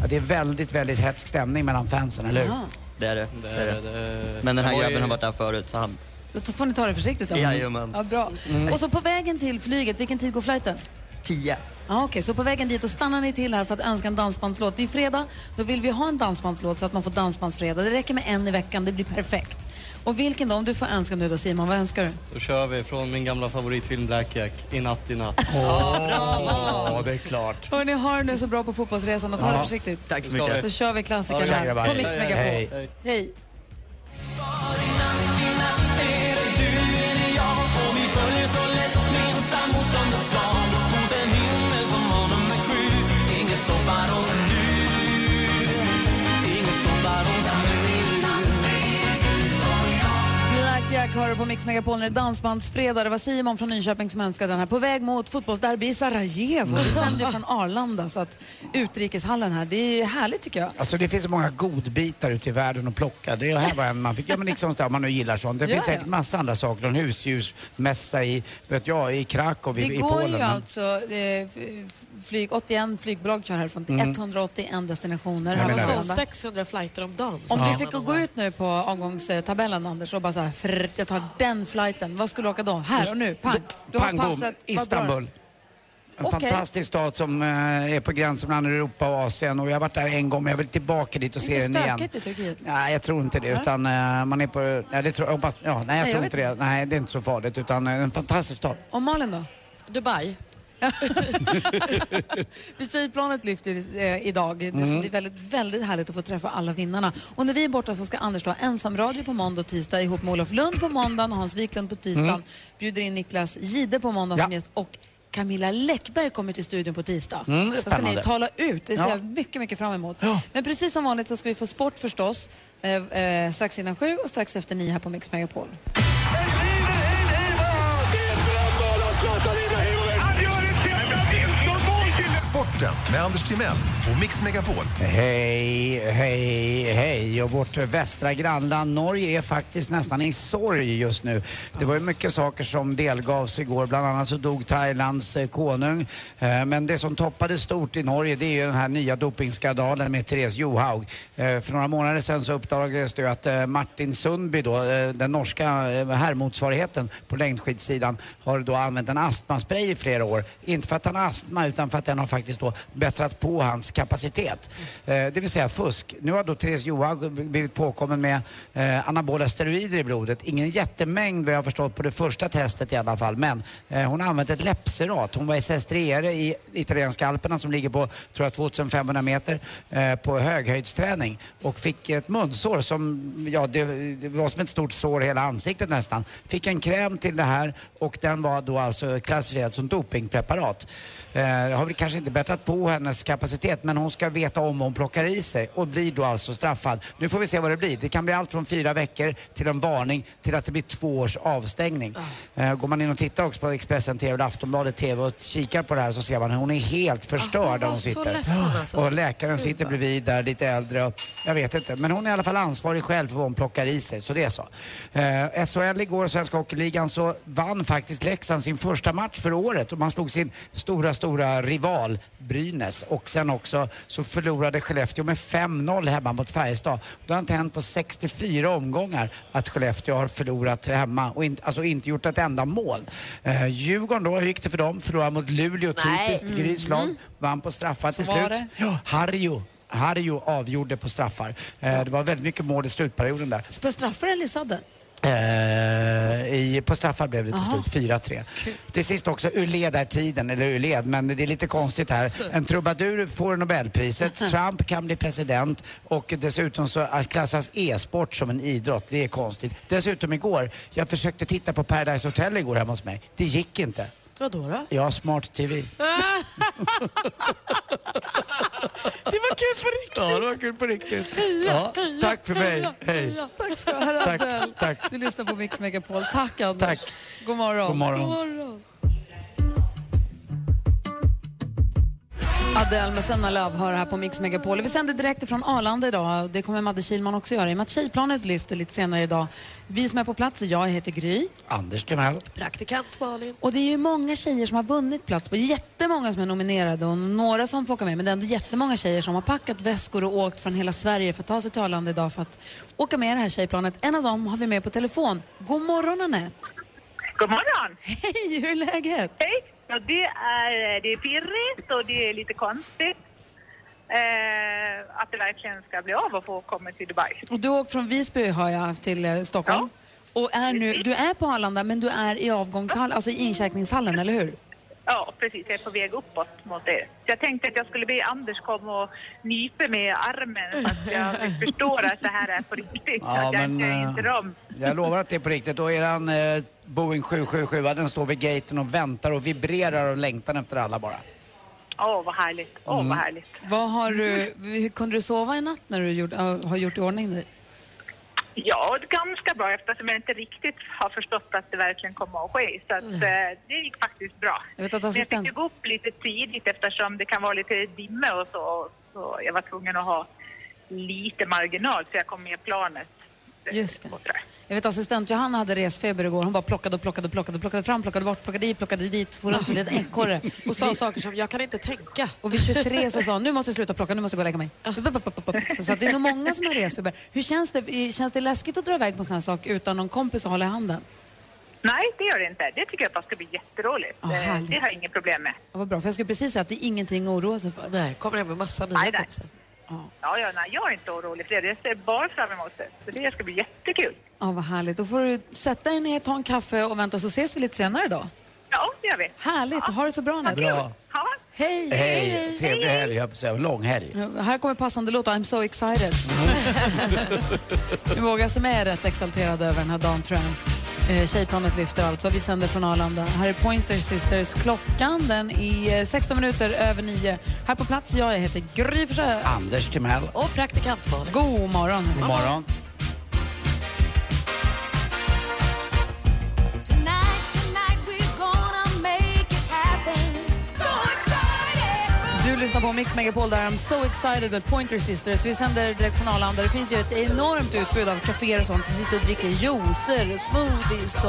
Speaker 7: Ja, det är väldigt, väldigt hetsk stämning mellan fansen, eller hur?
Speaker 4: Jaha.
Speaker 28: Det är det. det, är det. Men den
Speaker 4: Jag
Speaker 28: här
Speaker 4: var ju-
Speaker 28: grabben har varit där förut så han...
Speaker 4: Då får ni ta det försiktigt. då.
Speaker 28: Jajamän.
Speaker 4: Ja, bra.
Speaker 28: Mm.
Speaker 4: Och så på vägen till flyget, vilken tid går flighten?
Speaker 28: Tio.
Speaker 4: Ja, Okej, så på vägen dit och stannar ni till här för att önska en dansbandslåt. Det är ju fredag, då vill vi ha en dansbandslåt så att man får dansbandsfredag. Det räcker med en i veckan, det blir perfekt. Och vilken då? Om du får önska nu då Simon, vad önskar du?
Speaker 27: Då kör vi från min gamla favoritfilm Blackjack, I natt, i natt.
Speaker 7: Ja, det är klart.
Speaker 4: Hörni, har det nu så bra på fotbollsresan och ta
Speaker 28: Ja.
Speaker 4: det försiktigt.
Speaker 28: Tack så Ska mycket.
Speaker 4: Så
Speaker 28: vi.
Speaker 4: kör vi
Speaker 28: Ja,
Speaker 4: klassikern
Speaker 28: tja,
Speaker 4: här
Speaker 28: grabbar.
Speaker 4: på Mix
Speaker 28: Hej.
Speaker 4: Megapol.
Speaker 28: Hej.
Speaker 4: Hej. Blackjack hör du på Mix Megapol när det är dansbandsfredag. Det var Simon från Nyköping som önskade den här. På väg mot fotbollsderby i
Speaker 7: Mm.
Speaker 4: Sarajevo. Vi sänder ju från Arlanda, så att utrikeshallen här, det är ju härligt tycker jag.
Speaker 7: Alltså det finns så många godbitar ute i världen att plocka. Det här var en man fick, ja men liksom så här, man nu gillar sånt. Det
Speaker 4: Ja,
Speaker 7: finns
Speaker 4: ja.
Speaker 7: säkert massa andra saker, en husdjursmässa i, vet jag, i Krakow, i,
Speaker 4: Det
Speaker 7: i
Speaker 4: går
Speaker 7: Polen.
Speaker 4: ju
Speaker 7: men-
Speaker 4: alltså eh, f- flyg, 81 flygbolag kör härifrån till
Speaker 7: Mm.
Speaker 4: 181 destinationer.
Speaker 7: Jag
Speaker 4: här på
Speaker 7: menar det.
Speaker 4: Arlanda.
Speaker 3: Så 600 flighter om dagen.
Speaker 4: Om
Speaker 3: Ja.
Speaker 4: du fick att gå ut nu på avgångstabellen Anders och bara så här, frrrt, jag tar den flighten. Vad skulle du åka då? Här och nu, pang. Du har
Speaker 7: Pang bom,
Speaker 4: passet. Vad drar du?
Speaker 7: Istanbul. En
Speaker 4: Okej.
Speaker 7: fantastisk stad som eh, är på gränsen mellan Europa och Asien och jag har varit där en gång men jag vill tillbaka dit och se den
Speaker 4: Inte
Speaker 7: igen.
Speaker 4: stökigt i Turkiet?
Speaker 7: Nej, jag tror inte det.
Speaker 4: Nej.
Speaker 7: Utan eh, man är på... Nej, det tror, jag hoppas, ja, nej, jag
Speaker 4: Nej, jag
Speaker 7: tror
Speaker 4: vet
Speaker 7: inte det. Nej, det är inte så farligt. Utan eh, en fantastisk stad.
Speaker 4: Och Malin då? Dubai. För tjejplanet lyfter eh, idag. Det ska
Speaker 7: Mm.
Speaker 4: bli väldigt, väldigt härligt att få träffa alla vinnarna. Och när vi är borta så ska Anders då ha ensamradio på måndag och tisdag ihop med Olof Lund på måndag och Hans Wiklund på tisdagen.
Speaker 7: Mm.
Speaker 4: Bjuder in Niklas Gide på måndag som
Speaker 7: Ja.
Speaker 4: gäst och Camilla Läckberg kommer till studion på tisdag.
Speaker 5: Mm, det är
Speaker 4: så ska ni
Speaker 5: spännande.
Speaker 4: tala ut. Det ser
Speaker 5: Ja.
Speaker 4: jag mycket, mycket fram emot. Men precis som vanligt så ska vi få sport förstås. Eh, eh, strax innan sju och strax efter nio här på Mix Megapol.
Speaker 9: Sporten med Anders Timell och Mix Megapol.
Speaker 7: Hej, hej, hej. Och vårt västra grannland Norge är faktiskt nästan i sorg just nu. Det var ju mycket saker som delgavs igår. Bland annat så dog Thailands eh, konung. Eh, Men det som toppade stort i Norge det är ju den här nya dopingskandalen med Therese Johaug. Eh, För några månader sedan så uppdagades det ju att eh, Martin Sundby då, eh, den norska eh, herrmotsvarigheten på längdskidsidan, har då använt en astmaspray i flera år. Inte för att han har astma utan för att den har faktiskt då bättrat på hans kapacitet. Eh, Det vill säga fusk. Nu har då Therese Johaug blivit påkommen med eh, anabola steroider i blodet. Ingen jättemängd vad jag har förstått på det första testet i alla fall. Men eh, hon har använt ett läppserat. Hon var i Sestriere i italienska alperna som ligger på, tror jag, 2500 meter eh, på höghöjdsträning och fick ett munsår som, ja, det, det var som ett stort sår i hela ansiktet nästan. Fick en kräm till det här och den var då alltså klassificerad som dopingpreparat. Eh, har väl kanske inte bättrat på hennes kapacitet men hon ska veta om vad hon plockar i sig och blir då alltså straffad. Nu får vi se vad det blir. Det kan bli allt från fyra veckor till en varning till att det blir två års avstängning.
Speaker 5: Ah.
Speaker 7: Eh, går man in och tittar också på Expressen TV eller Aftonbladet TV och kikar på det här så ser man att hon är helt förstörd där
Speaker 5: Ah, var
Speaker 7: hon
Speaker 5: så
Speaker 7: sitter.
Speaker 5: ledsen alltså.
Speaker 7: Och läkaren sitter bredvid där, lite äldre. Och, jag vet inte. Men hon är i alla fall ansvarig själv för vad hon plockar i sig, så det är så. Eh, SHL igår, Svenska Hockeyligan, så vann faktiskt Leksand sin första match för året och man slog sin stora, stora rival Brynäs. Och sen också så förlorade Skellefteå med 5-0 hemma mot Färjestad. Det har inte hänt på 64 omgångar att Skellefteå har förlorat hemma och inte, alltså inte gjort ett enda mål. Eh, Djurgården då, hur gick det för dem? Förlorade mot Luleå,
Speaker 5: Nej.
Speaker 7: typiskt Gryts lag.
Speaker 5: Mm.
Speaker 7: Vann på straffar
Speaker 5: Så
Speaker 7: till
Speaker 5: var
Speaker 7: slut.
Speaker 5: det.
Speaker 7: Ja, Harjo. Harjo avgjorde på straffar. Eh, det var väldigt mycket mål i slutperioden där.
Speaker 4: På straffar eller i sadden?
Speaker 7: Eh, i, på straffar blev det till
Speaker 4: Aha.
Speaker 7: slut 4-3. Till sist också ur ledartiden, eller ur led, men det är lite konstigt här. En trubadur får Nobelpriset, Trump kan bli president och dessutom så klassas e-sport som en idrott. Det är konstigt. Dessutom igår, jag försökte titta på Paradise Hotel igår hemma hos mig. Det gick inte.
Speaker 3: Vadå då?
Speaker 7: Jag har smart-tv.
Speaker 3: Det var kul på riktigt.
Speaker 7: Ja, det var kul på riktigt. Ja, tack för mig. Hej.
Speaker 4: Tack ska du ha,
Speaker 7: Tack,
Speaker 4: Adele.
Speaker 7: tack.
Speaker 4: Du lyssnar på Mix Megapol. Tack, Anders. Tack. God morgon.
Speaker 7: God morgon.
Speaker 4: Adele med Senna Love hör här på Mix Megapol. Vi sänder direkt från Arlanda idag. Det kommer Madde Kihlman också göra i och med att Tjejplanet lyfter lite senare idag. Vi som är på plats, jag heter Gry.
Speaker 7: Anders Timell.
Speaker 3: Praktikant Malin.
Speaker 4: Och det är ju många tjejer som har vunnit plats på jättemånga som är nominerade och några som får åka med men det är ändå jättemånga tjejer som har packat väskor och åkt från hela Sverige för att ta sig till Arlanda idag för att åka med i det här tjejplanet. En av dem har vi med på telefon. God morgon Anette!
Speaker 8: God morgon!
Speaker 4: Hej, hur är läget?
Speaker 8: Hej! Ja, det är, det är pirrigt och det är lite konstigt eh, att det verkligen ska bli av att få komma till Dubai.
Speaker 4: Och du har åkt från Visby hör jag till eh, Stockholm. Och är nu, du är på Arlanda men du är i avgångshall, alltså i incheckningshallen, eller hur?
Speaker 8: Ja, precis. Jag är på väg uppåt mot er. Så jag tänkte att jag skulle be Anders komma och nypa mig i armen så att jag förstår att det här är på riktigt.
Speaker 7: Ja,
Speaker 8: att jag
Speaker 7: men,
Speaker 8: inte är inte
Speaker 7: eh,
Speaker 8: dem.
Speaker 7: Jag lovar att det är på riktigt. Och eran eh, Boeing 777, den står vid gaten och väntar och vibrerar och längtar efter alla bara.
Speaker 8: Åh, vad härligt. Åh,
Speaker 7: Mm.
Speaker 8: vad härligt.
Speaker 4: Vad har du, hur kunde du sova i natt när du gjorde, har gjort i ordning dig?
Speaker 8: Ja, det är ganska bra eftersom jag inte riktigt har förstått att det verkligen kommer att ske. Så att, eh, det gick faktiskt bra.
Speaker 4: Mm. Jag vet att
Speaker 8: Men jag
Speaker 4: assistent-
Speaker 8: fick ju gå upp lite tidigt eftersom det kan vara lite dimme och så. Så jag var tvungen att ha lite marginal så jag kom med planet.
Speaker 4: Just det. Jag vet assistent Johanna hade resfeber igår. Hon bara plockade och plockade och plockade, plockade fram, plockade bort, plockade i, plockade dit, for runt till ett ekorre.
Speaker 3: Och sa
Speaker 4: Vi-
Speaker 3: saker som jag kan inte tänka.
Speaker 4: Och vid 23 så sa hon, nu måste jag sluta plocka, nu måste jag gå och lägga mig. Så, pop, pop, pop, pop. Så, så att det är nog många som har resfeber. Hur känns det? I- Känns det läskigt att dra iväg på en sån här sak utan någon kompis att hålla i handen?
Speaker 8: Nej, det gör det inte. Det tycker jag bara ska bli jätteroligt.
Speaker 4: Ah,
Speaker 8: Eh,
Speaker 4: härligt.
Speaker 8: det har jag inget problem med.
Speaker 4: Ja, vad bra, för jag skulle precis säga att det är ingenting att oroa sig för.
Speaker 3: Nej, kommer hem med massa nya kompisar.
Speaker 8: Ja, ja, nej, jag är inte orolig för det. Jag ser bara fram emot det. Så det ska bli jättekul.
Speaker 4: Ja, vad härligt. Då får du sätta dig ner, ta en kaffe och vänta så ses vi lite senare då.
Speaker 8: Ja, det gör vi.
Speaker 4: Härligt, ha det så bra Anette.
Speaker 7: Bra.
Speaker 4: Hej!
Speaker 7: Hej, trevlig helg, jag höll på att säga. Lång helg.
Speaker 4: Ja, Här kommer passande låt, I'm so excited. Det är många som är rätt exalterade över den här dagen tror jag. Eh, Tjejplanet lyfter alltså. Vi sänder från Arlanda. Här är Pointer Sisters. Klockan den är eh, 16 minuter över 9. Här på plats, jag heter Gry Forssell.
Speaker 7: Anders Timell.
Speaker 4: Och praktikant Malin. God morgon.
Speaker 7: God morgon.
Speaker 4: Du lyssnar på Mix Megapol där I'm so excited med Pointer Sisters. Vi sänder direkt från Arlanda. Det finns ju ett enormt utbud av kaféer och sånt. Så vi sitter och dricker juicer och smoothies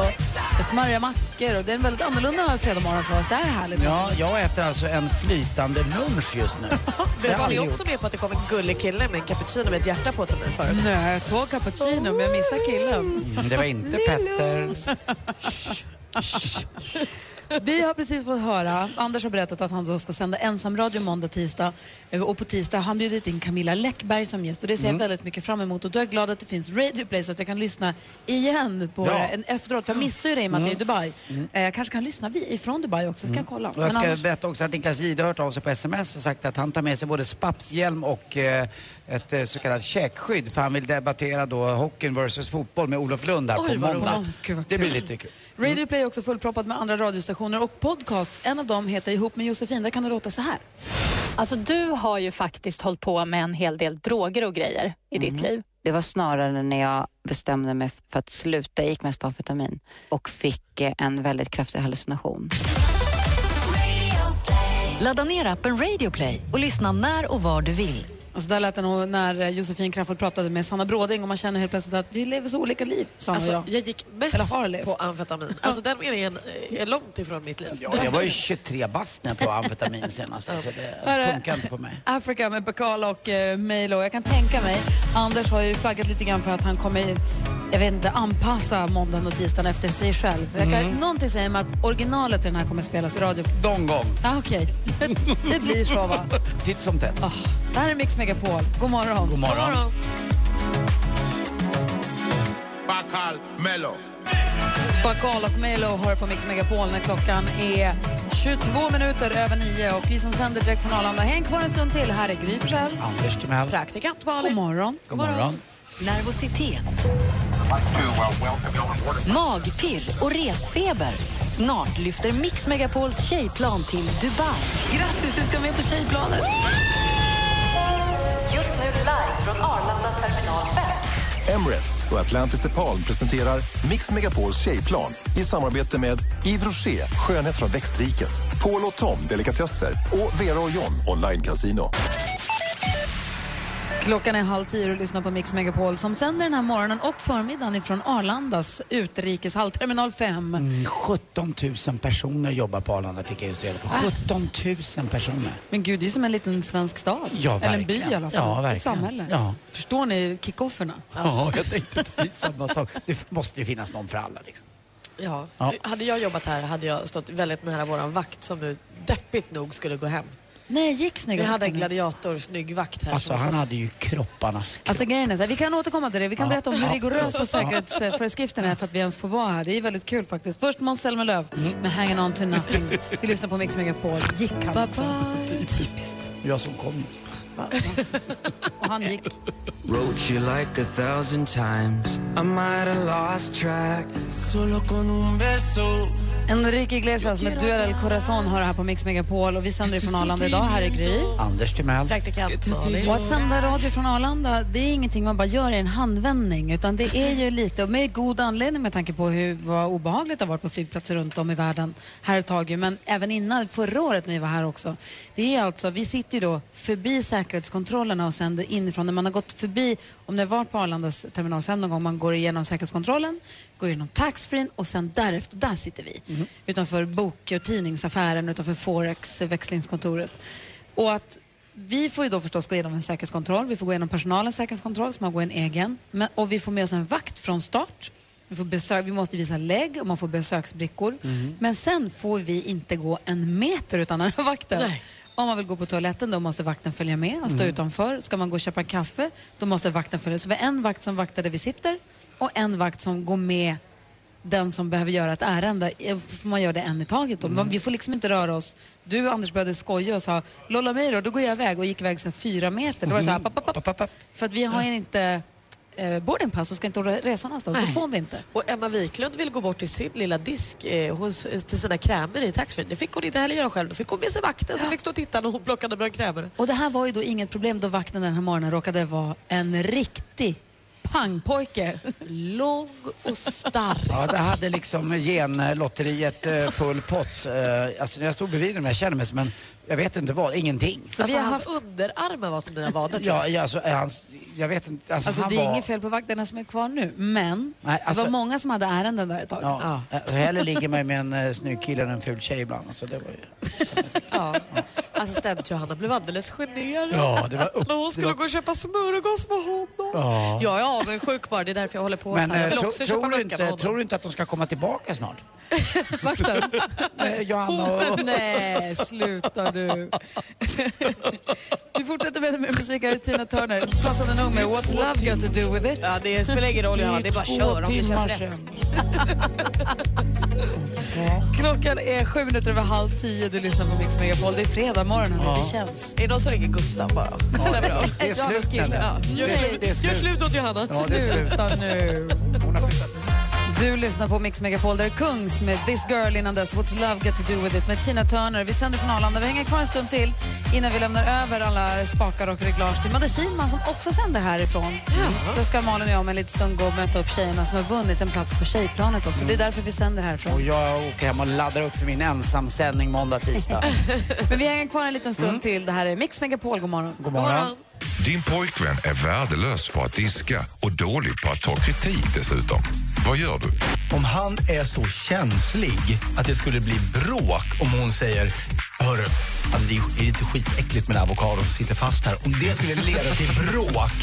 Speaker 4: och smörja mackor. Och det är en väldigt annorlunda fredagmorgon för oss. Det här är härligt.
Speaker 7: Ja, jag äter alltså en flytande lunch just nu. Det
Speaker 3: Men
Speaker 7: har
Speaker 3: var ni
Speaker 7: jag
Speaker 3: också med på att det kom en gullig kille med en cappuccino med ett hjärta på till mig förut?
Speaker 4: Nej, jag såg cappuccino men jag missade killen.
Speaker 7: Mm, Det var inte Petter.
Speaker 4: Vi har precis fått höra, Anders har berättat att han då ska sända ensamradio måndag, tisdag eh, och på tisdag har han bjudit in Camilla Läckberg som gäst och det ser jag
Speaker 3: Mm.
Speaker 4: väldigt mycket fram emot och då är jag glad att det finns Radio Play så att jag kan lyssna igen på
Speaker 3: Ja.
Speaker 4: det en efteråt för jag missar ju det i och med att jag är i
Speaker 7: Mm.
Speaker 4: Dubai. Eh, Jag kanske kan lyssna vi- ifrån Dubai också, ska jag kolla.
Speaker 7: Och jag ska
Speaker 4: annars-
Speaker 7: berätta också att Niklas Jihde har hört av sig på sms och sagt att han tar med sig både spapshjälm och eh, ett eh, så kallat käkskydd för han vill debattera då hockeyn versus fotboll med Olof Lund här
Speaker 4: Oj,
Speaker 7: på
Speaker 4: vad
Speaker 7: måndag.
Speaker 4: roligt. Gud, vad
Speaker 7: Det blir
Speaker 4: kul.
Speaker 7: lite kul.
Speaker 4: Radio Play är också fullproppad med andra radiostationer och podcasts. En av dem heter Ihop med Josefin, där kan det låta så här.
Speaker 5: Alltså du har ju faktiskt hållit på med en hel del droger och grejer i ditt liv.
Speaker 10: Det var snarare när jag bestämde mig för att sluta. Jag gick mest på amfetamin och fick eh, en väldigt kraftig hallucination.
Speaker 1: Ladda ner appen Radio Play och lyssna när och var du vill.
Speaker 4: Alltså där lät det nog när eh, Josefin Crafoord pratade med Sanna Bråding och man känner helt plötsligt att vi lever så olika liv, Sanna
Speaker 3: Alltså,
Speaker 4: och jag.
Speaker 3: jag gick mest på amfetamin. Alltså den meningen är långt ifrån mitt liv.
Speaker 7: Ja, jag var ju 23 bast när jag på amfetamin senast. Alltså det
Speaker 4: Hörru.
Speaker 7: funkar inte på mig.
Speaker 4: Africa med Bacall och eh, Milo. Jag kan tänka mig, Anders har ju flaggat lite grann för att han kommer, jag vet inte, anpassa måndagen och tisdagen efter sig själv. Jag kan,
Speaker 5: Mm.
Speaker 4: Någonting säger mig att originalet till den här kommer spelas i radio.
Speaker 7: Någon gång.
Speaker 4: Ah, Okej, det blir så va. Ah.
Speaker 7: Titt som tätt.
Speaker 4: Det här är Mix Megapol. God morgon.
Speaker 7: God morgon.
Speaker 11: Bacal Mello.
Speaker 4: Bacall och Milo hör på Mix Megapol när klockan är 22 minuter över 9 och vi som sänder direkt från Arlanda, häng kvar en stund till. Här är Gry Forssell.
Speaker 7: Anders Timell.
Speaker 4: Praktikant Malin. God morgon.
Speaker 7: God morgon.
Speaker 1: Nervositet, magpirr och resfeber. Snart lyfter Mix Megapols tjejplan till Dubai.
Speaker 4: Grattis, du ska med på tjejplanet.
Speaker 1: Just nu live från Arlanda terminal 5.
Speaker 9: Emirates och Atlantis DePaul presenterar Mix Megapols tjejplan i samarbete med Yves Rocher, skönhet från växtriket, Paul och Tom, delikatesser och Vera och John, online casino.
Speaker 4: Klockan är halv tio och lyssnar på Mix Megapol som sänder den här morgonen och förmiddagen ifrån Arlandas utrikeshall, terminal 5.
Speaker 7: 17 000 Mm, personer jobbar på Arlanda fick jag just reda på. 17 000 personer.
Speaker 4: Men gud, det är som en liten svensk stad.
Speaker 7: Ja,
Speaker 4: Eller en by
Speaker 7: verkligen.
Speaker 4: i alla fall.
Speaker 7: Ja, verkligen.
Speaker 4: Ett samhälle.
Speaker 7: Ja.
Speaker 4: Förstår ni kickofferna?
Speaker 7: Ja, jag tänkte precis samma sak. Det f- måste ju finnas någon för alla liksom.
Speaker 3: Ja.
Speaker 7: Ja.
Speaker 3: Hade jag jobbat här hade jag stått väldigt nära våran vakt som nu deppigt nog skulle gå hem.
Speaker 4: Nej, gick snygg
Speaker 3: Vi
Speaker 4: vakt
Speaker 3: hade en
Speaker 4: nu.
Speaker 3: gladiator, snygg vakt här.
Speaker 7: Alltså
Speaker 3: som har
Speaker 7: han
Speaker 3: stått-
Speaker 7: hade ju kropparnas
Speaker 4: Alltså grejen är så här, vi kan återkomma till det. Vi kan
Speaker 7: Ja.
Speaker 4: berätta om hur
Speaker 7: Ja.
Speaker 4: rigorösa
Speaker 7: Ja.
Speaker 4: säkerhetsföreskrifterna är för att vi ens får vara här. Det är väldigt kul faktiskt. Först Måns Zelmerlöw med Hanging On To Nothing. Vi lyssnar på Mix Megapol. Gick han också? Typiskt.
Speaker 7: Jag som kom just.
Speaker 4: Och han gick.
Speaker 14: Wrote you like a thousand times. I might have lost track. Solo con un beso.
Speaker 4: Enrique Iglesias med Duell El Corazon har det här på Mix Megapol och vi sänder från Arlanda idag. Här är Gry.
Speaker 7: Anders Timell.
Speaker 4: Praktikant Och att sända radio från Arlanda, det är ingenting man bara gör i en handvändning utan det är ju lite, och med god anledning med tanke på hur vad obehagligt det har varit på flygplatser runt om i världen här ett tag ju, men även innan, förra året när vi var här också. Det är alltså, vi sitter ju då förbi säkerhetskontrollerna och sänder inifrån. När man har gått förbi, om det har varit på Arlandas terminal 5 någon gång, man går igenom säkerhetskontrollen, går igenom taxfree och sen därefter, där sitter vi.
Speaker 7: Mm.
Speaker 4: Utanför bok och tidningsaffären, utanför Forex, växlingskontoret. Och att vi får ju då förstås gå igenom en säkerhetskontroll. Vi får gå igenom personalens säkerhetskontroll som har gått en egen. Men, och vi får med oss en vakt från start. Vi, får besök, vi måste visa lägg och man får besöksbrickor.
Speaker 24: Mm.
Speaker 4: Men sen får vi inte gå en meter utan den här vakten. Om man vill gå på toaletten då måste vakten följa med och stå
Speaker 20: Mm.
Speaker 4: utanför. Ska man gå och köpa kaffe då måste vakten följa. Så vi har en vakt som vaktar där vi sitter och en vakt som går med den som behöver göra ett ärende. eh, Får man göra det en i taget då? Men Vi får liksom inte röra oss. Du Anders började skoja och sa lolla mig då, då går jag iväg och gick iväg så här fyra meter. Då var det så här, papp, papp, papp. För att vi har ju inte eh, boardingpass och ska inte re- resa någonstans,
Speaker 3: Nej.
Speaker 4: då får vi inte.
Speaker 3: Och Emma Wiklund vill gå bort till sin lilla disk eh, hos, till sina krämer i taxfree. Det fick hon inte heller göra själv. Då fick hon med sig vakten som fick stå och titta när hon plockade bland krämer.
Speaker 4: Och det här var ju då inget problem då vakten den här morgonen råkade vara en riktig pangpojke.
Speaker 3: Lång och stark.
Speaker 7: Ja, det hade liksom genlotteriet eh, full pott. Eh, Alltså när jag stod bredvid dem, jag kände mig som en, jag vet inte vad, ingenting.
Speaker 3: Så alltså, hans underarmar var som dina vader. tror jag.
Speaker 7: Ja, ja, alltså, eh, hans, jag vet inte, alltså,
Speaker 4: Alltså
Speaker 7: han
Speaker 4: det är
Speaker 7: var...
Speaker 4: inget fel på vakterna som är kvar nu, men
Speaker 7: Nej, alltså-
Speaker 4: det var många som hade ärenden där ett tag.
Speaker 7: Ja. eh, Hellre ligger man ju med en eh, snygg kille än en ful tjej ibland. Alltså, det var ju...
Speaker 3: Assistent Johanna blev alldeles generad.
Speaker 7: Ja, det var upp-
Speaker 3: När hon skulle
Speaker 7: det var-
Speaker 3: gå och köpa smörgås med honom.
Speaker 7: Ja.
Speaker 3: Jag är avundsjuk bara, det är därför jag håller på
Speaker 7: Men
Speaker 3: så här. Jag
Speaker 7: eh,
Speaker 3: vill
Speaker 7: tro,
Speaker 3: också köpa
Speaker 7: tror, du
Speaker 3: macka med
Speaker 7: inte,
Speaker 3: honom.
Speaker 7: tror du inte att de ska komma tillbaka snart?
Speaker 4: Vakten?
Speaker 3: Eh,
Speaker 7: Nej, Johanna och...
Speaker 4: Nej, sluta du. Vi fortsätter med, med musik här, Tina Turner. Passande nog med What's Love Got To Do With It.
Speaker 3: Ja, det spelar ingen roll, Johanna. Det är bara kör om det känns rätt.
Speaker 4: Klockan är sju minuter över halv tio. Du lyssnar på Mix Megapol. Det är fredag morgon. hörni.
Speaker 3: Ja.
Speaker 4: Det känns.
Speaker 3: Är det någon som ringer Gustav bara? Stämmer av.
Speaker 4: det är slut
Speaker 3: Johannas kille.
Speaker 4: nu.
Speaker 3: Ja. Gör,
Speaker 4: Det är-
Speaker 3: slut,
Speaker 4: det är
Speaker 3: gör
Speaker 4: slut.
Speaker 3: slut åt Johanna.
Speaker 4: Ja, det är slut. Sluta nu. Du lyssnar på Mix Megapol. Där är Kungs med This Girl innan dess. What's Love Got To Do With It med Tina Turner. Vi sänder från Arlanda. Vi hänger kvar en stund till innan vi lämnar över alla spakar och reglage till Madde Kihlman som också sänder härifrån. Så ska Malin och jag om en liten stund gå och möta upp tjejerna som har vunnit en plats på tjejplanet också. Det är därför vi sänder härifrån.
Speaker 7: Och jag åker hem och laddar upp för min ensamsändning måndag, tisdag.
Speaker 4: Men vi hänger kvar en liten stund till. Det här är Mix Megapol. God morgon.
Speaker 7: God morgon.
Speaker 16: Din pojkvän är värdelös på att diska och dålig på att ta kritik dessutom. Vad gör du?
Speaker 18: Om han är så känslig att det skulle bli bråk om hon säger Hörru, alltså det är- är lite skitäckligt med den här avokadon som sitter fast här. Om det skulle leda till bråk,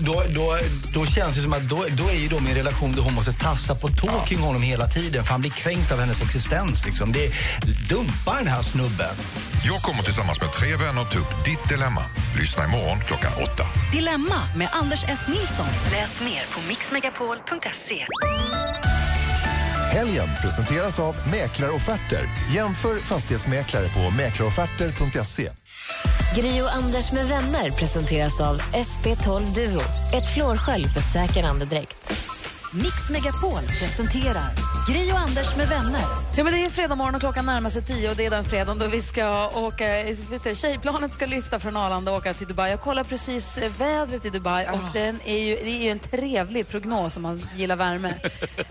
Speaker 18: då, då, då känns det som att då, då är ju då min relation där hon måste tassa på tå kring honom hela tiden för han blir kränkt av hennes existens. Liksom. Det är, dumpa den här snubben.
Speaker 16: Jag kommer tillsammans med tre vänner ta upp ditt dilemma. Lyssna imorgon klockan åtta.
Speaker 1: Dilemma med Anders S. Nilsson. Läs mer på mixmegapol.se.
Speaker 9: Helgen presenteras av Mäklarofferter. Jämför fastighetsmäklare på mäklarofferter.se.
Speaker 15: Gri och Anders med vänner presenteras av SP12 Duo. Ett flårskölj för säker andedräkt.
Speaker 1: Mix Megapol presenterar Gri och Anders med vänner.
Speaker 4: Ja, men det är fredag morgon och klockan närmar sig tio och det är den fredagen då vi ska åka, vet du, tjejplanet ska lyfta från Arlanda och åka till Dubai. Jag kollar precis eh, vädret i Dubai och den är ju, det är ju en trevlig prognos om man gillar värme.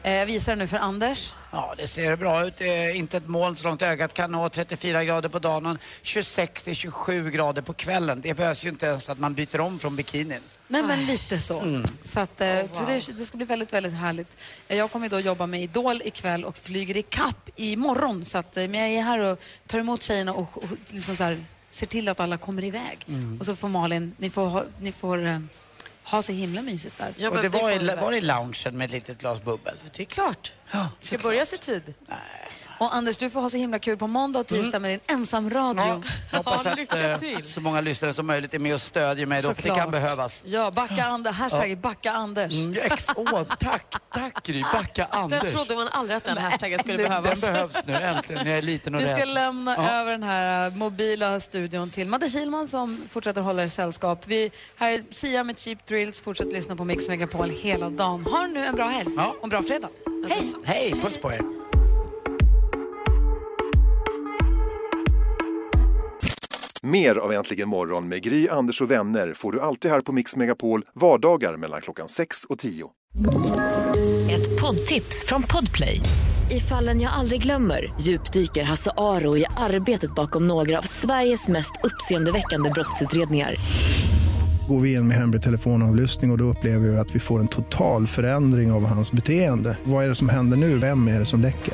Speaker 4: Eh, Jag visar den nu för Anders.
Speaker 7: Ja, det ser bra ut. Det är inte ett moln så långt ögat kan nå. 34 grader på dagen och 26 till 27 grader på kvällen. Det behövs ju inte ens att man byter om från bikinin. Mm.
Speaker 4: Nej, men lite så. Så, att, eh, så det, det ska bli väldigt, väldigt härligt. Eh, Jag kommer ju då jobba med Idol ikväll och flyger i kapp imorgon. Så att, eh, men jag är här och tar emot tjejerna och, och liksom så här, ser till att alla kommer iväg.
Speaker 7: Mm.
Speaker 4: Och så får Malin, ni får, ha, ni får eh, ha så himla mysigt där.
Speaker 7: och det var, i, var i loungen med ett litet glas bubbel.
Speaker 3: Det är klart.
Speaker 7: Ja,
Speaker 3: Ska börja sig tid.
Speaker 4: Och Anders, du får ha så himla kul på måndag och tisdag
Speaker 7: Mm.
Speaker 4: med din ensamradio.
Speaker 7: Hoppas att eh, så många lyssnare som möjligt är med och stödjer mig då, för det kan
Speaker 4: Såklart.
Speaker 7: behövas.
Speaker 4: Ja, backa Anders. Hashtag
Speaker 7: Ja.
Speaker 4: backa Anders.
Speaker 7: Mm, ja, ex- åh, tack, tack Gry. Backa Anders.
Speaker 3: Den trodde man aldrig att den hashtaggen skulle
Speaker 7: den,
Speaker 3: behövas.
Speaker 7: Den behövs nu äntligen. Jag är liten och
Speaker 4: Vi ska
Speaker 7: rädd.
Speaker 4: lämna
Speaker 7: Ja.
Speaker 4: över den här eh, mobila studion till Madde Kilman som fortsätter hålla er sällskap. Vi, här är Sia med Cheap Thrills. Fortsätt lyssna på Mix Megapol hela dagen. Ha nu en bra helg och en bra fredag. Hej!
Speaker 7: Hej, puss på er.
Speaker 9: Mer av Äntligen morgon med Gry, Anders och vänner får du alltid här på Mix Megapol vardagar mellan klockan 6 och 10.
Speaker 15: Ett poddtips från Podplay. I fallen jag aldrig glömmer djupdyker Hasse Aro i arbetet bakom några av Sveriges mest uppseendeväckande brottsutredningar.
Speaker 28: Går vi in med hemlig telefonavlyssning och, och då upplever vi att vi får en total förändring av hans beteende. Vad är det som händer nu? Vem är det som läcker?